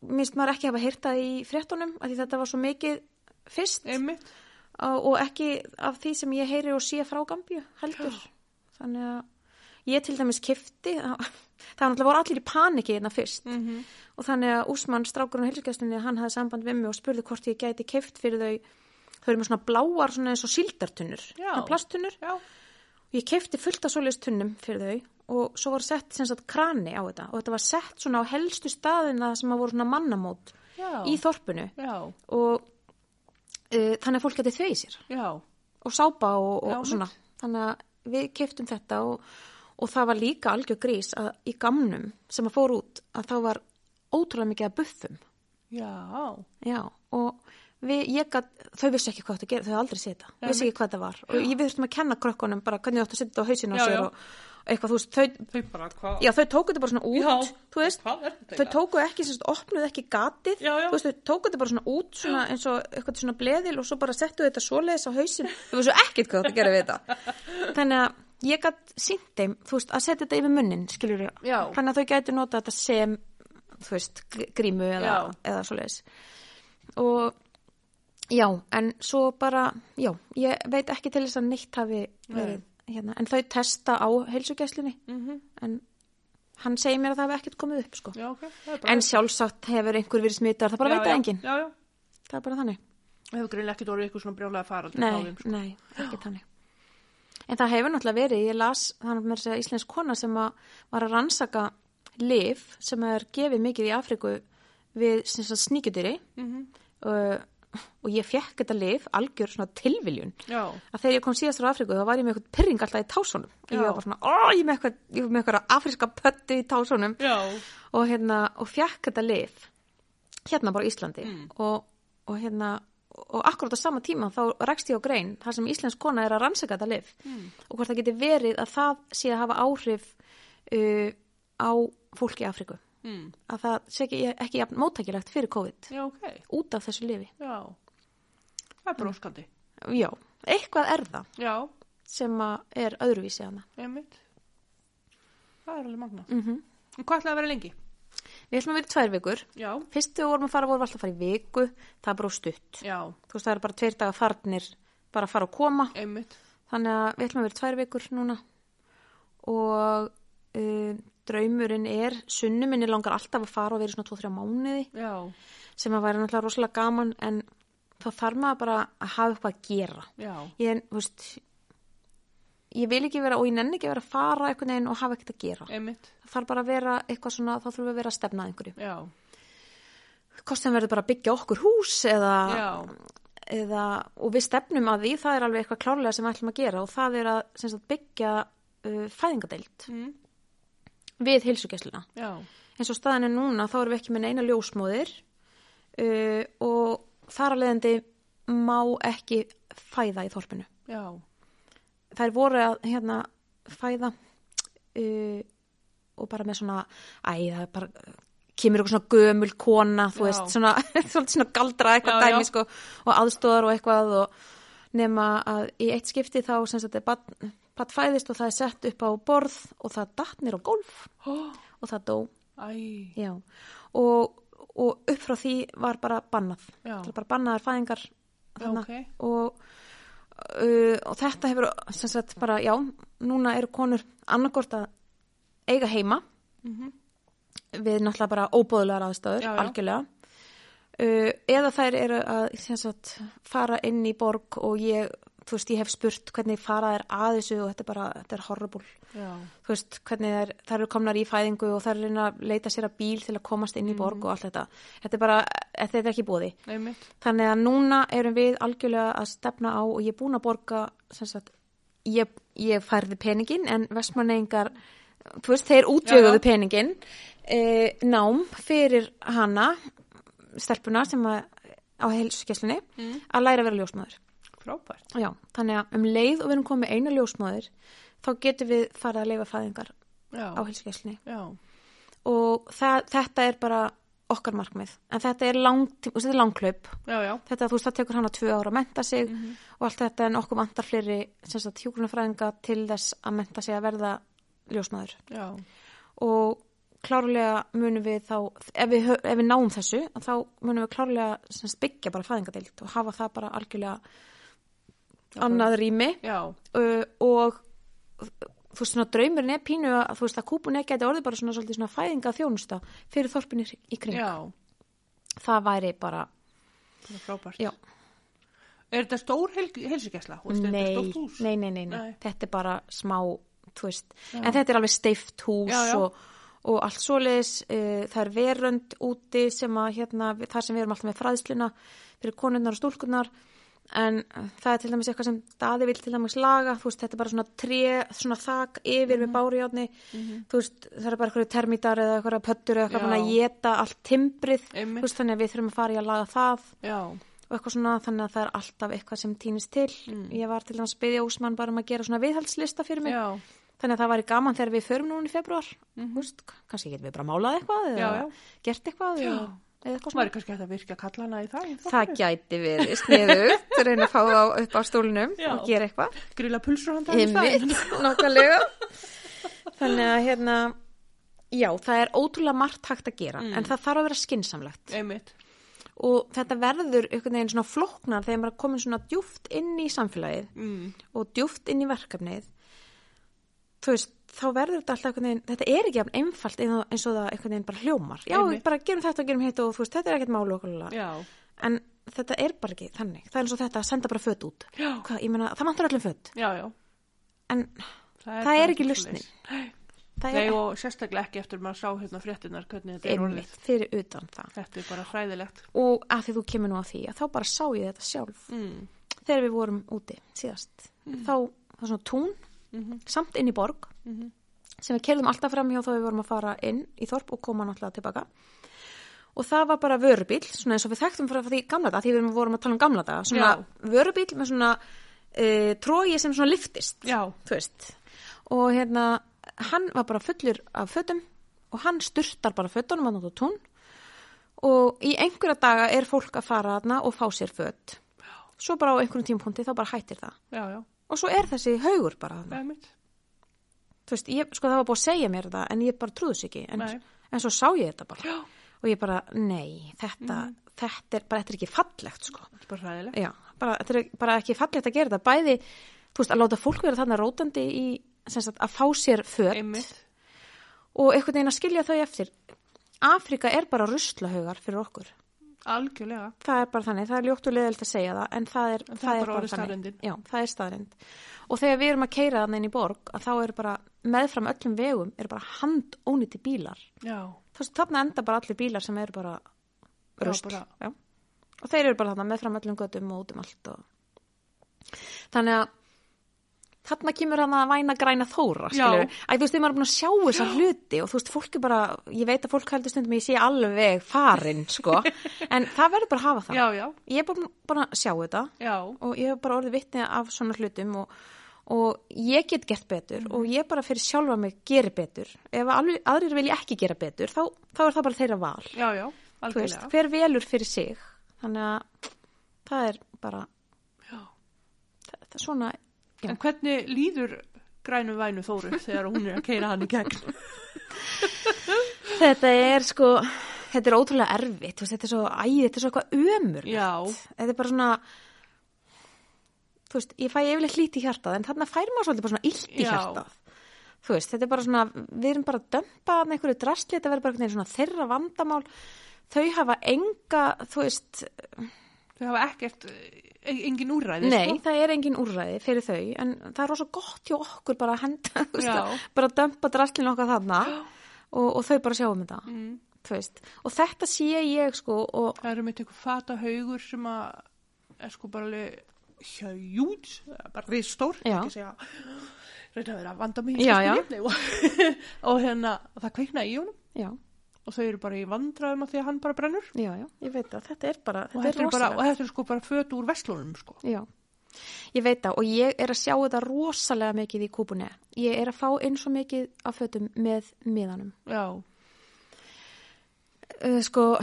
minnst maður ekki hafa hýrta í fréttunum að því þetta var svo mikið fyrst einmitt, og og ekki af því sem ég heyri og sé frá Gambíu heldur þannig að ég til dæmis kifti það það var náttúrulega voru allir í paniki hérna fyrst Mhm. og þannig að Úsmann strákurinn á helsugjastinni hann hafði samband við mig og spurði hvort ég gæti kift fyrir þau þau eru með svona bláar svona eins og sildartunnur Já. svona plasttunnur já, ég kefti fullt af svoleiðist tunnum fyrir þau og svo var sett sem sagt krani á þetta og þetta var sett svona á helstu staðina sem að voru svona mannamót já, í þorpinu já, og uh, þannig að fólk geti þau í sér já, og sápa og, Já, og svona þannig að við keftum þetta og, og það var líka algjör grís að í gamnum sem að fór út að þá var ótrúlega mikið að buffum já, já og við, ég gat, þau vissi ekki hvað þetta gera, þau hafði aldrei séð þetta, Nei, vissi ekki hvað þetta var og ég við þurftum að kenna krökkunum bara hvernig þú ættu að setja þetta á hausinu á Já, sér já. og eitthvað þú veist, þau, þau bara hvað, já þau tóku þetta bara svona út, Já, þú veist, hvað er þetta þau eiginlega? tóku ekki, sem sagt, opnuðu ekki gatið, Já, já. þú veist, þau tóku þetta bara svona út svona, eins og eitthvað svona bleðil og svo bara settu þetta svoleiðis á hausin, þau var svo ekkert hvað þetta gera við þetta. Þannig að ég gætt sínt þeim, þú veist, að setja þetta yfir munnin, skilur ég, Já. þannig að þau gætu nota þetta sem, þú veist, gr- grímu eða, Já. eða svoleiðis. Og já, en svo bara, já, ég veit ekki til þess að neitt hafi verið. Hérna. En þau testa á heilsugæslinni Mhm. en hann segir mér að það hafi ekkert komið upp sko. já, ok, það er bara, En sjálfsagt hefur einhver verið smittar, það bara já, veit það já, enginn. Já, já, Það er bara þannig. hefur greinlega ekkert orðið ykkur svona brjólega faraldur Nei, á þeim, sko. nei, ekki þannig. En það hefur náttúrulega verið, ég las, þannig að mér segja íslensk kona sem að var að rannsaka Mhm. lif sem er gefið mikið í Afriku við sem sagt, sníkjudýri, mm -hmm. og ég fekk þetta lif algjör svona tilviljun já, að þegar ég kom síðast frá Afríku þá var ég með eitthvað pyrring alltaf í tásunum og ég Já. var bara svona, ó, ég er með eitthvað, ég er með eitthvað afríska pöttu í tásunum já, og hérna, og fjakk þetta lif hérna bara á Íslandi og, og hérna og akkurat á sama tíma þá rekst ég á grein þar sem íslensk kona er að rannsaka þetta lif og hvort það geti verið að það sé að hafa áhrif uh, á fólki í Afriku mm. að það sé ekki, ekki jafn móttækilegt fyrir COVID já, ok, út af þessu lifi já. Það er bróskandi. já, eitthvað er það Já, sem að er öðruvísi hana einmitt. Það er alveg magna. mm -hmm. En hvað ætlaði að vera lengi? við ætlum að vera í tvær vikur Já, fyrst þegar við vorum að fara vorum við alltaf að fara í viku það er bara of stutt já, þú veist það eru bara tveir daga farnir bara að fara og koma einmitt. þannig að við ætlum að vera tvær vikur núna og uh, draumurinn er sunnuminni langar alltaf að fara og vera í svona 2-3 mánuði Já, sem að væri náttúrulega rosalega gaman en þá þarf maður bara að hafa eitthvað að gera já, ég, þú veist, ég vil ekki vera og ég nenni ekki að vera að fara einhvern veginn og hafa ekkert að gera einmitt. það þarf bara að vera eitthvað svona þá þurfum við að vera að stefna að einhverju Já, hvort sem verður bara að byggja okkur hús eða já, eða, og við stefnum að því, það er alveg eitthvað klárlega sem við ætlum að gera og það er að sem sagt, byggja uh, fæðingadeild mm. við heilsugjæsluna. já, Eins og staðan er núna þá erum við ekki með neina ljósmóðir uh, og þar að leiðandi má ekki fæða í þorpinu. já, Þær voru að hérna, fæða uh, og bara með svona, æ, það er bara kemur eitthvað svona gömul kona þú Já. veist, svona, svolítið svona galdra eitthvað Já, já. dæmi sko og aðstóðar og eitthvað og nema að í eitt skipti þá sem sagt er patt fæðist og það er sett upp á borð og það datt nýr á golf ó, og það dó, æ, já og, og upp frá því var bara bannað, Já. það er bara bannaðar fæðingar þarna ok. og uh, og þetta hefur sem sagt bara, já, núna eru konur annarkort að eiga heima Mhm. við náttúrulega bara óbóðlegar aðstöður, Já, já. algjörlega uh, eða þær eru að sem sagt, fara inn í borg og ég, þú veist, ég hef spurt hvernig fara þær að þessu og þetta er bara þetta er horrible, Já, þú veist, hvernig þær, þær eru komnar í fæðingu og þær eru að reyna að leita sér að bíl til að komast Mhm. inn í borg og allt þetta þetta er bara, þetta er ekki búði einmitt. þannig að núna erum við algjörlega að stefna á og ég er búin að borga sem sagt, ég, ég færði peningin en vestmanneingar þú veist, þeir Já, já. útjöguðu peningin e, nám fyrir hana stelpuna sem að, á heilsugjæslinni Mm. að læra að vera ljósmaður Frábært. Já, þannig að um leið og við erum komið eina ljósmaður þá getum við farið að leifa fæðingar Já, á heilsugjæslinni já, og það, þetta er bara okkar markmið en þetta er langt, þetta er langklaup já, já, þetta, þú veist, það tekur hann að tvö ára að menta sig og allt þetta en okkur vantar fleiri sem sagt hjúgrunafræðinga til þess að menta sig að verða ljósmaður já, og klárlega munum við þá ef við, hö- ef við náum þessu þá munum við klárlega sem sagt, byggja bara fæðingadeild og hafa það bara algjörlega annað rými já, uh, og þú veist svona draumurinn er pínu að þú veist að kúpunni geti orðið bara svona, svolítið svona fæðinga þjónusta fyrir þorpinni í kring já, það væri bara, það er frábært. já Er þetta stór heil, heilsugesla? nei, nei, nei, nei, nei, Nei. þetta er bara smá, þú veist, en þetta er alveg steift hús Já, já. og og allt svoleiðis, uh, það er verönd úti sem að hérna, við- þar sem við erum alltaf með fræðsluna fyrir konunnar og stúlkunar en eh, það er til dæmis eitthvað sem daði vil til dæmis laga, þú veist, þetta er bara svona tré, svona þak yfir Mhm. með bárjáni þú veist, það er bara eitthvað termítar eða eitthvað pöttur eða eitthvað Já. búin að geta allt timbrið, Einmitt. þú veist, þannig að við þurfum að fara í að laga það Já, og eitthvað svona þannig að það er alltaf eitthvað sem týnist til ég var til dæmis að byggja Ósmann bara um að gera svona viðhaldslista fyrir mig já, þannig að það væri gaman þegar við förum núna í februar mm kannski getum við bara málað eitthvað eða Já, já. gert eitthvað eða, Já. eða eitthvað maður er svona kannski hægt að virka kallana í það. í það þorpinu. gæti verið sniðugt reyna að fá þá upp á stólnum Já. og gera eitthvað Grilla pulsur hann daginn Einmitt, nákvæmlega þannig að hérna já, það er ótrúlega margt hægt að gera en það þarf að vera skinsamlegt Einmitt, og þetta verður einhvern veginn svona flóknar þegar maður er komin svona djúft inn í samfélagið mm, og djúft inn í verkefnið þú veist, þá verður þetta alltaf einhvern veginn, þetta er ekki jafn einfalt eins og- eins og það einhvern veginn bara hljómar já, Einmitt. við bara gerum þetta og gerum hitt og þú veist, þetta er ekkert mál og okkur lalala. já, en þetta er bara ekki þannig, það er eins og þetta að senda bara fött út Já. Hvað, ég meina, það vantur öllum fött já, já. en Það Það er bara ekki svoleiðis. lausnin. Nei, það Nei er og sérstaklega ekki eftir maður sá hérna fréttinar hvernig þetta er orðið. einmitt fyrir utan það. Þetta er bara hræðilegt. Og að því þú kemur nú að því að þá bara sá ég þetta sjálf Mm. þegar við vorum úti síðast. Þá það var svona tún, samt inn í borg, Mhm. sem við keilum alltaf fram hjá þá við vorum að fara inn í Þorp og koma náttúrulega tilbaka. Og það var bara vörubíl, svona eins og við þekktum frá því gamla dag, því við vorum að tala um gamla dag, svona Já. vörubíl með svona e, trói sem svona liftist Já, þú veist og hérna, hann var bara fullur af fötum og hann styrtar bara fötunum hann út á tún og í einhverja daga er fólk að fara þarna og fá sér föt svo bara á einhverjum tímpunkti þá bara hættir það já, já, og svo er þessi haugur bara þarna með mitt. þú veist, ég, sko það var búið að segja mér það en ég bara trúðus ekki en, Nei. en svo sá ég þetta bara og ég bara, nei, þetta, þetta er bara, þetta er ekki fallegt sko Þetta er bara hræðilegt. Já, bara, þetta er bara ekki fallegt að gera þetta bæði, þú veist, að láta fólk vera þarna rótandi í, sem sagt, að fá sér föt Einmitt. og einhvern veginn að skilja þau eftir Afrika er bara ruslahaugar fyrir okkur Algjörlega. það er bara þannig, það er ljótt og leðilt að segja það en það er, það er bara orðið staðreyndin. Já, það er staðrind og þegar við erum að keira þannig inn í borg að þá eru bara meðfram öllum vegum eru bara handóniti bílar Já, þú veist, þarna enda bara allir bílar sem eru bara Já, rust bara- Já. og þeir eru bara þarna meðfram öllum göttum og út um allt og... þannig að þarna kemur hann að væna græna þóra Já. skilur. Æ, þú veist, þegar maður er búin að sjá þessa hluti og þú veist, fólk er bara, ég veit að fólk heldur stundum að ég sé alveg farin, sko en það verður bara að hafa það já, já, ég er bara, bara að sjá þetta já. og ég hef bara orðið vitni af svona hlutum og, og ég get gert betur og Mhm. ég bara fyrir sjálfa mig geri betur ef alveg, aðrir vilja ekki gera betur þá, þá er það bara þeirra val Já, já, Þú veist, algjörlega. hver velur fyrir sig þannig að það er bara Já. það, það er svona Já. En hvernig líður grænu vænu Þóru þegar hún er að keira hann í gegn? þetta er sko, þetta er ótrúlega erfitt þú veist, þetta er svo, æ, þetta er svo eitthvað ömur Já, þetta er bara svona þú veist, ég fæ yfirleitt lít í hjartað en þarna fær maður svolítið bara svona illt í Já. hjartað þú veist, þetta er bara svona við erum bara að dömpa þarna einhverju drastli þetta verður bara einhvern veginn svona þeirra vandamál þau hafa enga, þú veist þau hafa ekkert, e- engin úræði, nei, sko. það er engin úrræði fyrir þau en það er rosa gott hjá okkur bara að henda, þú veist, Já. að- bara að dömpa drastlinu okkar þarna og, og þau bara sjáum þetta Mm. þú veist, og þetta sé ég sko og Það eru mitt eitthvað fata haugur sem að er sko bara alveg hjöjút, bara ristór, Já. ekki segja, reyna að vera að vanda mig í Já, íslenskunni. og, og hérna, og það kveikna í honum já, og þau eru bara í vandræðum af því að hann bara brennur já, já, ég veit að þetta er bara og þetta, er bara, rosalegt. og þetta er sko bara fötu úr vestlunum sko. Já, ég veit það og ég er að sjá þetta rosalega mikið í kúpunni. Ég er að fá eins og mikið af fötum með miðanum. Já, Uh, sko,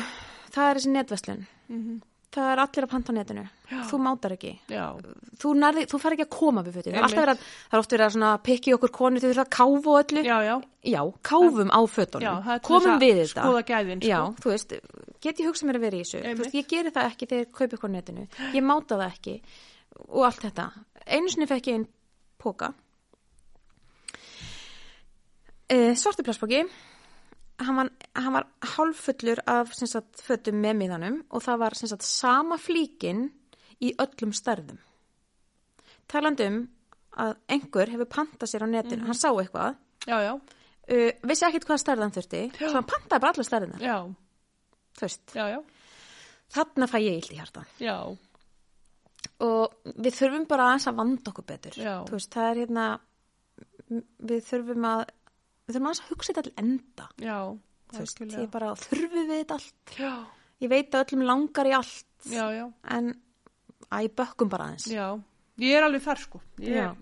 það er þessi netveslun. mm Það er allir að panta á netinu. Já. Þú mátar ekki. já, Þú, nærði, þú fer ekki að koma við fötum. Það er, alltaf Einmitt. verið að, það er oft verið að svona pikki okkur konu til þess að káfu og öllu. já, já, Já, káfum á já fötunum. það er til Komum þess að við þetta. Skoða gæðin sko. Já, þú veist, get ég hugsað mér að vera í þessu Þú veist, Einmitt. ég geri það ekki þegar ég kaupi eitthvað á netinu ég máta það ekki og allt þetta einu sinni fekk ég einn póka e, svartu plastpóki hann var, hann var hálfullur af sem sagt, fötum með miðanum og það var sem sagt, sama flíkin í öllum stærðum talandi um að einhver hefur pantað sér á netinu Mhm. hann sá eitthvað já, já, Uh, vissi ekkert hvað stærðan þurfti svo hann pantaði bara alla stærðina já, þú veist, já, já, þarna fæ ég illt í hjarta já, og við þurfum bara aðeins að vanda okkur betur Já. Þú veist, það er hérna m- við þurfum að við þurfum aðeins að hugsa þetta til enda já, Þú veist, algjörlega. ég bara þurfum við þetta allt já, ég veit að öllum langar í allt já, já. en að ég bökkum bara aðeins Já, ég er alveg þar sko Já. ég,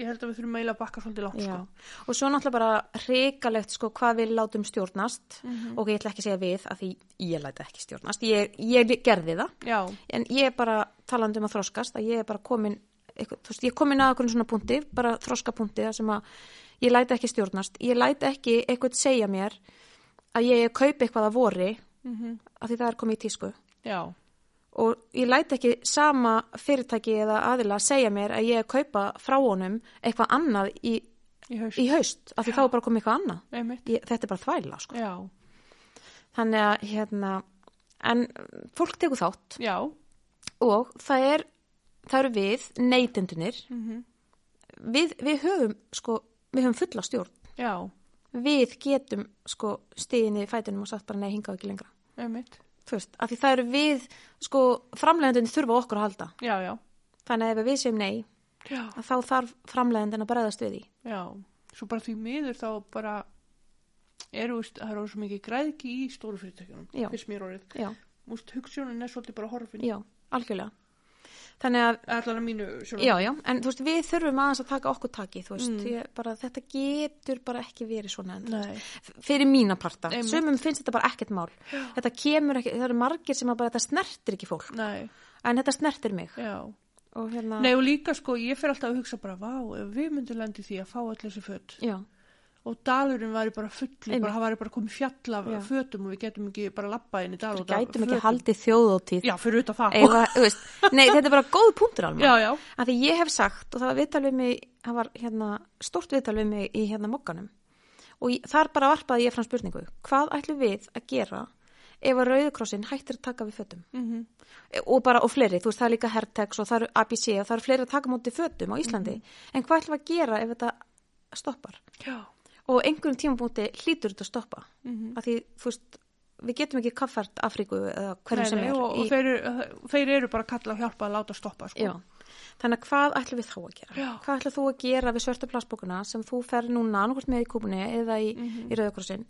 ég held að við þurfum eiginlega að bakka svolítið langt Já. sko og svo náttúrulega bara hrikalegt sko hvað við látum stjórnast Mhm. og ég ætla ekki að segja við að því ég læta ekki stjórnast ég, ég gerði það Já, en ég er bara talandi um að þroskast að ég er bara komin eitthvað, þú veist, ég er komin að okkur svona punkti bara þroskapunkti þar sem að ég læti ekki stjórnast, ég læti ekki eitthvað segja mér að ég er að kaupa eitthvað að vori mm að því það er komið í tísku já, og ég læti ekki sama fyrirtæki eða aðila að segja mér að ég er að kaupa frá honum eitthvað annað í, í haust í haust að því þá er bara komið eitthvað annað Einmitt. ég, þetta er bara þvæla sko. Já, þannig að hérna en uh, fólk tekur þátt já, og það er það eru við, Mhm. neytendunir við, við höfum sko, við höfum fulla stjórn já við getum sko stíðinni fætunum og sagt bara nei, hingað ekki lengra. einmitt. Þú veist, af því það eru við, sko, framlegandinn þurfa á okkur að halda. Já, já. Þannig að ef við séum nei, Já, að þá þarf framlegandinn að bregðast við því. já. Svo bara því miður þá bara eru, veist, það eru svo mikið græðki í stóru fyrirtækjunum. Já. Fyrst mér orðið. Já, Múst, hugsunin er svolítið bara horfin. já, algjörlega. Þannig að Allan að mínu sjónum. Já, já, en þú veist, við þurfum aðeins að taka okkur taki, þú veist, ég, bara þetta getur bara ekki verið svona enn, Nei. fyrir mína parta, Einmitt. sumum finnst þetta bara ekkert mál, þetta kemur ekki, það eru margir sem að bara þetta snertir ekki fólk, Nei, en þetta snertir mig já. og hérna, Nei og líka sko, ég fyrir alltaf að hugsa bara, vá, ef við myndum lendi því að fá allir þessi fött já, og dalurinn væri bara fullur, Einmitt. bara hann væri bara komið fjall af Já. fötum og við getum ekki bara labbað inn í dal og við dal- gætum fötum. ekki haldið þjóðóttíð, Já, fyrir auðvitað það. eða, þú veist, nei, þetta er bara góð punktur alveg, Já, já, af því ég hef sagt og það var viðtal við mig, það var hérna stórt viðtal við mig í hérna mokkanum og ég, þar bara varpaði ég fram spurningu hvað ætlum við að gera ef að rauðukrossin hættir að taka við fötum mm E- og bara og fleiri, þú veist það er líka Hertex og það eru ABC og það eru fleiri að taka móti fötum á Íslandi, Mhm. en hvað ætlum við að gera ef þetta stoppar já, og einhverjum tímabúti hlýtur þetta að stoppa mm -hmm. af því, þú veist, við getum ekki kaffært Afríku eða hverjum sem er og, í- og þeir, eru- þeir eru bara að kalla og hjálpa að láta stoppa, sko. Já, þannig að hvað ætlum við þá að gera? Já. Hvað ætlum þú að gera við svörta plassbókuna sem þú fer núna annarkvort með í kúpunni eða í, mm Mhm. -hmm. í rauðakrossin?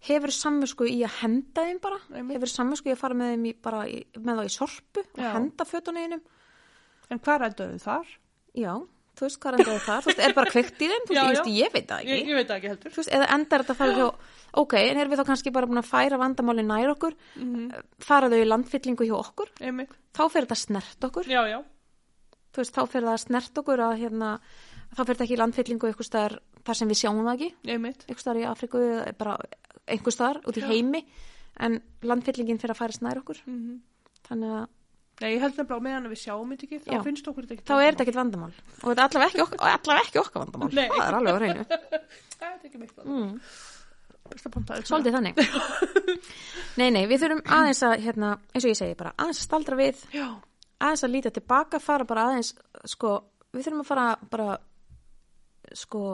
Hefur samvisku í að henda þeim bara? Einmitt. Hefur samvisku í að fara með þeim í, bara í, með þá í sorpu og Já. henda fötuninum? En hvað ræddaðu þar? Já, þú veist hvað endaði þar? Þú veist, er bara kveikt í þeim? Þú Já, veist, ég veist, já. ég veit það ekki. Ég, ég veit það ekki heldur. Þú veist, eða endar þetta að fara hjá, ok, en erum við þá kannski bara búin að færa vandamáli nær okkur, Mm Mhm. fara þau í landfyllingu hjá okkur, Einmitt, þá fer þetta snert okkur. já, já, þú veist, þá fer það að snert okkur að hérna, þá fer þetta ekki í landfyllingu einhver staðar þar sem við sjáum það ekki einmitt, einhver staðar í Afriku eða bara einhver staðar út í heimi en landfyllingin fer að færa snær okkur mm þannig að Nei, ég held nefnilega á meðan að við sjáum þetta ekki, þá Já. finnst okkur þetta ekki. þá er þetta ekkit vandamál og þetta er allavega ekki okkar, allavega ekki okkar vandamál Nei. það er alveg á reynu Það er ekki mitt. Mm. mm, Besta pantaði. svolítið þannig nei, nei, við þurfum aðeins að hérna, eins og ég segi bara, aðeins að staldra við Já, aðeins að líta tilbaka, fara bara aðeins sko, við þurfum að fara bara sko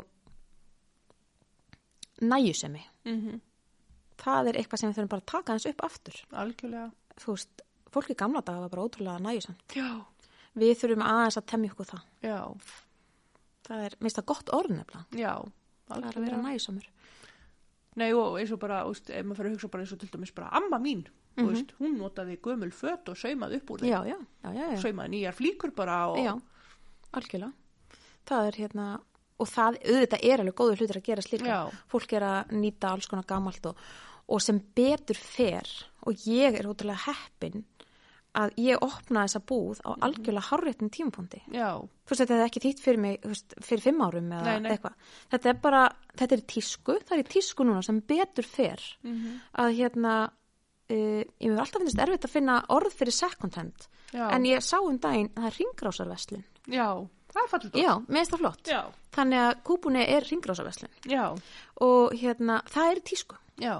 næjusemi mm það er eitthvað sem við þurfum bara að taka aðeins upp aftur algjörlega. þú veist, fólk í gamla daga var bara ótrúlega næjusamt Já, við þurfum aðeins að temja okkur það já, það er, minnst það gott orð nefnilega já, það er að vera algjörlega. næjusamur Nei, og eins og bara, úst, ef maður fyrir að hugsa bara eins og til dæmis bara amma mín, mm Mhm. úst, hún notaði gömul fött og saumaði upp úr þeim. já, já, já, já, já. Saumaði nýjar flíkur bara og... já algjörlega það er hérna og það, auðvitað er alveg góður hlutur að gera slíka Já. fólk er að nýta alls konar gamalt og, og sem betur fer og ég er ótrúlega heppin að ég opna þessa búð á algjörlega hárréttum tímapunkti Já, þú veist, þetta er ekki þýtt fyrir mig þú veist, fyrir fimm árum eða Nei, nei. eitthvað þetta er bara, þetta er í tísku það er í tísku núna sem betur fer Mhm. að hérna uh, ég mér alltaf finnst erfitt að finna orð fyrir second hand, Já. en ég sá um daginn að það er ringrásarveslun já, það er fallið já, mér finnst það flott Já, þannig að kúpunni er ringrásarveslun já, og hérna, það er í tísku já.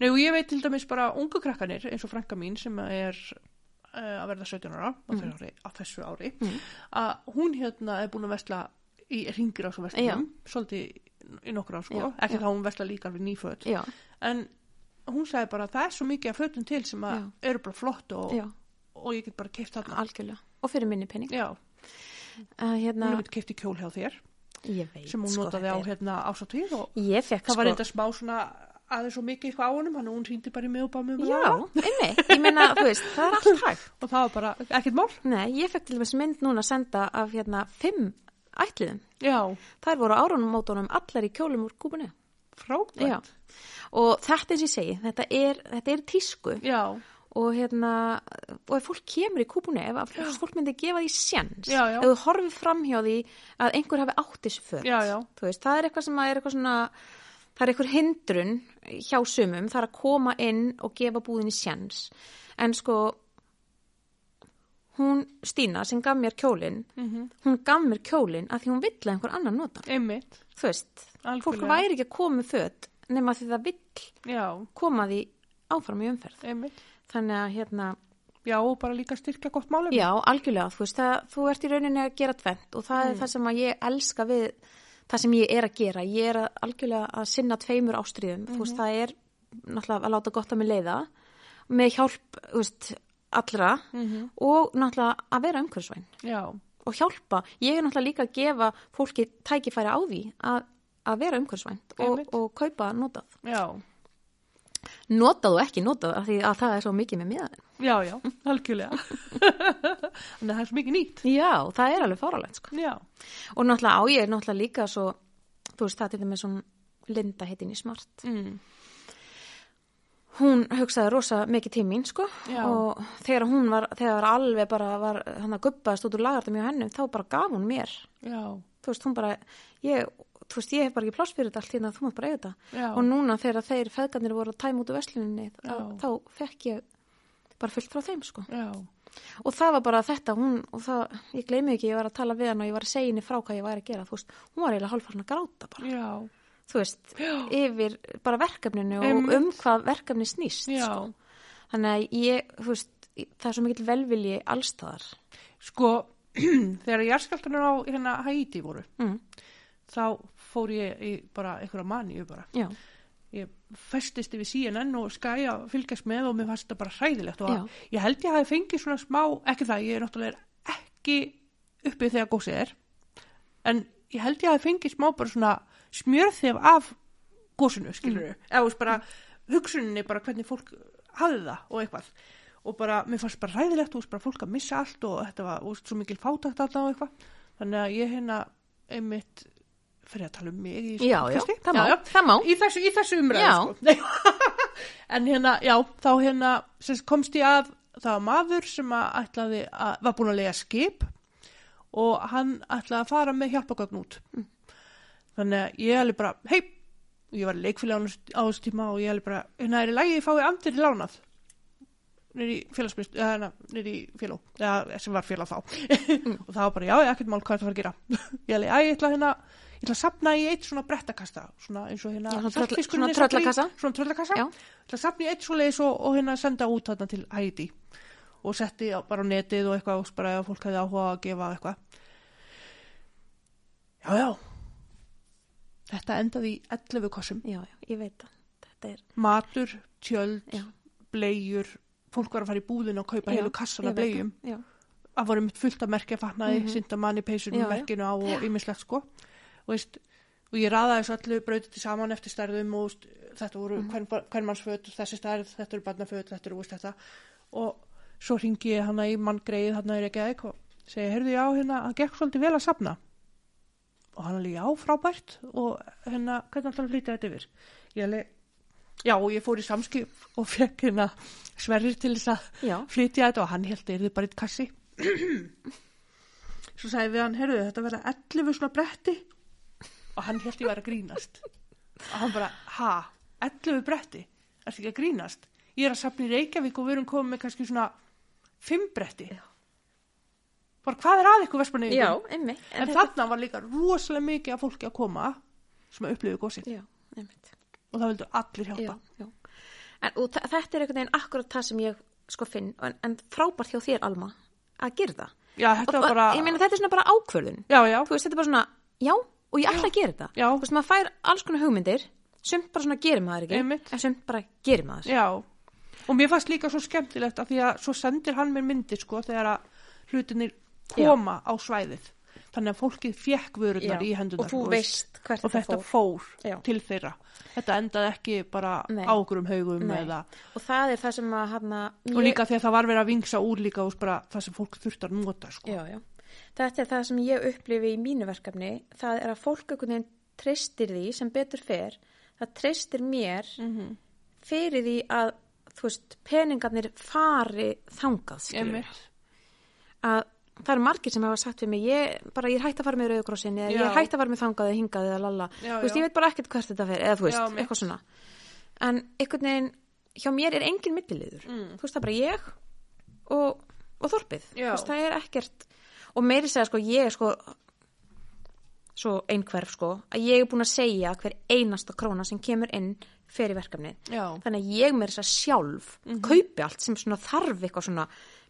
Nei, og ég veit til dæmis bara ungu krakkanir, eins og franka mín sem er uh, að verða 17 ára Mhm. á, þessu ári, á þessu ári, Mm, að hún hérna er búin að vesla í ringir á svo vestlum, svolítið í nokkur á sko, Já, ekki já. þá hún vesla líka við nýföt, já, en hún sagði bara það er svo mikið af fötum til sem að eru bara flott og, já, og ég get bara keift þarna. algjörlega og fyrir minni penning Já, að hún hérna, hefur keift í kjól hjá þér ég veit sko, sem hún notaði þetta á er- hérna ásatíð og ég fekk það sko var eitthvað smá svona aðeins og mikið eitthvað á honum, hann hún hýndi bara í mig og bara með já, einmi, ég meina, þú veist, það er allt hægt og það var bara ekkert mál Nei, ég fekk til dæmis mynd núna að senda af hérna fimm ætliðum. já, Þær voru árunum mótunum allar í kjólum úr kúpunni. frábært já. Og þetta eins og ég segi, þetta er, þetta er tísku já, og hérna, og ef fólk kemur í kúpunni, ef að fólk myndi gefa því sjens, Já, já. ef þú horfið fram hjá því að einhver hafi átt þessu föt. Já, já. Þú veist, það er eitthvað sem að er eitthvað svona, það er eitthvað hindrun hjá sumum, það er að koma inn og gefa búðinni sjens. En sko, hún Stína sem gaf mér kjólinn, Mhm. hún gaf mér kjólinn að því hún vill að einhver annar nota. hann. einmitt Þú veist, fólk Algjörlega. væri ekki að koma með föt nema því það vill já, koma því áfram í umferð. einmitt Þannig að hérna, já, og bara líka styrkja gott málum Mm. já, algjörlega, þú veist, það, þú ert í rauninni að gera tvent og það er það sem að ég elska við það sem ég er að gera. Ég er að, algjörlega að sinna tveimur ástriðum. Þú veist, það er náttúrulega að láta gott að mig leiða með hjálp, þú veist, allra og náttúrulega að vera umhverfisvæn Já, og hjálpa. Ég er náttúrulega líka að gefa fólki tækifæri á því að, að vera umhverfisvæn og, Einmitt. og kaupa notað. já, Notað og ekki notað af því að það er svo mikið með miðan. já, já, algjörlega. Þannig að það er svo mikið nýtt. Já, það er alveg fáralegt sko. Já, Og náttúrulega á ég er náttúrulega líka svo, þú veist, það er með svona Linda heitin í smart. mm. Hún hugsaði rosa mikið tímin, sko. Já. Og þegar hún var, þegar alveg bara var, hann að guppaðast út úr lagartum hjá hennu, þá bara gaf hún mér. já, Þú veist, hún bara, ég, þú veist, ég hef bara ekki pláss fyrir þetta allt hérna, þú mátt bara eiga þetta. já, Og núna þegar þeir feðgarnir voru að tæma út úr vesluninni, þá, Já. þá fekk ég bara fullt frá þeim, sko. já, og það var bara þetta hún, og það, ég gleymi ekki, ég var að tala við hann og ég var að segja henni frá hvað ég væri að gera þú veist, hún var eiginlega hálfarn að gráta bara já, þú veist, yfir bara verkefninu Einmitt. og um hvað verkefni snýst já. sko. þannig að ég, þú veist það er svo mikill velvilji allstaðar Sko, þegar jarðskjáltanir á hérna Haiti voru, mm, þá fór ég í bara einhverja maníu bara. já, Ég festist yfir CNN og skæja að fylgjast með og mér fannst þetta bara hræðilegt og Já. ég held ég hafi fengið svona smá, ekki það, ég er náttúrulega ekki uppið þegar gósið er, en ég held ég hafi fengið smá bara svona smjörþef af gósinu, skilur Mm. við, eða þú veist bara hugsuninni bara hvernig fólk hafði það og eitthvað og bara, mér fannst bara ræðilegt, þú veist bara fólk að missa allt og þetta var, þú veist, svo mikil fátakt alltaf og eitthvað, þannig að ég hérna einmitt fyrir að tala um mig í já, já, podcasti. það má, það má. Í þessu, í þessu Já. umræðu, sko. Nei. en hérna, já, þá hérna, sem sagt, komst ég að, það var maður sem að ætlaði að, var búin að lega skip og hann ætlaði að fara með hjálpagögn út. Þannig að ég alveg bara, hei, ég var leikfélag á þessu tíma og ég alveg bara, hérna er í lagi, ég fái andir í lánað nýri félagsmyndst, eða hérna, nýri félag, eða sem var félag þá Mm. og það var bara, já, ég ekkert mál hvað það var að gera ég ætla, æ, ég ætla hérna ég ætla að sapna í eitt svona brettakasta svona eins og hérna Já, svona tröll- saltfiskurinn svona er safnar í- tröllakassa. svona tröllakassa, Já. ég ætla að sapna í eitt svo leiðis og, og hérna senda út þarna til Haiti og setti á- bara á netið og eitthvað og bara ef fólk hefði áhuga að gefa eitthvað já, já þetta endaði í 11 kossum já, já, ég veit það þetta er, matur, tjöld, Já. bleiur fólk var að fara í búðin og kaupa Já, heilu kassan ég af veit bleium það, já, það voru mitt fullt af merkja fatnaði mm -hmm. sindamanni, peysunum, Mhm. Já, já. merkinu á og ýmislegt sko og, veist, og ég raðaði svo allu brautið saman eftir stærðum og veist, þetta voru Mhm. mm -hmm. hvernmannsföt þessi stærð, þetta eru barnaföt, þetta eru veist, þetta. og svo ringi ég hana í manngreið hana er ekki að eitthvað segi, heyrðu já, hérna, það gekk svolítið vel að safna og hann alveg, já, frábært og hérna, hvernig ætlar að flytja þetta yfir ég alveg, já, og ég fór í samskip og fekk hérna sverrir til þess að já, flytja þetta og hann held að yrði bara eitt kassi svo sagði við hann heyrðu þetta verða 11 svona bretti og hann held ég var að grínast og hann bara, ha, 11 bretti ertu ekki að grínast ég er að safna í Reykjavík og við erum komið með kannski svona 5 bretti bara hvað er að ykkur vespunni já, einmitt en þarna var líka rosalega mikið af fólki að koma sem að upplifu gósið já, einmitt og það vildu allir hjálpa já, já. En, og þa- þetta er einhvern veginn akkurat það sem ég sko finn en, en frábært hjá þér Alma að gera það já, þetta og, var bara og, ég meina þetta er svona bara ákvörðun já, já, þú veist þetta er bara svona já og ég ætla að gera þetta Já. þú veist maður fær alls konar hugmyndir sumt bara svona gerir maður ekki Einmitt. en sumt bara gerir maður Já, og mér fannst líka svo skemmtilegt af því að svo sendir hann mér myndir sko þegar að hlutinir koma á svæðið. Þannig að fólkið fjekk vörunar Já, í hendunar og þú veist hvert og þetta þetta fór, Já. til þeirra. Þetta endaði ekki bara Nei. águrum haugum Nei. eða og það er það sem að hérna, hana, um og líka því að það var verið að vingsa úr líka og bara það sem fólk þurft að nota sko. já, já. þetta er það sem ég upplifi í mínu verkefni það er að fólk einhvern veginn treystir því sem betur fer það treystir mér Mhm. fyrir því að þú veist peningarnir fari þangað skilurðu. Einmitt. að það eru margir sem hafa sagt við mig ég, bara ég er hægt að fara með rauðgrósin eða ég Já. er hægt að fara með þangað eða hingað eða lalla Já, þú veist, já. ég veit bara ekkert hvert þetta fer eða þú veist, Já, mitt. eitthvað svona en einhvern veginn, hjá mér er engin milliliður mm. þú veist, það er bara ég og, og þorpið þú Já. veist, það er ekkert og meiri segja, sko, ég er sko svo einhverf, sko að ég er búin að segja hver einasta króna sem kemur inn fer í verkefnið Já. Mhm. þannig að ég með þess að sjálf kaupi allt sem svona þarf eitthvað svona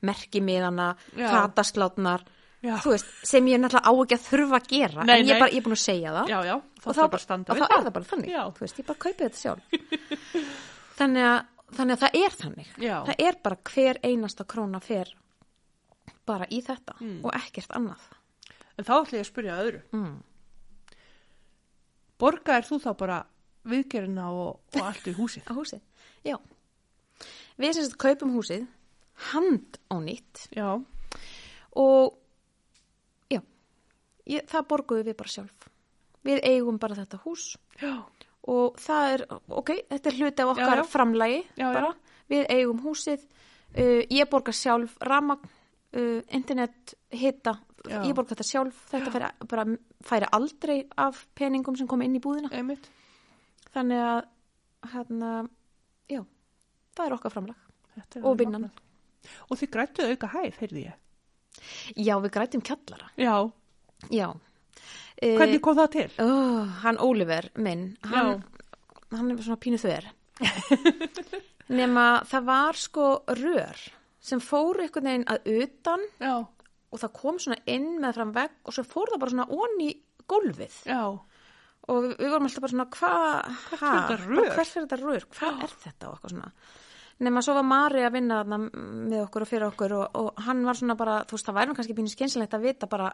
merkimiðana, Já. kataslátnar Já. þú veist, sem ég náttúrulega á ekki að þurfa að gera Nei, en ég nei. er, bara, ég er búin að segja það Já, já, þá þarf og bara þá, að og standa þá við er það bara þannig Já. þú veist, ég bara kaupi þetta sjálf þannig, að, þannig að það er þannig Já. það er bara hver einasta króna fer bara í þetta Mm. og ekkert annað En þá ætla ég að spyrja að öðru. Mm. Borgaðir þú þá bara viðgerina og, og allt í húsið? á húsið, já við sem sagt kaupum húsið hand á nýtt Já, og já, ég, það borguðu við bara sjálf við eigum bara þetta hús já, og það er, ok, þetta er hluti af okkar Já, já. framlægi Já, já. bara, við eigum húsið uh, ég borga sjálf ramagn, uh, internet hita, Já. ég borga þetta sjálf þetta færi, bara, færi aldrei af peningum sem kom inn í búðina einmitt. þannig að hérna, já það er okkar framlag Þetta er og alveg vinnan. magnað. Og þið grættuðu auka hæð, heyrði ég. já, við grætum kjallara Já, já hvernig kom það til? Oh, hann Oliver minn, hann, hann er svona pínu þver. Nema það var sko rör sem fór einhvern veginn að utan Já, og það kom svona inn með fram vegg og svo fór það bara svona onni gólfið já, og við, við vorum alltaf bara svona hvað fyrir þetta hvert rör? hvert fyrir þetta rör, hvað er þetta og eitthvað svona nema svo var Mari að vinna þarna með okkur og fyrir okkur og, og hann var svona bara, þú veist það væri nú kannski pínu skynsilegt að vita bara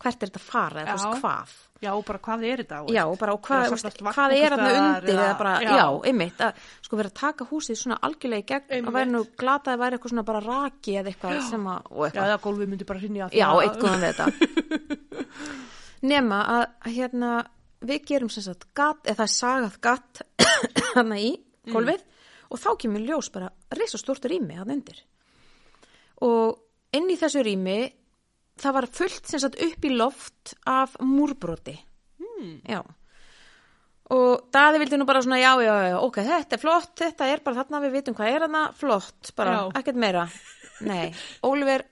hvert er þetta að fara eða þú Já. veist hvað já, og bara hvað er þetta? og- Já, bara og hvað, Eða veist, safnast vatn hvað er einhvers hann staðar undir eða bara, já, einmitt að sko vera að taka húsið svona algjörlega í gegn Einmitt. og væri nú glata að væri eitthvað svona bara raki eða eitthvað sem að, og Já, eitthvað, já, eða gólfið myndi bara hrinja að já eitthvað með þetta nema að að hérna við gerum sem sagt gatt, eða það er sagað gatt hann í gólfið Mm. og þá kemur ljós bara risastórt rými hann undir og inn í þessu rými það var fullt sem sagt upp í loft af múrbroti já og Daði vildi nú bara svona já, já, já, ok, þetta er flott þetta er bara þarna, við vitum hvað er þarna flott, bara, Já. ekkert meira nei, Oliver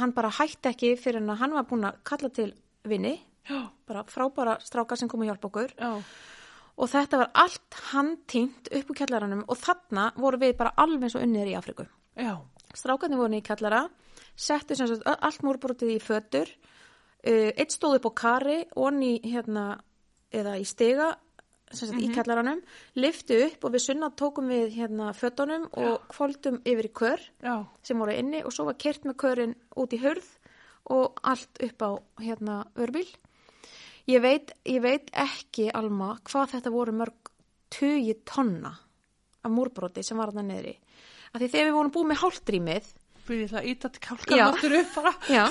hann bara hætti ekki fyrir en að hann var búin að kalla til vini, Já, bara frábara stráka sem kom að hjálpa okkur já, og þetta var allt handtínt upp úr kjallaranum og þarna voru við bara alveg eins og unnir í Afriku já, strákarnir voru niður í kjallara settu sem sagt ö- allt múrbrotið í fötur uh, eitt stóð upp á kari onni hérna eða í stiga sem sagt í kjallaranum liftu upp og við sunna tókum við hérna fötunum og kvöldum yfir í kör já, sem voru inni og svo var kert með körin út í hurð og allt upp á hérna örbíl. Ég veit, ég veit ekki, Alma, hvað þetta voru mörg tugi tonna af múrbroti sem var þarna niðri. Af því þegar við vorum búið með hálftrýmið, fyrir það að íta til Já. kálkan áttur upp bara. já,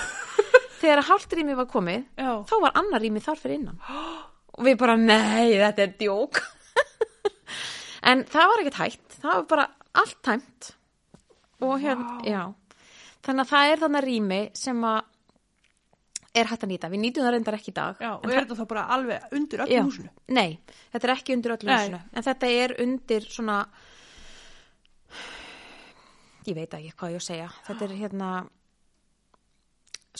þegar hálftrýmið var komið, Já, þá var annar rými þar fyrir innan. Og við bara, nei, þetta er djók. en það var ekkert hægt, það var bara allt tæmt. Og hérna, já. Þannig að það er þannig rými sem að er hægt að nýta. Við nýtum það reyndar ekki í dag. já, og er þetta þá bara alveg undir öllu húsinu? Nei, þetta er ekki undir öllu Nei. húsinu. En þetta er undir svona, ég veit ekki hvað ég á að segja. Þetta er hérna,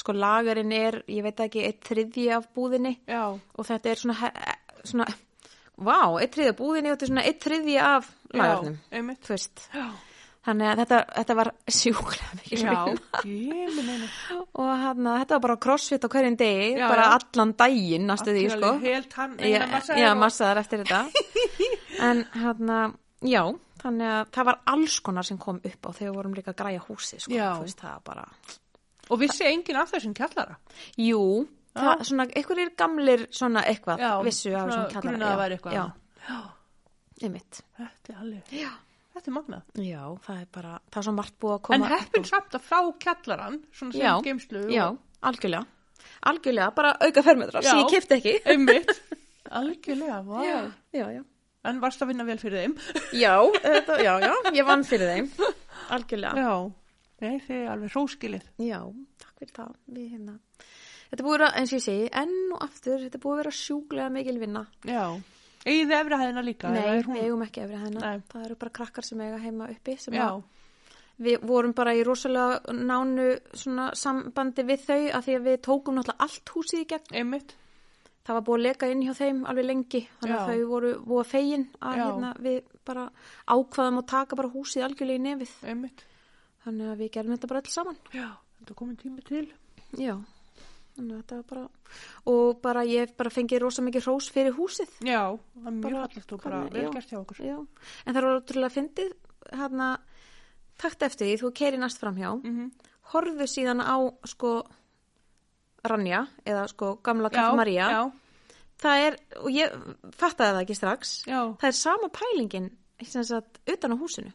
sko lagarinn er, ég veit ekki, eitt þriðji af búðinni Já, og þetta er svona, he- svona vá, eitt þriðja búðinni og þetta er svona eitt þriðja af lagarnum, já, einmitt. þú veist. Já, Þannig að þetta, þetta var sjúklega mikil já, vinna. ég minn einu. og hann, þetta var bara crossfit á hverjum degi, Já, bara já. allan daginn, næstu því, sko. Helt hann, Já, eina massa. já, massaðar eftir þetta. en hann, já, þannig að það var alls konar sem kom upp á þegar við vorum líka að græja húsi, sko. Já. Þú veist, það var bara... Og vissi enginn af þessum kjallara. Jú, það, svona, einhverjir gamlir svona eitthvað, Já, vissu af þessum kallar. grunað að væri eitthvað. Já, annað. já, einmitt. þetta er alveg, já. þetta er magnað. Já, það er bara, það er svo margt búið að En koma heppin samt að fá kjallaran, svona sem Já, geimslu. Já, algjörlega Algjörlega, bara auka fermetrar sem Já. ég kefti ekki og- Einmitt. Algjörlega, vá. Já, já, já En varst að vinna vel fyrir þeim. Já, þetta, já, já, ég vann fyrir þeim Algjörlega Já. Nei, þið er alveg hróskilið. Já, takk fyrir það Við hérna Þetta er búið að, vera, eins og ég segi, enn og aftur Þetta er búið að vera sjúklega mikil vinna Já. Egið þið efri hæðina líka? eða Nei, er hún- við eigum ekki efri hennar Nei. Það eru bara krakkar sem eiga heima uppi sem Já, að við vorum bara í rosalega nánu svona sambandi við þau af því að við tókum náttúrulega allt húsið í gegn einmitt. það var búið að leka inn hjá þeim alveg lengi þannig að Já. þau voru búið fegin að Já. hérna, við bara ákvaðum að taka bara húsið algjörlega í nefið Einmitt. þannig að við gerum þetta bara alls saman Já, þetta er komin tími til. já, Þannig að þetta var bara, og bara ég hef bara fengið rosa mikið hrós fyrir húsið. Já, það er mjög Bara- fallegt og bara hvernig- vel já. gert hjá okkur. Já, en það var ótrúlega fyndið, hérna, takt eftir því, þú keiri næst framhjá, Mm horfðu síðan á, sko, Ranja, eða sko gamla Kaffi Maria. Já, Það er, og ég fattaði það ekki strax, já, það er sama pælingin, sem sagt, utan á húsinu.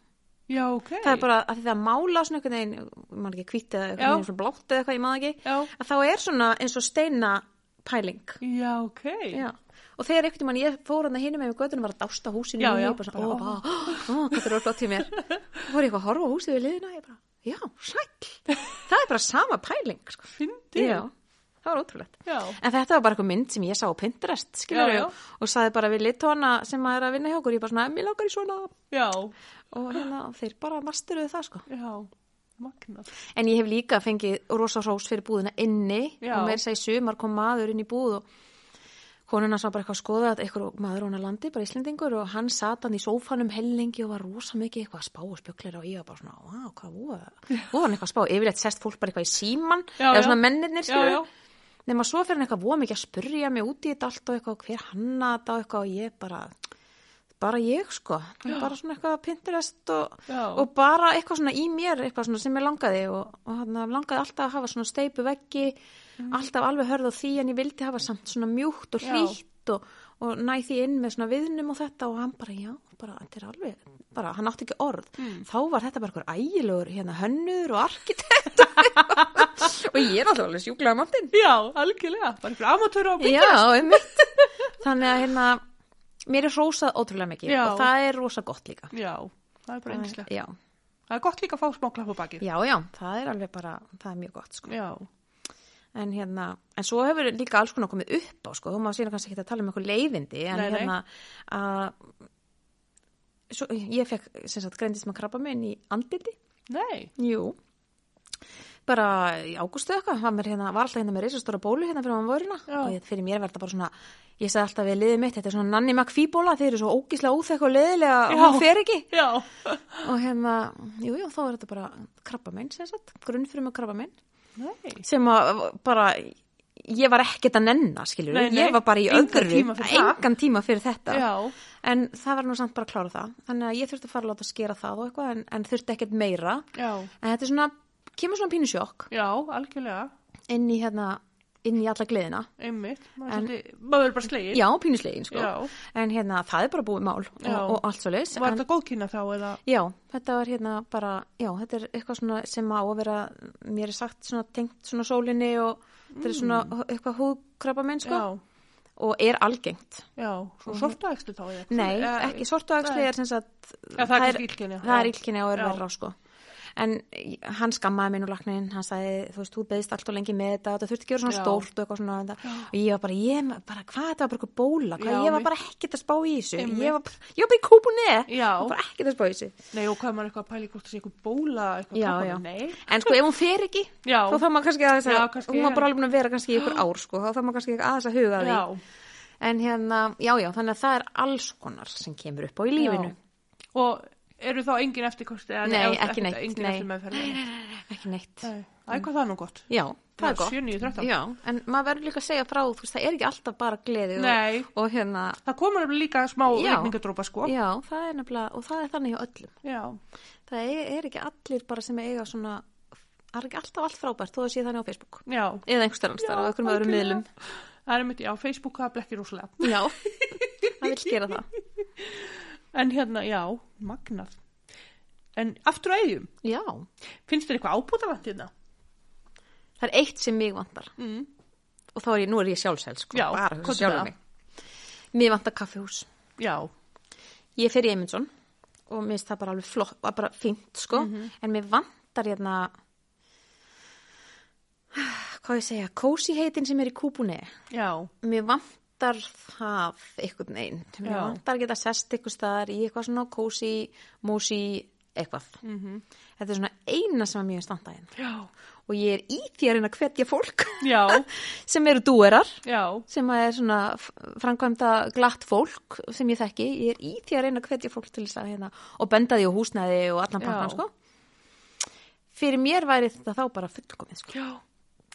já, ok. Það er bara að því það er mála svona einhvern veginn, ég man ekki hvítið Já. eða einhvern veginn blótt eða eitthvað, ég maður ekki, Já, að þá er svona eins og steina pæling. já, ok. Já. Og þegar einhvern tímann ég fór hann að hinum með göttunum var að dásta húsinu Já, og já, ég bara svona, ó, bara, bara, ó, hvað það er flott í mér. Og fór ég eitthvað að horfa á húsið við liðina, ég bara, já, sæll. Það er bara sama pæling, sko. Fyndi. Já, það var ótrúlegt. Já. En þetta var bara eitthvað mynd sem ég sá á Pinterest, skilur Já, já. ég, og saði bara við litona sem maður er að vinna hjá okkur, ég bara svona, mér langar í svona, Já, og hérna, þeir bara masteruðu það, sko. já, magnað. En ég hef líka fengið rosa hrós fyrir búðina inni Já. og mér segi sumar kom maður inn í búð og konuna sá bara eitthvað að skoða að eitthvað maður hún að landi, bara Íslendingur og hann sat hann í sófanum hellingi og var rosa mikið eitthvað að spá og spjökleira og ég var bara svona, vá, hvað voru voru hann eitthvað að spá, yfirleitt sest fólk bara eitthvað í síman Já, eða já. svona mennirnir Já, skilur já. nema svo fyrir hann eitthvað voða mikið að spurja mig út í þetta allt og eitthvað hver hanna þetta og eitthvað og ég bara bara ég sko, bara svona eitthvað Pinterest og, Já. og bara eitthvað svona í mér, eitthvað svona sem ég langaði og, og hann langaði alltaf að hafa svona steipu veggi, alltaf alveg hörð á því en ég vildi hafa samt svona mjúkt og Já. hlýtt og, og næ því inn með svona viðnum og þetta og hann bara já, bara þetta er alveg, bara hann átti ekki orð þá var þetta bara eitthvað ægilegur hérna hönnur og arkitekt og ég er alltaf alveg sjúklaða mantinn Já, algjörlega. Bara ykkur amatöru á bíl. Já, einmitt. Þannig að hérna, mér er rósað ótrúlega mikið Já. og það er rosa gott líka. Já, það er bara einnislega. Já, Það er gott líka að fá smá klapp á bakið. já, já, það er alveg bara, það er mjög gott sko. Já, En hérna, en svo hefur líka alls konar komið upp á sko, þú maður síðan kannski ekki að tala um eitthvað leiðindi, en Nei, nei. hérna að, svo, ég fekk, sem sagt, greindist með krabba minn í andliti. nei. Jú. Bara í ágústu eitthvað, var, mér hérna, var alltaf hérna með reisastóra bólu hérna fyrir maður vorina Já. og ég, fyrir mér var þetta bara svona, ég sagði alltaf við liðið mitt, þetta er svona nanni makfíbóla, þeir eru svo ógíslega óþekk og leðilega Já. og hún fer ekki. Já, Og hérna, jú, jú, þá var þetta bara krabba minn, sem sagt, grunnfrum að krabba minn, nei. sem að bara, ég var ekkert að nenna, skilur, Nei, nei. ég var bara í Engan öðru, tíma fyrir það. engan tíma fyrir þetta. Já, En það var nú samt bara að klára það, þannig að ég þurfti að fara að láta skera það og eitthvað, en, en þurfti ekkert meira. já, En þetta er svona, kemur svona pínu sjokk já, algjörlega. inn í hérna, inn í alla gleðina. Einmitt. Maður, En- en, svolítið, maður er bara slegin. Já, pínuslegin sko. Já. En hérna, það er bara búið mál og, Já. og allt svo leis. Var þetta góðkynna þá eða? Já, þetta var hérna bara, já, þetta er eitthvað svona sem á að vera, mér er sagt svona tengt svona sólinni og þetta er svona Mm. eitthvað húðkrabba minn sko Já, og er algengt. já, svo sortaækslu þá eða? Nei, Eh, ekki sortu nei. axli er sem sagt, Já, það er kannski illkynja. það er Já. illkynja og er Já. verra sko. En hann skammaði minn úr laknin, hann sagði, þú veist, þú beðist allt og lengi með þetta, þetta þurfti ekki að vera Já. svona stórt og eitthvað svona, en það- og ég var bara, ég, ma- bara hvað þetta var bara eitthvað bóla, hvað Já, ég var mitt. bara ekkert að spá í þessu, Einmitt. ég var, bara- ég var bara í kúpunni, Já. ég var bara ekkert að spá í þessu. Nei, og hvað er maður eitthvað að pæli hvort það sé eitthvað bóla, eitthvað Já, krabbamein? já. Nei. En sko, ef hún fer ekki, Já. þá þarf maður kannski aðeins að, Já, kannski, hún var já. bara alveg búin að vera kannski í ykkur ár, sko, þá þarf maður kannski aðeins að huga að því. Já, En hérna, já, já, þannig að það er alls konar sem kemur upp á í lífinu. já. Og eru þá engin eftirkosti? eða- Nei, eða- ekki neitt, Engin nei. eftir meðferðin? Ekki neitt. Nei, Æ, hvað það er nú gott? Já, það er Já, gott. 7, 9, 13. Já, en maður verður líka að segja frá, þú veist, það er ekki alltaf bara gleði Nei. og, og hérna, Það komur nefnilega líka smá Já. regningadrópa, sko. já, það er nefnilega, og það er þannig hjá öllum. Já, Það e-, er, er ekki allir bara sem eiga svona, það er ekki alltaf allt frábært, þó að sé þannig á Facebook. já. Eða einhver stærnstæðar á einhverjum öðrum algjörlega. miðlum. Það er mitt, já, Facebook, það blekkir úslega. Já, það vil gera það. En hérna, já, magnað. En aftur á eigum, Já, finnst þér eitthvað ábútavant hérna? það er eitt sem mig vantar. Mm. Og þá er ég, nú er ég sjálfsæl, sko, Já, bara hvað er hugsa sjálf það? mig. Mér vantar kaffihús. Já, Ég fer í Eymundsson og mér finnst það bara alveg flott, bara fínt sko, en mér vantar hérna hvað ég segja, kósi heitin sem er í kúpunni, já, mér vantar það einhvern veginn, mér Já. vantar að geta sest einhvers staðar í eitthvað svona kósi, mósi, eitthvað. -hmm. Þetta er svona eina sem er mjög standaðin já, hérna. og ég er í því að reyna að hvetja fólk já, sem eru dúerar já, sem að er svona framkvæmda glatt fólk sem ég þekki, ég er í því að reyna að hvetja fólk til þess að hérna og benda því og húsnaði og allan Já. pakkan sko fyrir mér væri þetta þá bara fullkomið sko já,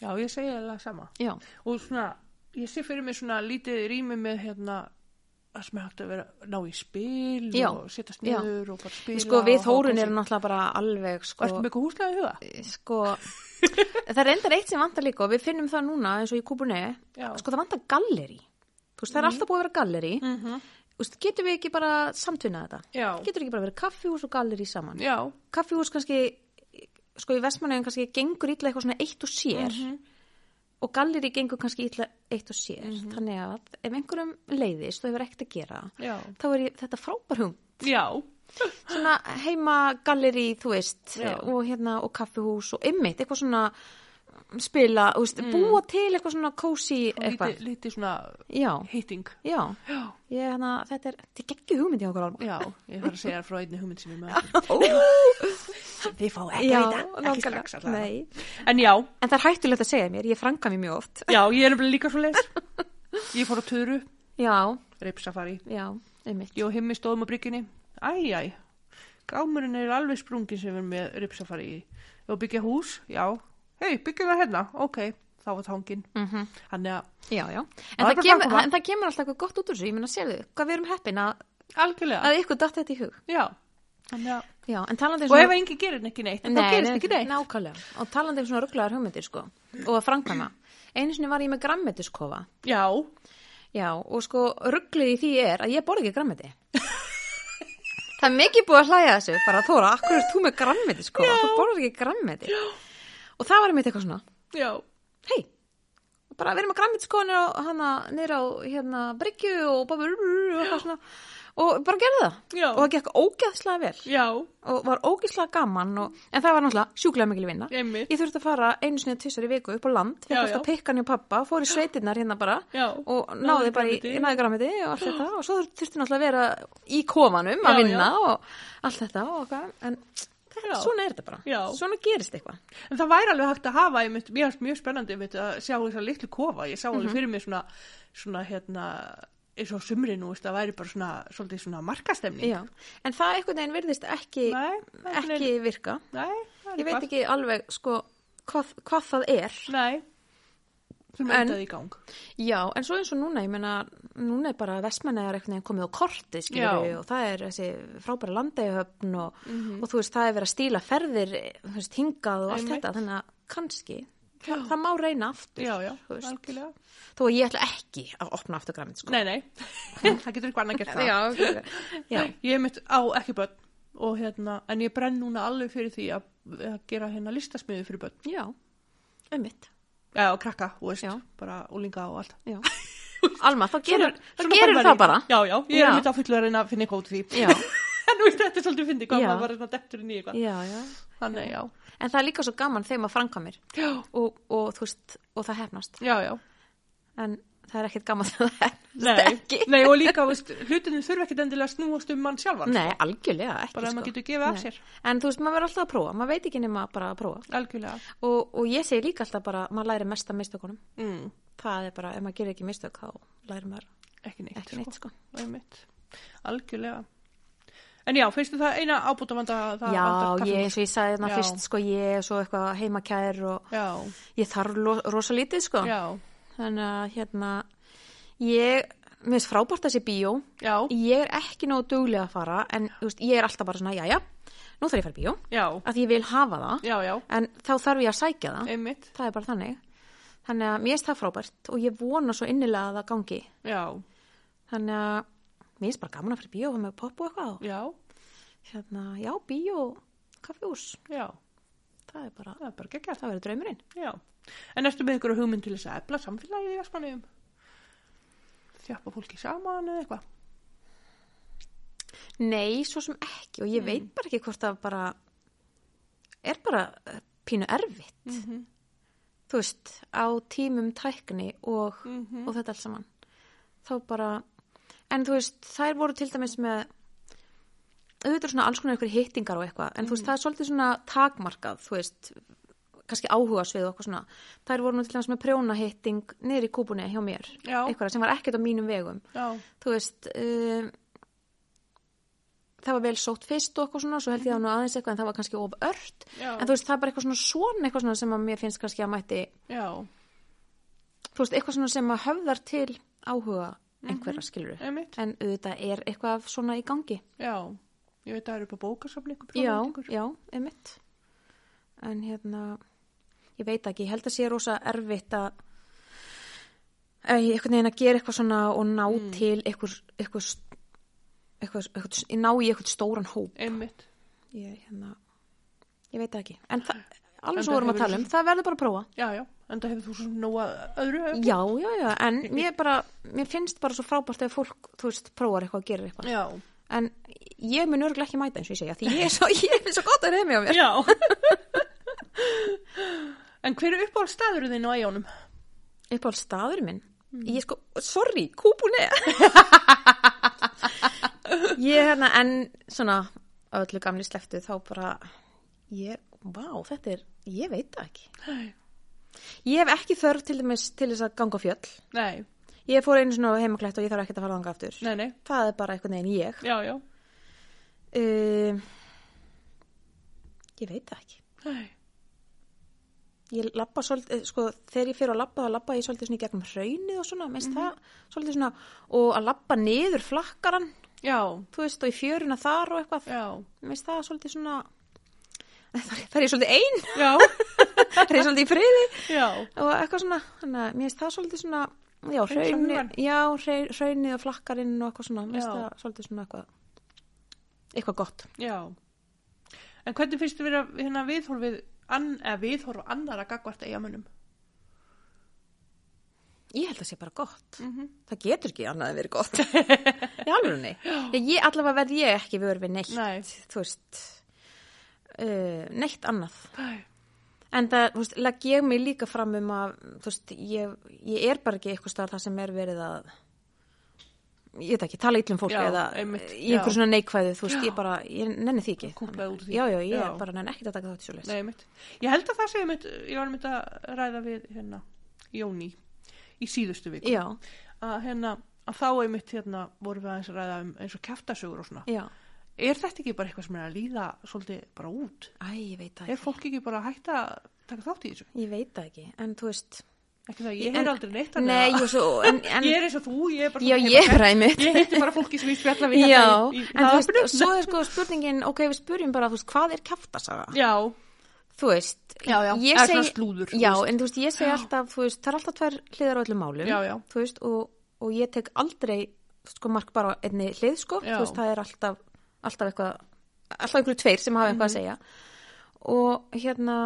Já, ég segi eða sama. Já, Og svona, ég sé fyrir mig svona lítið rými með hérna það sem er hægt að vera ná í spil Já. og setjast niður og bara spila. sko við og hafa Þórun kósí. erum náttúrulega bara alveg Og sko, ertu með eitthvað húslega í huga? sko það er endar eitt sem vantar líka og við finnum það núna eins og í kúbunni Já. sko það vantar galleri þú veist það er alltaf búið að vera galleri mm Mhm. veist, getum við ekki bara samtvinnað þetta Já. getur ekki bara verið kaffihús og galleri saman Já. kaffihús kannski sko í vestmannegin kannski gengur illa eitthvað svona eitt og sér Mhm. og galleri gengur kannski illa eitt og sér Mhm. þannig að ef einhverjum leiðist og hefur ekkert að gera Já. þá er ég, þetta frábær hugmynd Já. svona heima galleri þú veist Já. og hérna og kaffihús og ymmit eitthvað svona spila, þú veist, búa til eitthvað svona kósi eitthvað, Mhm. Lítið, lítið svona já, hitting. já Já. ég, hérna, þetta er, þetta er geggjum hugmynd í okkur alveg Já, ég þarf að segja þér frá einni hugmynd sem ég með. Þið fá ekki Já, að vita, nákvæmlega. ekki strax allavega. Nei. En já, en það er hættulegt að segja mér, ég franga mér mjög oft já, ég er nefnilega líka svo leis. Ég fór á töru, já, reipsafari. já, einmitt Ég og himmi stóðum á brygginni. Æj, æj, gámurinn er alveg sprungin sem við erum með reipsafari í. Ég var að byggja hús, já. Hei, byggjum það hérna, ok, þá var tangin. Mm -hmm. Þannig að, Já, já. Það er En það, bara kemur, framkoma. en það kemur alltaf eitthvað gott út úr þessu. Ég meina, sérðu, hvað við erum heppin að, algjörlega, að ykkur datt þetta í hug. já. Þannig að, Já, en talandi um og ef enginn gerir ekki neitt, þá Nei, gerist nei, ekki neitt. Nákvæmlega. Og talandi um svona rugglaðar hugmyndir, sko. Og að framkvæma. Einu sinni var ég með grammetiskofa. Já, Já, og sko, rugglið í því er að ég borði ekki grammeti. það er mikið búið að hlæja að þessu. Bara, Þóra, akkur er þú með grammetiskofa? Þú borðir ekki grammeti. Og það var einmitt eitthvað svona, já, hei, bara við erum að græmið sko nýra á, hana, nýra á hérna, bryggju og bara og, eitthvað svona. og bara gerði það Já. og það gekk ógeðslega vel já, og var ógeðslega gaman og, en það var náttúrulega sjúklega mikil vinna Einmitt. ég þurfti að fara einu sinni tvisar í viku upp á land Já, fekk alltaf já. pikkan hjá pappa, fór í sveitinnar hérna bara Já. og Náði náði bara í grænmeti. náði græmiti og allt þetta og svo þurfti náttúrulega að vera í komanum Já, að vinna og allt þetta og, hvað, en Já. þetta, svona er þetta bara Já. svona gerist eitthvað En það væri alveg hægt að hafa, ég mynd, mér finnst mjög spennandi mynd, að sjá þess að litlu kofa, ég sá alveg Mhm. fyrir mig svona, svona hérna, eins og á sumri nú, veist, það væri bara svona, svolítið svona markastemning. Já, en það einhvern veginn virðist ekki, Nei, einhvern ekki virka. Nei, það er Ég veit eitthvað. ekki alveg sko hvað, hvað það er. Nei, sem En- endaði í gang. Já, en svo eins og núna, ég meina, núna er bara vestmennegar einhvern veginn komið á korti, skilur Já. við, og það er þessi frábæra landeigahöfn og, og þú veist, það er verið að stíla ferðir, þú veist, hingað og allt Einmitt. þetta, þannig að kannski, það, það má reyna aftur, Já, já, þú veist. algjörlega. Þó að ég ætla ekki að opna aftur græmið, sko. Nei, nei, það getur eitthvað annað gert það. Já, ok. já, Ég mynd á ekki börn og hérna, en ég brenn núna alveg fyrir því að, að gera hérna listasmiði fyrir börn. já, ummitt, Já, og krakka, þú veist, Já. bara úlinga og allt. já. Alma, þá Svona- gerir, þá svona gerir þarf það að- bara. Já, já, ég er Já. mynd á fullu að reyna að finna eitthvað út úr því. Já. en þú veist, þetta er svolítið fyndið hvað Já. maður bara svona dettur inn í eitthvað Já, já. þannig, já, En það er líka svo gaman þegar maður framkvæmir Já. og, og þú veist, og það hefnast. já, já En það er ekkert gaman þegar það hefnast ekki. nei, nei, og líka, veist, hlutinu þurfa ekkit endilega að snúast um mann sjálfan Nei, algjörlega ekki. Bara ef Mm, sko. maður getur gefið af Nei. sér. En þú veist, maður verður alltaf að prófa. Maður veit ekki nema bara að prófa. algjörlega Og, og ég segi líka alltaf bara, maður læri mest af mistökunum. mm. Það er bara, ef maður gerir ekki mistök, þá læri maður ekki neitt, ekki neitt, sko. Einmitt. algjörlega en já, finnstu það eina ábútavanda það Já, vandar ég, kaffihús? eins og ég sagði þarna Já. fyrst, sko, ég er svo eitthvað heimakær og já, ég þarf lo- rosa lítið, sko. já, Þannig að, hérna, ég, mér finnst frábært þessi bíó. já, ég er ekki nógu duglega að fara en þú veist, ég er alltaf bara svona, jæja nú þarf ég að fara í bíó, já, að ég vil hafa það já, já en þá þarf ég að sækja það einmitt, það er bara þannig þannig að mér er það frábært og ég vona svo innilega að það gangi já, þannig að mér er bara gaman að fara í bíó og með popp og eitthvað og já, hérna, já, bíó, kaffjús já það er bara, það er bara geggjart, það verður draumurinn já en erstu með ykkur hugmynd til þess að efla samfélagið í Vestmanniðum þjappa fólki saman eða eitthvað nei, svo sem ekki og ég Mm. veit bara ekki hvort það bara er bara eh, pínu erfitt Mhm. þú veist, á tímum tækni og, Mhm. og þetta alls saman þá bara en þú veist, þær voru til dæmis með auðvitað svona alls konar eitthvað hittingar og eitthvað, en þú Mhm. veist, það er svolítið svona takmarkað, þú veist kannski áhuga svið og eitthvað svona þær voru nú til dæmis með prjónahitting niður í kúbunni hjá mér, Já. eitthvað sem var ekkert á mínum vegum já, þú veist um, eh, það var vel sótt fyrst og eitthvað svona, svo held ég það nú aðeins eitthvað en það var kannski of ört, Já. en þú veist, það er bara eitthvað svona svona, eitthvað svona sem að mér finnst kannski að mætti, Já, þú veist, eitthvað svona sem að höfðar til áhuga einhverja mm skilur einmitt, en auðvitað er eitthvað svona í gangi já. Ég veit að það eru upp á bókasafni einhver já, framleitingur. já, einmitt en hérna ég veit ekki, ég held að sé rosa erfitt að að ég einhvern veginn að gera eitthvað svona og ná til eitthvað, eitthvað, eitthvað, eitthvað ná í eitthvað stóran hóp Einmitt. ég, hérna, ég veit það ekki en það, En alveg það svo vorum að hefur tala um, það verður bara að prófa Já, já. En það hefur þú svo nóga öðru. hefur- já, já, já, en mér bara mér finnst bara svo frábært ef fólk, þú veist, prófar eitthvað að gera eitthvað Já. en ég mun örgulega ekki mæta eins og ég segja því ég er svo, ég er svo gott að reymi á mér Já. en hver er uppáhald staður þinn á æjónum? uppáhald staður minn ég sko, sorry, kúbune ég hérna en svona á öllu gamli sleftu þá bara ég, vá, þetta er, ég veit það ekki Nei. ég hef ekki þörf til dæmis til þess að ganga á fjöll Nei, ég fór einu svona heimaklætt og ég þarf ekkert að fara þangað aftur nei, nei. það er bara einhvern veginn ég Já, já. um, ég veit það ekki Nei. ég lappa svolítið, eh, sko, þegar ég fyrir að lappa þá lappa ég svolítið svona í gegnum hraunið og svona, minnst það, svolítið svona og að lappa niður flakkaran Já, þú veist, og í fjöruna þar og eitthvað já. minnst það svolítið svona þar, þar er ég svolítið ein, Já, þar er ég svolítið í friði já. og eitthvað svona, þannig að minnst það svolítið svona já, hraunið, hugan. já, hraun- hraunið og flakkarinn og eitthvað svona, minnst Já. það svolítið svona eitthvað eitthvað gott Já. En hvernig finnst þið vera hérna viðhorfið, an, eða viðhorf annara gagvart eigamönnum? ég held að sé bara gott Mm -hmm. það getur ekki annað en verið gott í alvörunni ég, ég allavega verð ég ekki vör við neitt Nei. þú veist uh, neitt annað Nei. en það, þú veist, legg ég mig líka fram um að þú veist, ég, ég er bara ekki eitthvað starf það sem er verið að ég veit ekki, tala illum fólk Já, eða einmitt, í einhver já. svona neikvæðu þú veist, ég bara, ég nenni því ekki Kúplað út úr því. já, já, ég Já. er bara nenni ekki að taka þátt í svo Nei, mitt. Ég held að það sé mitt, ég var mitt að ræða við hérna Jóni í síðustu viku. já, Að hérna, að þá einmitt hérna vorum við aðeins að ræða um eins og kæftasögur og svona. já, Er þetta ekki bara eitthvað sem er að líða svolítið bara út? æ, ég veit það Er ekki fólk ekki bara að hætta að taka þátt í þessu? ég veit það ekki, en þú veist Ekki það, ég heyr En- aldrei neitt þannig nei, að- jú, svo, en, en Ég er eins og þú, ég er bara já, svona ég er heimakær. ræmið Ég heiti bara fólki sem ég spjalla við Já, hérna í, í en þú hlaðvarpinu. veist, svo er sko spurningin, ok, við spurjum bara, þú veist, hvað er kæftasaga? Já, Þú veist, Já, já, ég eða segi... svona slúður, þú Já, veist. en þú veist, ég segi alltaf, þú veist, það er alltaf tvær hliðar á öllum málum. Já, já. Þú veist, og, og ég tek aldrei, sko, mark bara á einni hlið, sko. Já. Þú veist, það er alltaf, alltaf eitthvað, alltaf einhverju tveir sem hafa eitthvað Mhm. að segja. Og hérna,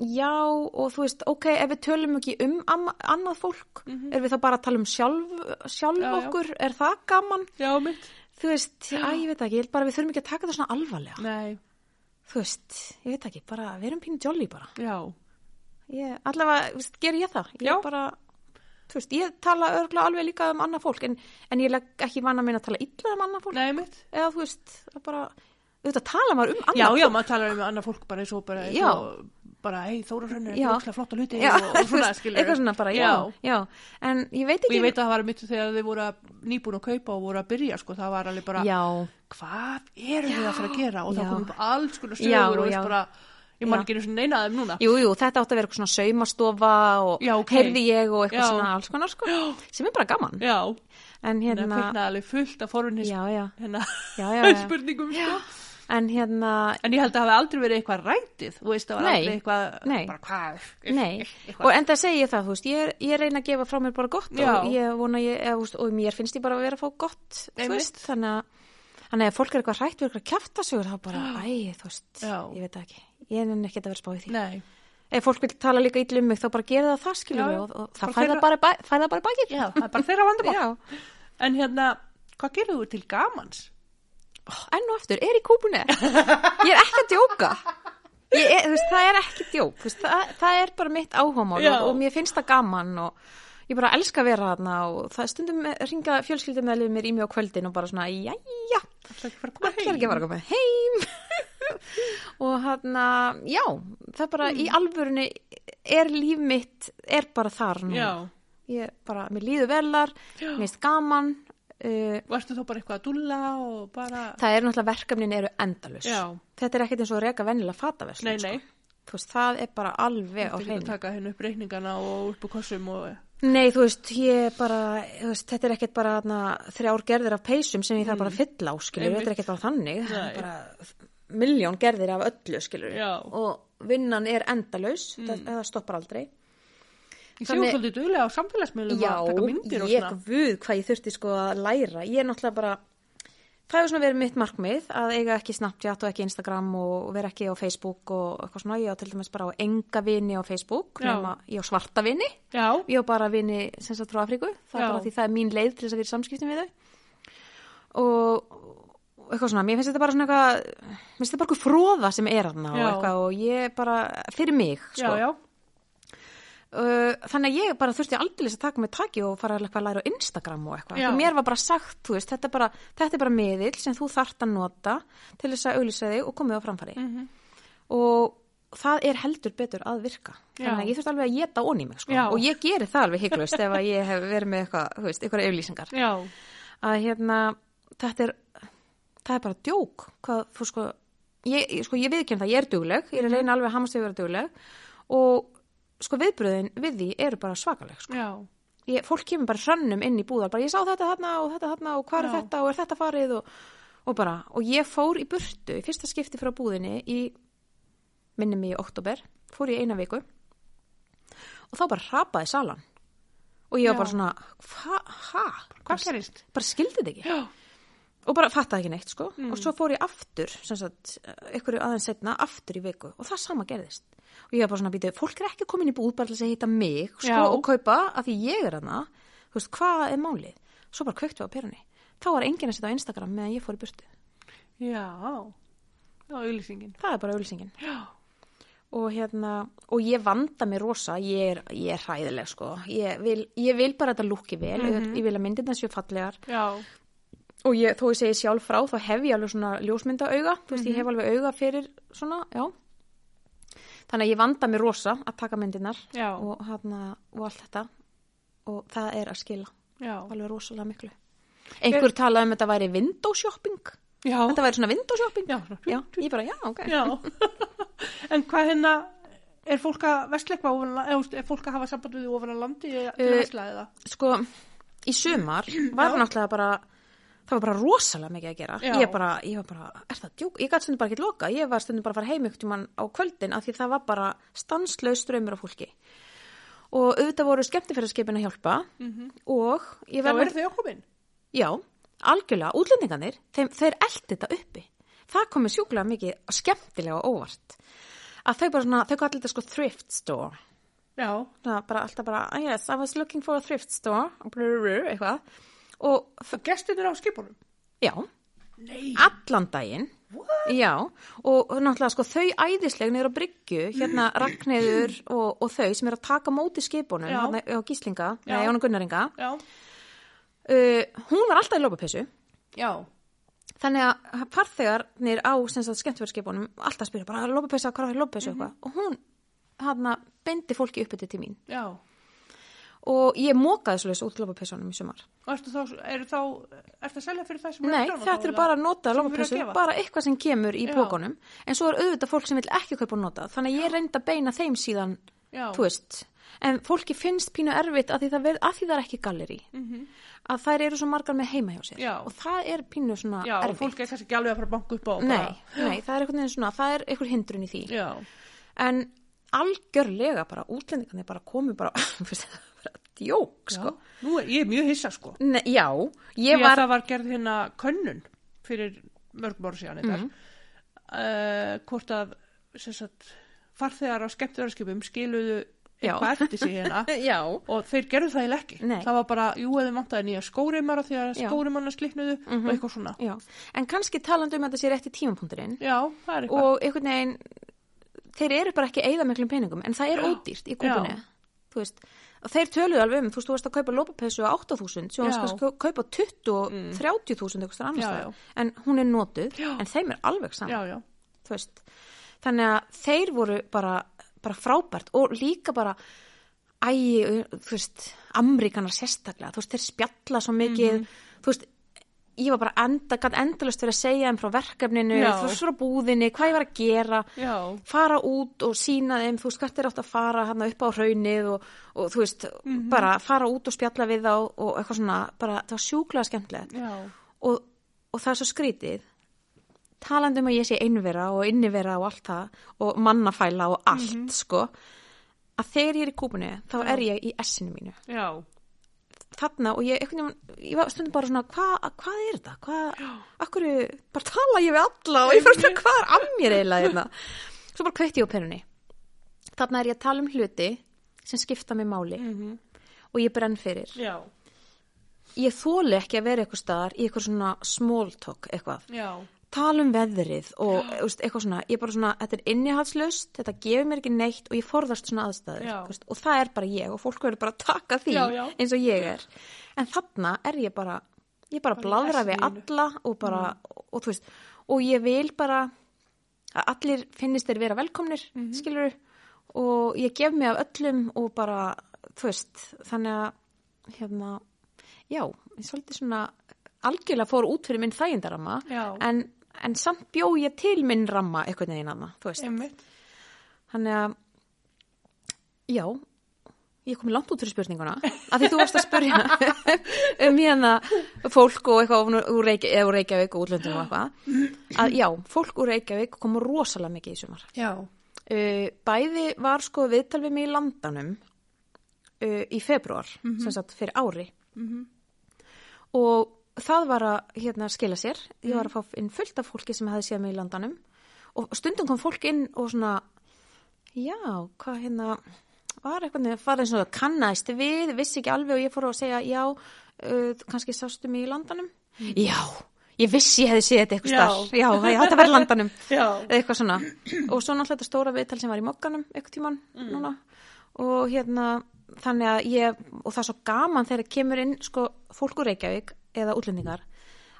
já, og þú veist, ok, ef við tölum ekki um amma- annað fólk, mm -hmm. er við þá bara að tala um sjálf, sjálf Mhm. Já, já. okkur, er það gaman? já, mitt. þú veist, að ég veit ekki, ég held bara að við þurfum ekki að taka það svona alvarlega. Nei, Þú veist, ég veit ekki, bara við erum pínu jolly bara. já, Ég, allavega, þú veist, ger ég það. Ég Já. bara, þú veist, ég tala örgla alveg líka um annað fólk, en, en ég legg ekki vana minn að tala illa um annað fólk. nei, mitt. Eða þú veist, það bara, auðvitað tala maður um annað Já, fólk. já, maður talar um annað fólk bara eins og bara, eins Já. og, bara hei, Þóra Hrönn er ekki Já. ókslega flott að hluti Já, og, og þú svona, veist, skilur. eitthvað svona bara, já, já, en ég Og veit ekki um- ég veit að það var mitt þegar þið voru að- nýbúin að kaupa og voru að byrja, sko, það var alveg bara, Já, hvað erum við að fara að gera? Og það Já. kom upp alls konar Já, sögur og já. veist bara, ég man Já. ekki einu svona neina af þeim núna. jú, jú, þetta átti að vera eitthvað svona saumastofa og Já, ok. heyrði ég og eitthvað Já. svona alls konar sko, sem er bara gaman Já, en en það hérna, kveiknaði alveg fullt af forunni, já, já hérna, já, já, já. spurningum, sko. en hérna En ég held að það hafi aldrei verið eitthvað rætið, þú veist, það var Nei, aldrei eitthvað, nei. bara hvað, nei, eitthvað. og enda segi ég það þú veist, ég, ég reyna að gefa frá mér bara gott Já. og ég vona, ég, eða, þú veist, og mér finnst ég bara að vera að fá gott þú Einmitt. veist, þannig að þannig að ef fólk er eitthvað hrætt við eitthvað kjaftasögur þá bara, æ, þú veist, Já. ég veit það ekki ég nenni ekki að vera spáðið því Nei, ef fólk vil tala líka illa um mig þá bara gera það það skilur Já, já. við og, og Bara það fær það þeirra- bara, bæ- fær það bara bækir já, það er bara þeirra vandamál. já, En hérna, hvað gerir þú til gamans? enn og aftur, er í kúpunni ég er ekki að djóka ég er, þú veist, það er ekki djók þú veist, það, það er bara mitt áhómál Já. og, og mér finnst það gaman og ég bara elska að vera þarna og það stundum ringa fjölskyldum meðlum mér í mig á kvöldin og bara svona, jæja Það er ekki fara að koma allir heim. ekki að fara að koma heim og hann að, já það bara Mm. í alvörunni er líf mitt, er bara þar nú Já, ég bara, mér líður velar, mér finnst gaman uh, Varstu þá bara eitthvað að dúlla og bara... það eru náttúrulega verkefnin eru endalus Já. þetta er ekkert eins og að reka vennilega fataverslun Nei, nei. Sko. Þú veist, það er bara alveg á Þú getur að hreinu taka henni upp reikningana og upp úr kossum og... Nei, þú veist, ég bara, þú veist, þetta er ekkert bara na, þrjár gerðir af peysum sem ég þarf bara að fylla á, skilur, Mm. Einmitt. þetta er ekkert bara þannig, það Nei. er bara miljón gerðir af öllu, skilur, Já. Mm. og vinnan er endalaus, það, það stoppar aldrei. Ég séu Þannig- svolítið duglega á samfélagsmiðlum að taka myndir og ég svona. guð hvað ég þurfti sko að læra, ég er náttúrulega bara, það hefur svona verið mitt markmið að eiga ekki Snapchat og ekki Instagram og, og vera ekki á Facebook og eitthvað svona, ég á til dæmis bara á enga vini á Facebook, Já. nema ég á svarta vini. Já, Ég á bara vini sem sagt frá Afríku, Já. það er bara því það er mín leið til þess að vera í samskiptum við þau. Og og eitthvað svona, mér finnst þetta bara svona eitthvað, mér finnst þetta bara eitthvað fróða sem er þarna og Já. eitthvað og ég bara, fyrir mig, sko. já, já. Uh, þannig að ég bara þurfti aldrei að taka mig taki og fara eitthvað að læra á Instagram og eitthvað. Já. Og Mér var bara sagt, þú veist, þetta er bara, þetta er bara miðil sem þú þart að nota til þess að auðlýsa þig og komið á framfæri. Mhm. Og það er heldur betur að virka. Þannig Já. að ég þurfti alveg að geta onni mig, sko. Já. Og ég geri það alveg hygglust ef að ég hef verið með eitthvað, þú veist, eitthvað auðlýsingar. Já, Að hérna, þetta er, það er bara djók. Hvað, þú sko, ég, ég- sko, ég viðkjum það, ég er dugleg, ég er Mhm. að reyna alveg að hamast við að vera dugleg. Og sko, viðbröðin við því eru bara svakaleg, sko já, ég, fólk kemur bara hrönnum inn í búðar bara ég sá þetta þarna og þetta þarna og hvað er Já. þetta og er þetta farið og, og bara og ég fór í burtu í fyrsta skipti frá búðinni í minnum í oktober, fór ég eina viku og þá bara hrapaði salan og ég var Já. bara svona hva, ha, hvað gerist? bara skildi þetta ekki Já, og bara fattaði ekki neitt sko Mm. og svo fór ég aftur sem sagt, ykkur aðeins setna, aftur í viku og það sama gerðist og ég var bara svona býtið, fólk er ekki komin í búð bara til þess að hitta mig sko, Já. og kaupa að því ég er hana þú veist, hvað er málið? Svo bara kveiktu á perunni þá var enginn að setja á Instagram meðan ég fór í burtu já, já, auðlýsingin. það er bara auðlýsingin Já, og hérna, og ég vanda mér rosa ég er, ég er hræðileg sko ég vil, ég vil bara að þetta lúki vel Mhm. ég, ég vil að myndirna séu fallegar já, og ég, þó ég segi sjálf frá þá hef ég alveg svona ljósmynda auga þú veist, Mhm. ég hef alveg auga fyrir svona, já þannig að ég vanda mér rosa að taka myndinar Já. og, hana, og allt þetta og það er að skila já, alveg rosalega miklu einhver talaði um að þetta væri window shopping já, þetta væri svona window shopping já, svona. ég bara, já, ok já. En hvað hérna, er fólk að vesla eitthvað ofan, eða, þú veist, er fólk að hafa samband við þig ofan að landi eða til að Uh, vesla eða? sko, í sumar var náttúrulega bara það var bara rosalega mikið að gera Já. ég, bara, ég var bara, er það djúk? Ég gæti stundum bara ekki loka, ég var stundum bara að fara heim ykkur mann á kvöldin af því það var bara stanslaus strömmur af fólki og auðvitað voru skemmtifæraskipin að hjálpa og ég Já, verð Mhm. eru þau að komin? Já, algjörlega, útlendingarnir, þeim, þeir eldi þetta uppi. Það komið sjúklega mikið og skemmtilega og óvart. Að þau bara svona, þau kallir þetta sko thrift store. Já, Svona bara alltaf bara, "Ah, yes, I was looking for a thrift store, brr, eitthvað. Og þ- og gestinir á skipunum? já, Nei, allan daginn. what? Já, og náttúrulega sko þau æðislegni eru á bryggju, hérna Ragnheður og, og þau sem eru að taka á móti skipunum, Já. hérna á Gíslinga, Já. nei, Jónu Gunnaringa. Já, Uh, hún var alltaf í lópapessu. já, Þannig að farþegarnir á sem sagt, skemmtverðskipunum alltaf spyrja bara "Ah, lópapessa, hvað er lópapessa Mhm. mm og hún hana, beindi fólki uppið til mín já. og ég mókaði svolítið út lópapessunum í sumar. Varstu þá, eru þá, ertu að selja fyrir það sem Nei, prjóna þá, þetta er eða? bara að Sem nota þú fyrir að lópapessu, gefa? bara eitthvað sem kemur í Já. pókunum en svo er auðvitað fólk sem vil ekki kaupa og nota þannig að ég reyndi að beina þeim síðan, Já. þú veist, en fólki finnst pínu erfitt að því það, verð, að því það er ekki galleri að þær eru svo margar með heima hjá sér Mhm. Já. og það er pínu svona Já, og erfitt. fólk er kannski ekki alveg að fara að banka upp á bara- Nei, nei, það er einhvern veginn svona, það er einhver hindrun í því. Já, en algjörlega bara útlendingarnir bara komu bara, þú veist, það var bara djók sko. nú er ég er mjög hissa sko. Nei, já, Ég ég var það var gerð hérna könnun fyrir mörgum ára síðan Mhm. þetta. Uh, hvort að sem sagt, farþegar á skemmtverðarskipum skiluðu Já. eitthvað eftir sig hérna já, og þeir gerðu það í ekki. Nei. Það var bara, jú, eða vantaði nýja skóreimara því að Já. Mhm. skóreimarna slitnuðu og eitthvað svona. já en kannski talandi um að þetta sé rétt í tímapunkturinn Já, það er eitthvað. og einhvern veginn þeir eru bara ekki eða miklum peningum en það er ódýrt í kúpunni Já. þú veist, og þeir töluðu alveg um þú veist, þú varst að kaupa lópapessu á 8.000 svo Já. Mm. varst að kaupa 20 og 30.000 eitthvað staðar annars Já, staðar. en hún er notuð, en þeim er alveg saman já, já, þú veist þannig að þeir voru bara, bara frábært og líka bara Mhm. æ, þú veist, Amerikanar sérstaklega þú veist, þeir spjalla svo mikið þú veist, ég var bara enda, gæt endalust verið að segja þeim frá verkefninu, Já. þú veist, frá búðinni, hvað ég var að gera, Já, fara út og sína þeim, þú veist, hvert er átt að fara hann upp á raunnið og, og þú veist, Mhm. bara fara út og spjalla við þá og eitthvað svona, bara, það var sjúklega skemmtilegt já, og, og það er svo skrítið talandi um að ég sé einvera og innivera og allt það og mannafæla og allt sko að þegar ég er í kúpunni þá er ég í essinu mínu já, þarna og ég, einhvern veginn, ég var stundum bara svona hva, hvað er þetta, hvað akkur, bara tala ég við alla og ég fyrir svona hvað er að mér eiginlega hérna? svo bara kveikti ég á penunni þarna er ég að tala um hluti sem skipta mig máli og ég brenn fyrir já, ég þóli ekki að vera eitthvað staðar í eitthvað svona small talk eitthvað já, tala um veðrið og veist, eitthvað svona, ég bara svona, þetta er innihaldslust þetta gefur mér ekki neitt og ég forðast svona aðstæður, Já. þú veist, og það er bara ég og fólk verður bara að taka því Já, já. eins og ég er, en þarna er ég bara ég Bara í bara Mm. bladra við essinu þínu. alla og bara, og, og þú veist og ég vil bara að allir finnist þeir vera velkomnir mm Mhm. skilur, og ég gef mig af öllum og bara, þú veist þannig að, hérna já, ég svolítið svona algjörlega fór út fyrir minn þægindarama Já. en, en samt bjó ég til minn ramma einhvern veginn annað, þú veist. einmitt, Þannig að, já, ég kom langt út fyrir spurninguna, af því þú varst að spurja um hérna fólk og eitthvað úr- úr Reykja- eða úr Reykjavík og útlöndum og eitthvað, að já, fólk úr Reykjavík kom rosalega mikið í sumar. já, Uh, bæði var sko viðtal við mig í landanum uh, í februar, Mhm. sem sagt fyrir ári -hmm. og það var að hérna, skila sér ég var að Mhm. fá inn fullt af fólki sem hefði séð mig í landanum og stundum kom fólk inn og svona já, hvað hérna var eitthvað nefn, farið svona kannaðist við vissi ekki alveg og ég fór að segja já, uh, kannski sástu mig í landanum já, ég vissi ég hefði séð þetta eitthvað Mhm. Já. starf, já, það- já, þetta var í landanum já, eða eitthvað svona og svo náttúrulega þetta stóra viðtal sem var í mokkanum eitthvað tíman Mhm. núna og hérna þannig að ég og það er svo gaman þegar kemur inn sko fólk úr Reykjavík eða útlendingar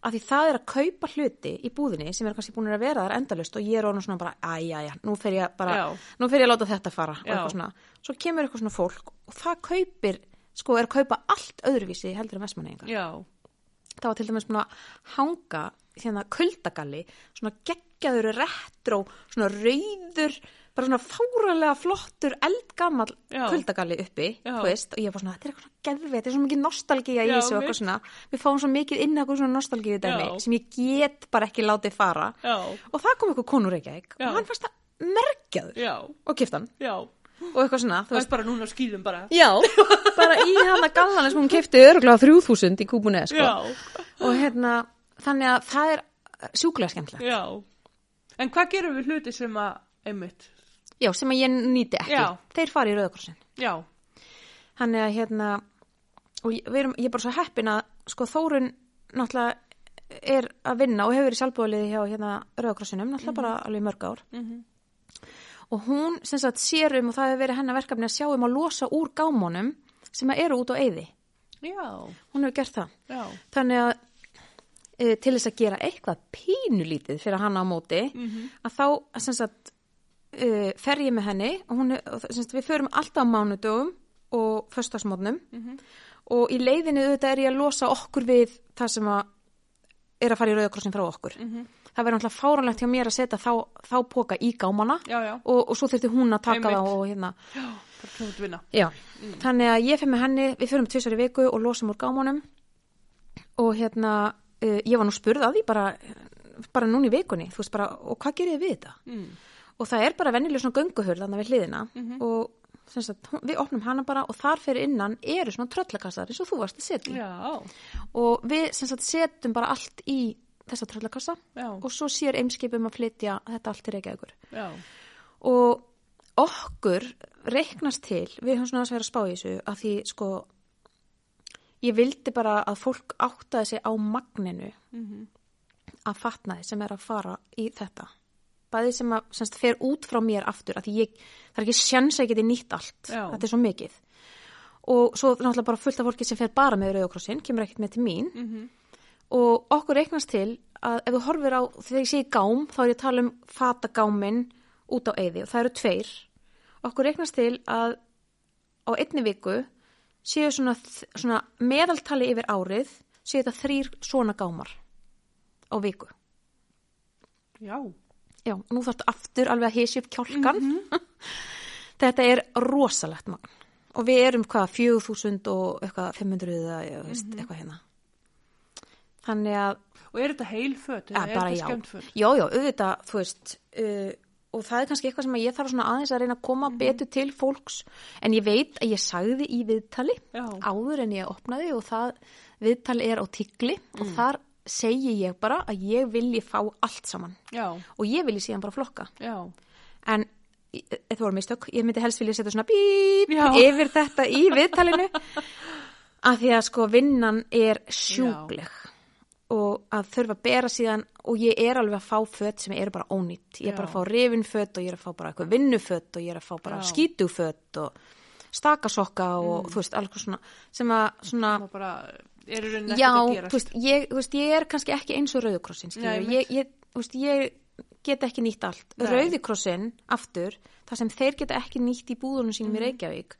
af því það er að kaupa hluti í búðinni sem er kannski búin að vera þar endalust og ég er orðin svona bara, æjæja, nú fer ég bara Já. nú fer ég að láta þetta fara og Já. eitthvað svona, svo kemur eitthvað svona fólk og það kaupir, sko er að kaupa allt öðruvísi heldur en vestmanninga já, það var til dæmis svona hanga hérna kuldagalli, svona geggjaður retró, svona rauður bara svona fáralega flottur eldgamall Já. kuldagalli uppi Já. þú veist, og ég var svona, þetta er eitthvað svona geðvið þetta er svo mikið nostalgía í Já, þessu og mitt. eitthvað svona við fáum svo mikið inn eitthvað svona nostalgíu dæmi Já. sem ég get bara ekki látið fara já, og það kom eitthvað konur ekki Já. og hann fannst það merkjaður já, og kiftan já, og eitthvað svona, þú það veist er bara núna á skýðum bara, Já, bara í hana gallana sem hún kefti öruglega 3000 í kúbunni sko. Já. og hérna, þannig að það er eh, sjúklega skemmtilegt, já, en hvað gerum við hluti sem að, einmitt, já, sem að ég nýti ekki Já. þeir fara í rauðakorsin já, þannig að hérna og ég, við erum, ég er bara svo heppin að sko Þórun náttúrulega er að vinna og hefur verið sjálfbúðaliði hjá hérna rauðakorsinum, náttúrulega bara alveg í mörg ár og hún sem sagt sér um og það hefur verið hennar verkefni að sjá um að losa úr gámónum sem að eru út á eyði, já, hún hefur gert það já, þannig að e, til þess að gera eitthvað pínulítið fyrir hana á móti Mhm. að þá sem sagt, e, fer ég með henni og hún, er- og það- sem sagt, við förum alltaf á mánudögum og föstasmótnum Mhm. og í leiðinni auðvitað er ég að losa okkur við það sem að er að fara í rauðakrossin frá okkur Mhm. það verður náttúrulega fáranlegt hjá mér að setja þá, þá póka í gámana já, já, og, og svo þurfti hún að taka Einmitt. þá og hérna já, bara klúmt vinna, Já, þannig að ég fyrir með henni, við fyrir með tvisar í viku og losum úr gámanum og hérna, uh, ég var nú spurð að því bara, bara núna í vikunni, þú veist bara, og hvað gerir þið við þetta? mm. Og það er bara venjuleg svona gönguhurð þannig við hliðina og sem sagt, hún- við opnum hana bara og þar fyrir innan eru svona tröllakassar eins og þú varst að setja. í. já, Og við sem sagt setjum bara allt í þessa tröllakassa já, og svo sér eimskipum að flytja þetta allt til Reykjavíkur já, og okkur reiknast til, við höfum svona aðeins verið að spá í þessu að því sko ég vildi bara að fólk áttaði sig á magninu að fatnaði sem er að fara í þetta bæði sem að semst, fer út frá mér aftur að því ég, það er ekki sjans að ég geti nýtt allt Já. þetta er svo mikið og svo náttúrulega bara fullt af fólki sem fer bara með rauðokrossin, kemur ekkert með til mín Mhm. og okkur reiknast til að ef þú horfir á, þegar ég segi gám þá er ég að tala um fatagámin út á eyði og það eru tveir okkur reiknast til að á einni viku séu svona, svona meðaltali yfir árið séu þetta þrýr svona gámar á viku. Já. Já, og nú þarfst aftur alveg að hysja upp kjálkan. Þetta er rosalegt magn. Og við erum hvað, 4000 og eitthvað 500 eða ég veist, eitthvað hérna. Þannig að, Og er þetta heil föt? eða að er bara þetta já. skemmd föt? Já, já, auðvitað, þú veist, uh, og það er kannski eitthvað sem að ég þarf svona aðeins að reyna að koma Mhm. betur til fólks. En ég veit að ég sagði í viðtali Já. áður en ég opnaði og það viðtali er á tigli Mm. og þar segi ég bara að ég vilji fá allt saman. Já, Og ég vilji síðan bara flokka. já. en e- þetta voru mistök, ég myndi helst vilja setja svona bíp Já. yfir þetta í viðtalinu að því að sko vinnan er sjúkleg og að þurfa að bera síðan og ég er alveg að fá fött sem eru bara ónýtt ég er bara að Já. fá rifinfött og ég er að fá bara eitthvað vinnufött og ég er að fá bara Já. Mm. skítufött og stakasokka og þú veist, alveg svona sem að svona Það bara, eru raunin Já, ekkert að gera. þú veist, ég, þú veist, ég er kannski ekki eins og rauðukrossin, Nei, einmitt. skilur, ég, ég, þú veist, ég get ekki nýtt allt. Nei. Rauðukrossin, aftur, það sem þeir geta ekki nýtt í búðunum sínum Mhm. í Reykjavík,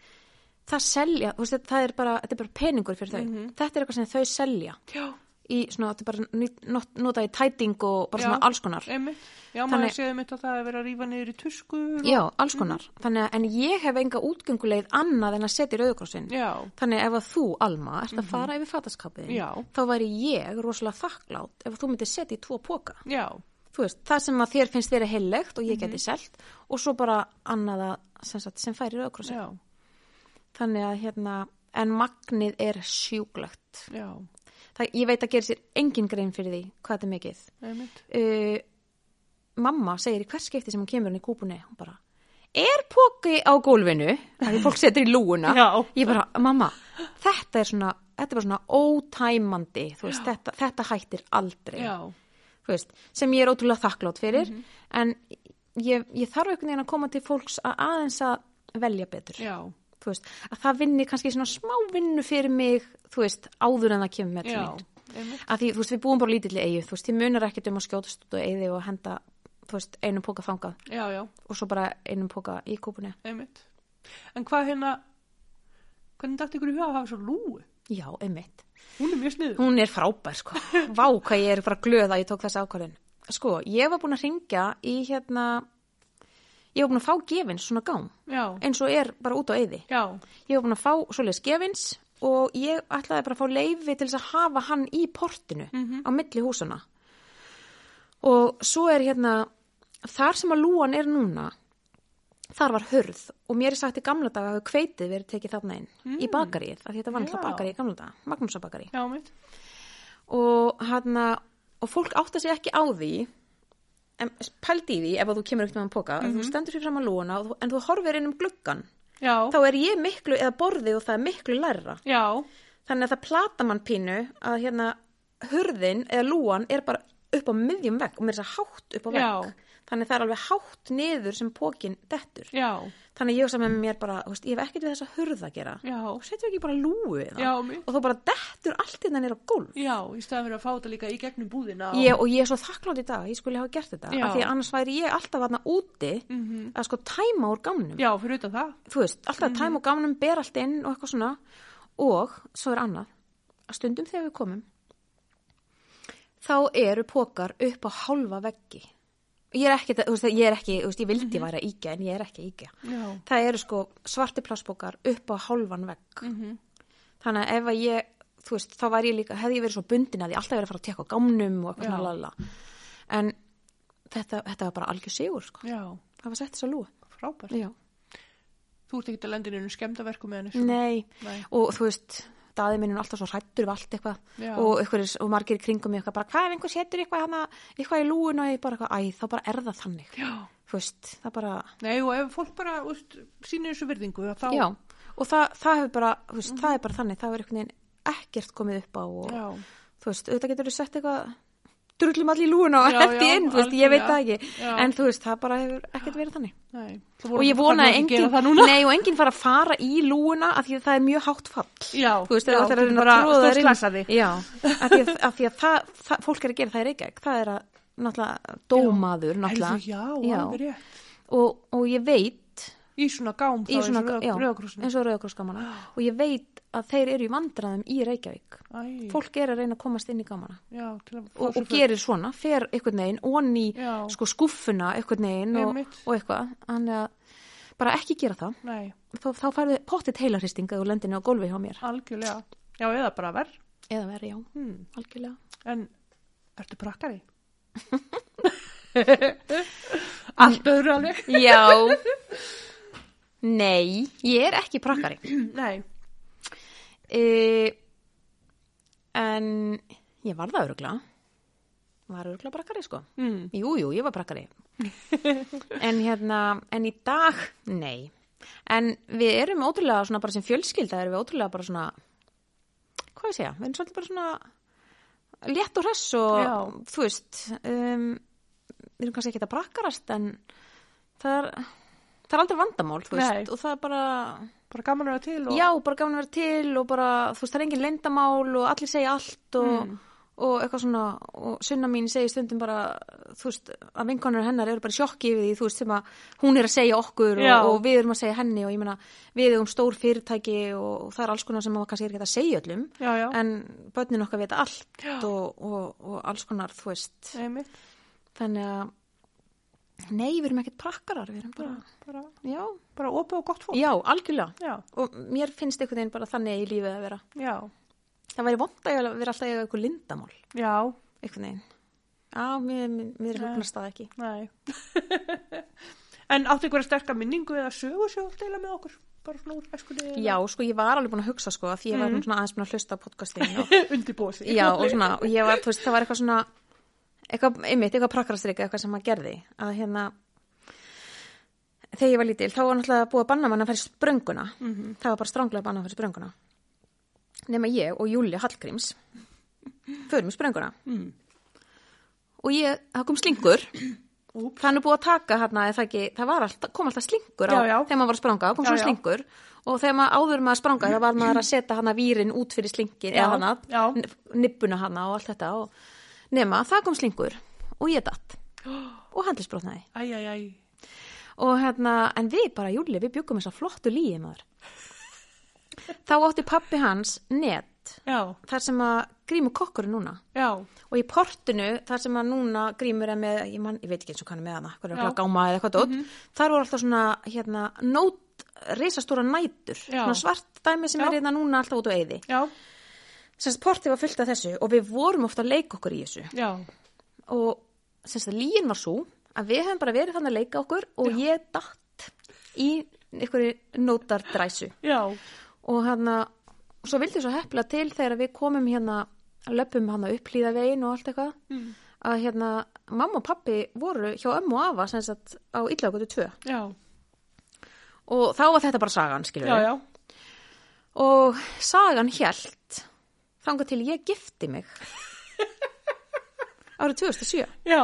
það selja, þú veist, það er bara, þetta er bara peningur fyrir þau. Mhm. Þetta er eitthvað sem þau selja Já, í, svona, þetta er bara nýtt- not, nota í tæting og bara Já. svona alls konar. einmitt. Já, Þannig- maður séði mitt að það er verið að rífa niður í tuskur. og- Já, alls konar. Mhm. Þannig að, en ég hef enga útgönguleið annað en að setja í rauðukrossin. Já, Þannig ef að þú, Alma, ert að fara yfir fataskapið, Mhm. Já. þá væri ég rosalega þakklátt ef að þú myndir setja í tvo póka. já, Þú veist, það sem að þér finnst verið heillegt og Mhm. ég geti selt og svo bara annaða sem, sagt, sem færir auðvitað. já, Þannig að hérna, en magnið er sjúklegt. já, Það, ég veit að gera sér engin grein fyrir því hvað þetta er mikið. einmitt. Uh, mamma segir í hvers skipti sem hún kemur hún í kúpunni, hún bara, er póki á gólfinu? Það er fólk setur í lúuna. Já. Ég bara, mamma, þetta er svona, þetta er bara svona ótæmandi, þú veist, þetta, þetta hættir aldrei. Já, Mhm. Þú veist, sem ég er ótrúlega þakklátt fyrir, en ég, ég þarf einhvern veginn að koma til fólks að aðeins að velja betur. já, Þú veist, að það vinni kannski svona smá vinnu fyrir mig, þú veist, áður en það kemur með til já, mín einmitt. að því, þú veist, við búum bara lítilli eigu, þú veist, þið munar ekkert um að skjótast út á eigu og henda, þú veist, einum póka þangað Já, já, og svo bara einum póka í kúpunni. einmitt. En hvað hérna, hvernig dætti ykkur í huga að hafa svo lúi? Já, einmitt. Hún er mjög sniður. Hún er frábær, sko. Vá, hvað ég er bara glöð að ég tók þessa ákvarðin. Sko, ég var búin að ringja í hérna, ég var búin að fá gefins svona gám, Já, eins og er bara út á eigu. já, Ég var búin að fá svoleiðis gefins og ég ætlaði bara að fá leifi til þess að hafa hann í portinu á milli húsana. Og svo er hérna, þar sem að lúan er núna, þar var hörð og mér er sagt í gamla daga að hveitið verið tekið þarna inn í bakaríð, af því þetta var náttúrulega Já. bakaríð í gamla daga, Magnúsabakarí. já, mitt. Og, hana, og fólk átta sig ekki á því, en pældi í því ef að þú kemur upp með hann póka, mm þú stendur sér fram að lúana og þú- en þú horfir inn um gluggan Já, þá er ég miklu, eða borðið og það er miklu lærra. já, Þannig að það plata mann pínu að hérna hurðin eða lúan er bara upp á miðjum vekk og mér er það hátt upp á vekk. Þannig að það er alveg hátt niður sem pókin dettur. já, Þannig að ég hugsa með mér bara, þú veist, ég hef ekkert við þessa hurð að gera. já, Og setjum ekki bara lúu í það. já, mitt. Og þá bara dettur allt innan er á gólf. Já, í staðan fyrir að fá þetta líka í gegnum búðina. Ég, og ég er svo þakklátt í dag, að ég skulle hafa gert þetta. Já. Mhm. Af því að annars væri ég alltaf aðna úti að sko tæma úr gamnum. Já, fyrir utan það. þú veist, alltaf tæm og gamanum ber allt inn og eitthvað svona og svo er annað að stundum þegar við komum þá eru pókar upp á hálfa veggi ég er ekki, þú veist, ég er ekki, þú veist, ég vildi væri að íkja en ég er ekki að íkja Já, það eru sko svarti pláspókar upp á hálfan vegg þannig að ef að ég þú veist, þá var ég líka, hefði ég verið svo bundin að ég alltaf verið að fara að tekka á gamnum og eitthvað Já. svona lala en þetta, þetta var bara algjör sigur sko, já, það var sett þess að lúa frábært. Já. Þú ert ekki að lenda í einu skemmdaverku með henni. svona. Nei, Nei. og þú veist daði minn er alltaf svo hrættur við allt eitthvað Já. og, einhver, og margir í kringum mig eitthvað bara hvað ef einhver setur eitthvað hana eitthvað í lúin og ég bara eitthvað, æ, þá bara er það þannig Já. þú veist, það bara, Nei, og ef fólk bara úst, sýnir þessu virðingu, að þá... já og það, það hefur bara, þú veist, það er bara þannig það er einhvern veginn ekkert komið upp á og Mhm. Já, þú veist, auðvitað getur þú sett eitthvað drullum allir í lúin og Já, hert í já, inn, þú veist, ég veit það algjörlega. ekki Já. en þú veist, það bara hefur ekkert verið þannig nei. og ég vona að enginn... enginn, Gera það núna. nei, og enginn fara að fara í lúuna af því að það er mjög hátt fall Já, þú veist, já, það er getur bara að stórslasa þig. já, af því að, af því að það, það, fólk er að gera það í Reykjavík það er að, náttúrulega, dómaður Heyrðu, náttúrulega, já, Já. alveg rétt. og, og ég veit Í svona gám þá í svona, já, rauðakrossinu. eins og rauðakrossgamana og ég veit að þeir eru í vandræðum í Reykjavík Æ, fólk er að reyna að komast inn í gamana já, til að fá sér og, og föt. gerir svona, fer einhvern veginn onni Já. sko skuffuna einhvern veginn og, Einmitt. og eitthvað þannig að bara ekki gera það Nei, þá, þá færðu pottitt heilarhristinga og lendinu á gólfi hjá mér algjörlega. Já, eða bara verð. eða verið, já, Hmm. algjörlega En ertu prakkari? Allt öðru alveg. já nei, ég er ekki prakkari Nei, e, en ég var það örugla var örugla prakkari sko mm. Jú, jú, ég var brakkari. en hérna, en í dag, nei. En við erum ótrúlega svona bara sem fjölskylda, erum við ótrúlega bara svona, hvað ég segja, við erum svolítið bara svona létt og hress og, Já. þú veist, um, við erum kannski ekki að brakkarast, en það er, það er aldrei vandamál, þú veist, Nei. og það er bara, bara gaman að vera til og já, bara gaman að vera til og bara, þú veist, það er engin leyndamál og allir segja allt og, Mm. og eitthvað svona, og sunna mín segir stundum bara, þú veist, að vinkonur hennar eru bara í sjokki yfir því, þú veist, sem að hún er að segja okkur Já. og, og við erum að segja henni og ég meina, við erum stór fyrirtæki og, og það er alls konar sem maður kannski er ekki að segja öllum, já, já. en börnin okkar vita allt og, og, og alls konar, þú veist, einmitt. þannig að, nei, við erum ekkert prakkarar, við erum bara, Bara, já, bara opið og gott fólk. já, algjörlega. Já, Og mér finnst einhvern veginn bara þannig í lífið að vera. já, Það væri vond að eiga- vera alltaf í eitthvað lindamál. já, einhvern veginn Já, mér, mér, mér hugnast það ekki nei. en áttu ykkur að sterka minningu eða sögu sem þú vilt deila með okkur? Bara svona úr eskunni? Já, sko, ég var alveg búin að hugsa sko að því ég var nú svona aðeins búin að hlusta á podcastin og, Undirbúa sig. Já, og svona, og ég var, þú veist, það var eitthvað svona eitthvað, einmitt, eitthvað prakkarastrika eitthvað sem maður gerði að hérna þegar ég var lítil, þá var náttúrulega búið að banna mann að fara í sprönguna Mhm. það var bara stránglega að banna að fara í sprönguna nema ég og Júli Hallgríms förum í sprönguna Mm. og ég, það kom slingur Úps. þannig búið að taka hérna eða það, ekki, það var alltaf, kom alltaf slingur á, Já, já. þegar maður var að spranga, kom Já, svona já. slingur og þegar maður áður en maður spranga þá var maður að setja hana vírin út fyrir slingin Já, eða hana, já. n- nibbuna hana og allt þetta og nema, það kom slingur og ég datt og handlisbrotnaði Æ, æ, æ. og hérna, en við bara júli, við byggum þess að flottu líi maður þá átti pappi hans net, Já, þar sem að grímu kokkur núna já, og í portinu, þar sem að núna grímur er með, ég, man, ég veit ekki eins og hann er með hana hvað er Já. Mhm. að gáma eða eitthvað dótt þar voru alltaf svona, hérna, nót risastóra nætur, Já. svona svart dæmi sem Já. er hérna núna alltaf út á eyði já, semst portið var fullt af þessu og við vorum ofta að leika okkur í þessu já, og semst að líin var svo að við hefum bara verið þannig að leika okkur og ég datt í einhverju nótardræsu já, og hérna, svo vildi svo hepla til þegar við komum hérna löpum hann að upplýða veginn og allt eitthvað Mm. að hérna, mamma og pappi voru hjá ömmu og afa sem sagt á illagötu 2 já, og þá var þetta bara sagan, skilur já, já, og sagan hjælt þangað til ég gifti mig árið 2007 já.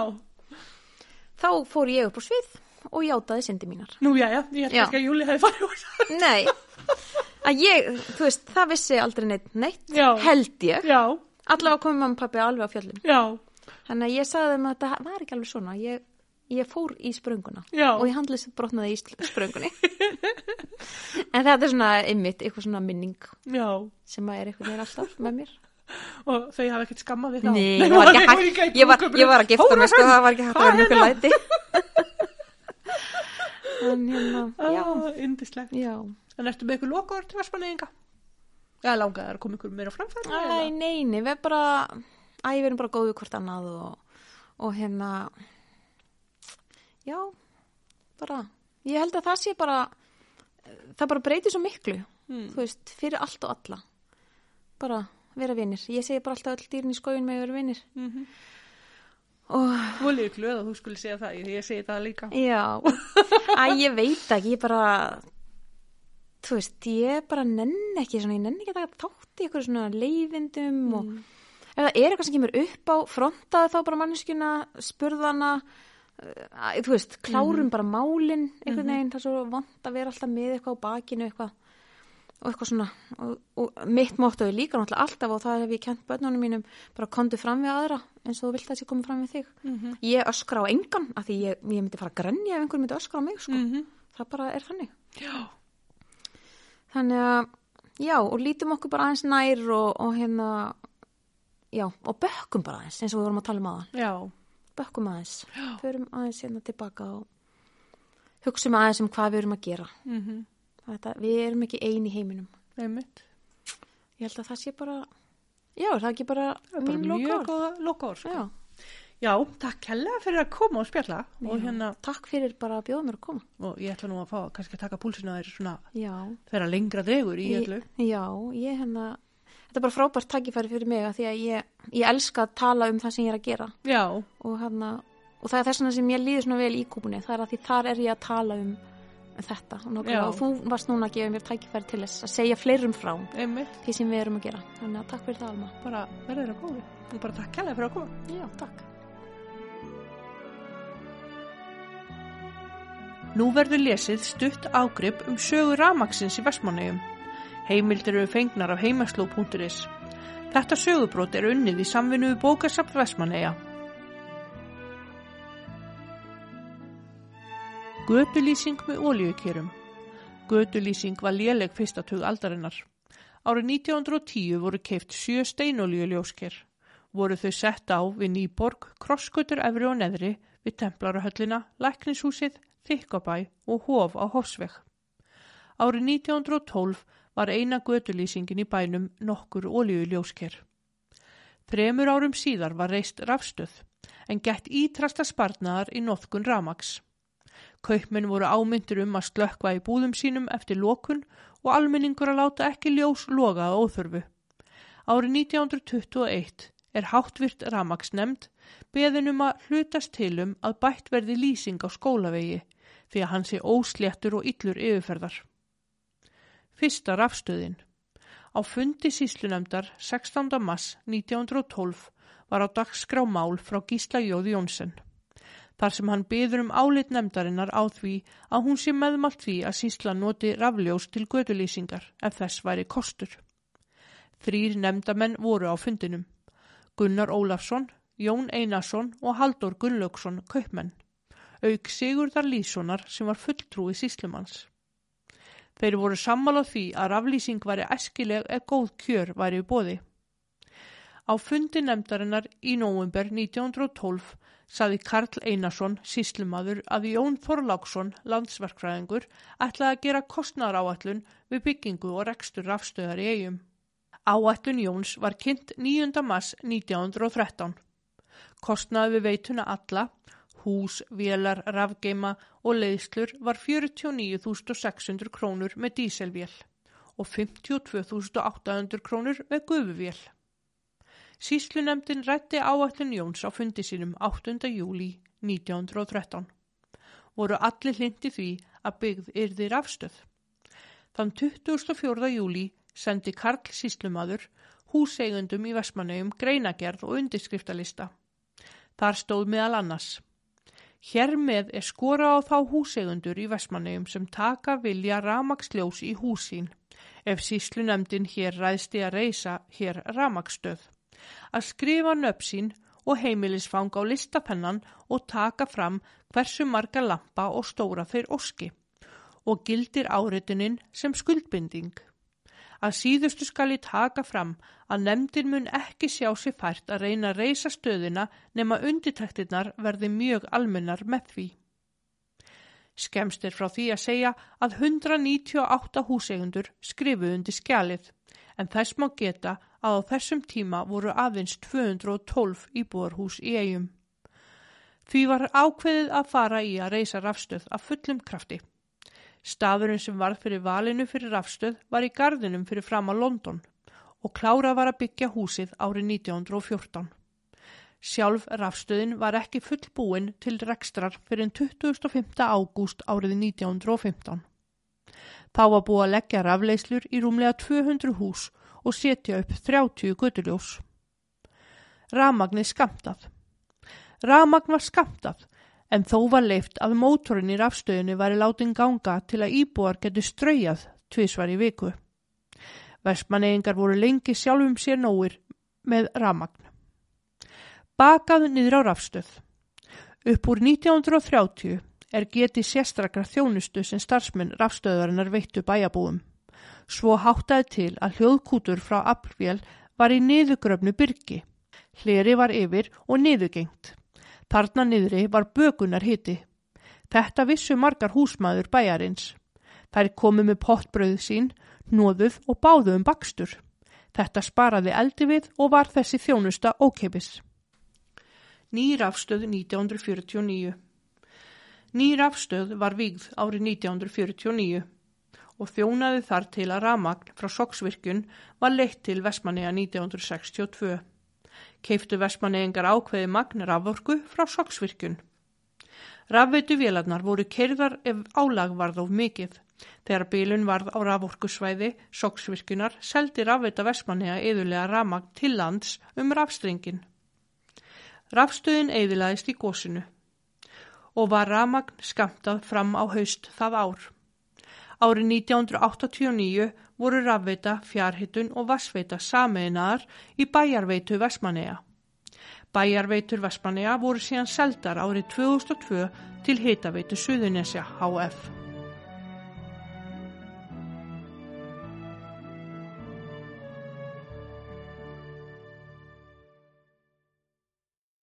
þá fór ég upp á svið og játaði syndi mínar Nú, já, já, ég ætla Já. ekki að Júli hefði farið úr það. nei, að ég, þú veist það vissi aldrei neitt neitt Já. held ég, Já, allavega komið mamma og pappi alveg á fjöllin já, Þannig að ég sagði þeim að þetta var ekki alveg svona. Ég, ég fór í sprönguna Já. og ég handlis brotnaði í sl- spröngunni. en þetta er svona ymmit, eitthvað svona minning já. sem að er eitthvað meira alltaf með mér. Og þau hafa ekkert skammað við þá. Nei, ég var ekki hægt, ég var, ég var að gifta mig, sko, það var ekki hægt að vera mjög hérna? læti. en hérna, já, Já, indislegt. já. En ertu með ykkur lokaður til Vestmanninga? Eða langaði þær að koma ykkur meira á framfæri? Æ, nei, nei, við erum bara, æ, við erum bara góðu hvort annað og, og hérna, já, bara, ég held að það sé bara, það bara breytir svo miklu, þú veist, fyrir allt og alla, bara vera vinir, ég segi bara alltaf öll dýrin í skóin með að vera vinir Mm -hmm. og Voli ég glöð að þú skulle segja það, ég, ég segi það líka. já, æ, ég veit ekki, ég bara, þú veist, ég bara nenn ekki svona, ég nenn ekki að taka þátt í eitthvað svona leiðindum og ef það er eitthvað sem kemur upp á frontaði þá bara manneskjuna, spurðana uh, þú veist, klárum bara málin einhvern veginn, það er svo vant að vera alltaf með eitthvað á bakinu eitthvað og eitthvað svona, og, og mitt móttu er líka náttúrulega alltaf og það hef ég kent börnunum mínum, bara komdu fram við aðra eins og þú vilt að þessi komið fram við þig Mhm. -hmm. ég öskra á engan, af því ég, ég myndi fara að grenja ef einhver myndi öskra á mig, sko Mhm. það bara er þannig Já. Þannig að, já, og lítum okkur bara aðeins nær og, og hérna, já, og bökkum bara aðeins, eins og við vorum að tala um aðan. Já. Bökkum aðeins, förum aðeins hérna tilbaka og hugsum aðeins um hvað við erum að gera. Mm Þetta, við erum ekki ein í heiminum. Einmitt. Ég held að það sé bara, já, er það ekki bara Það er mín bara mjög lókar. góða lokár. Sko. Já, Já, takk hella fyrir að koma og spjalla og hérna, takk fyrir bara að bjóða mér að koma. og ég ætla nú að fá kannski að taka púlsina þér svona Já. þeirra lengra dregur í öllu. Ég- Já, ég hérna, þetta er bara frábært takkifæri fyrir mig að því að ég, ég elska að tala um það sem ég er að gera Já, og, hérna, og það er þess vegna sem ég líður svona vel í kúpunni, það er að því þar er ég að tala um þetta og, Já. nákvæmlega, og þú varst núna að gefa mér takkifæri til þess að segja fleirum frá einmitt, því sem við erum að gera, þannig að takk fyrir það Alma. bara verður að góðu og bara takk hella fyrir að koma. Já, takk. Nú verður lesið stutt ágrip um sögu ramaksins í Vestmannegum. Heimildir eru fengnar af heimasló.is. Þetta sögubrót er unnið í samvinnu við bókasafn Vestmanneja. Götulýsing með olíukjörum. Götulýsing var léleg fyrsta tug aldarinnar. Árið 1910 voru keift sjö steinolíuljósker. Voru þau sett á við Nýborg, krossgötur efri og neðri, við templarahöllina, læknishúsið, þykkabæ og hof á Hofsveg. Árið 1912 var eina götulýsingin í bænum nokkur olíuljósker. Þremur árum síðar var reist rafstöð, en gett ítrasta sparnaðar í notkun ramaks. Kaupmenn voru ámyndir um að slökkva í búðum sínum eftir lokun og almenningur að láta ekki ljós loga að óþörfu. Árið 1921 er háttvirt ramaksnemnd beðin um að hlutast til um að bætt verði lýsing á skólavegi því að hann sé ósléttur og illur yfirferðar. Fyrsta rafstöðin Á fundi síslunemdar 16. mass 1912 var á dagskrá mál frá Gísla Jóði Jónsson þar sem hann byður um álit nefndarinnar á því að hún sé meðmalt því að sísla noti rafljós til gödulýsingar ef þess væri kostur. Þrýr nefndamenn voru á fundinum. Gunnar Ólafsson, Jón Einarsson og Halldór Gunnlaugsson kaupmenn, auk Sigurðar Lýssonar sem var fulltrúi síslumanns. Þeir voru sammála því að raflýsing væri æskileg eða góð kjör væri í bóði. Á fundi nefndarinnar í nóvumber 1912 saði Karl Einarsson, síslumadur, að Jón Þorláksson, landsverkfræðingur, ætlaði að gera kostnaráallun við byggingu og rekstur rafstöðar í eigum. Áallun Jóns var kynnt 9. mars 1913. Kostnaði við veituna alla, hús, vélar, rafgeima og leiðslur var 49.600 krónur með díselvél og 52.800 krónur með gufuvél. Sýslunemdin rætti áætlun Jóns á fundi sínum 8. júli 1913. Voru allir hlindi því að byggð yrði rafstöð. Þann 24. júli sendi Karl Sýslumadur húseigendum í Vestmanneum greinagerð og undirskriftalista. Þar stóð meðal annars. Hér með er skora á þá húseigundur í Vestmanneum sem taka vilja ramaksljós í húsín ef síslunemdin hér ræðst í að reysa hér ramaksstöð, að skrifa nöfn sín og heimilisfang á listapennan og taka fram hversu marga lampa og stóra þeir óski og gildir áritunin sem skuldbinding. Að síðustu skal ég taka fram að nefndin mun ekki sjá sér fært að reyna að reysa stöðina nema undirtæktirnar verði mjög almennar með því. Skemst er frá því að segja að 198 húseigundur skrifu undir skjalið, en þess má geta að á þessum tíma voru aðeins 212 íbúarhús í eigum. Því var ákveðið að fara í að reysa rafstöð af fullum krafti. Stafurinn sem varð fyrir valinu fyrir rafstöð var í gardinum fyrir fram að London og klárað var að byggja húsið árið 1914. Sjálf rafstöðin var ekki fullbúin til rekstrar fyrir 25. ágúst árið 1915. Þá var búið að leggja rafleyslur í rúmlega 200 hús og setja upp 30 götuljós. Ramagn er skamtað. Ramagn var skamtað en þó var leift að mótorinn í rafstöðinu væri látin ganga til að íbúar getur ströyjað tvisvar í viku. Vestmannegingar voru lengi sjálfum sér nóir með ramagn bakað niður á rafstöð. Upp úr 1930 er getið sérstakra þjónustu sem starfsmenn rafstöðarinnar veittu bæjabúum. Svo háttaði til að hljóðkútur frá Applvél var í niðugröfnu byrgi. Hleri var yfir og niðugengt. Þarna niðri var bökunar hiti. Þetta vissu margar húsmaður bæjarins. Þær komu með pottbröðu sín, nóðuð og báðu um bakstur. Þetta sparaði eldi við og var þessi þjónusta ókeipis. Nýrafstöð 1949 Nýrafstöð var vígð árið 1949 og þjónaði þar til að ramagn frá Soksvirkjun var leitt til Vestmanega 1962. Keiftu Vestmanegingar ákveði magn rafvorku frá Soksvirkjun. Rafveitu vélarnar voru kerðar ef álag varð of mikið. Þegar bílun varð á rafvorkusvæði, Soksvirkjunar seldi rafveita Vestmanega eðulega ramagn til lands um rafstrengin. Rafstöðin eðilaðist í gósinu og var ramagn skamtað fram á haust það ár. Árið 1989 voru rafveita, fjárhittun og vassveita sameinaðar í bæjarveitu Vestmanneja. Bæjarveitur Vestmanneja voru síðan seldar árið 2002 til hitaveitu Suðunesja HF.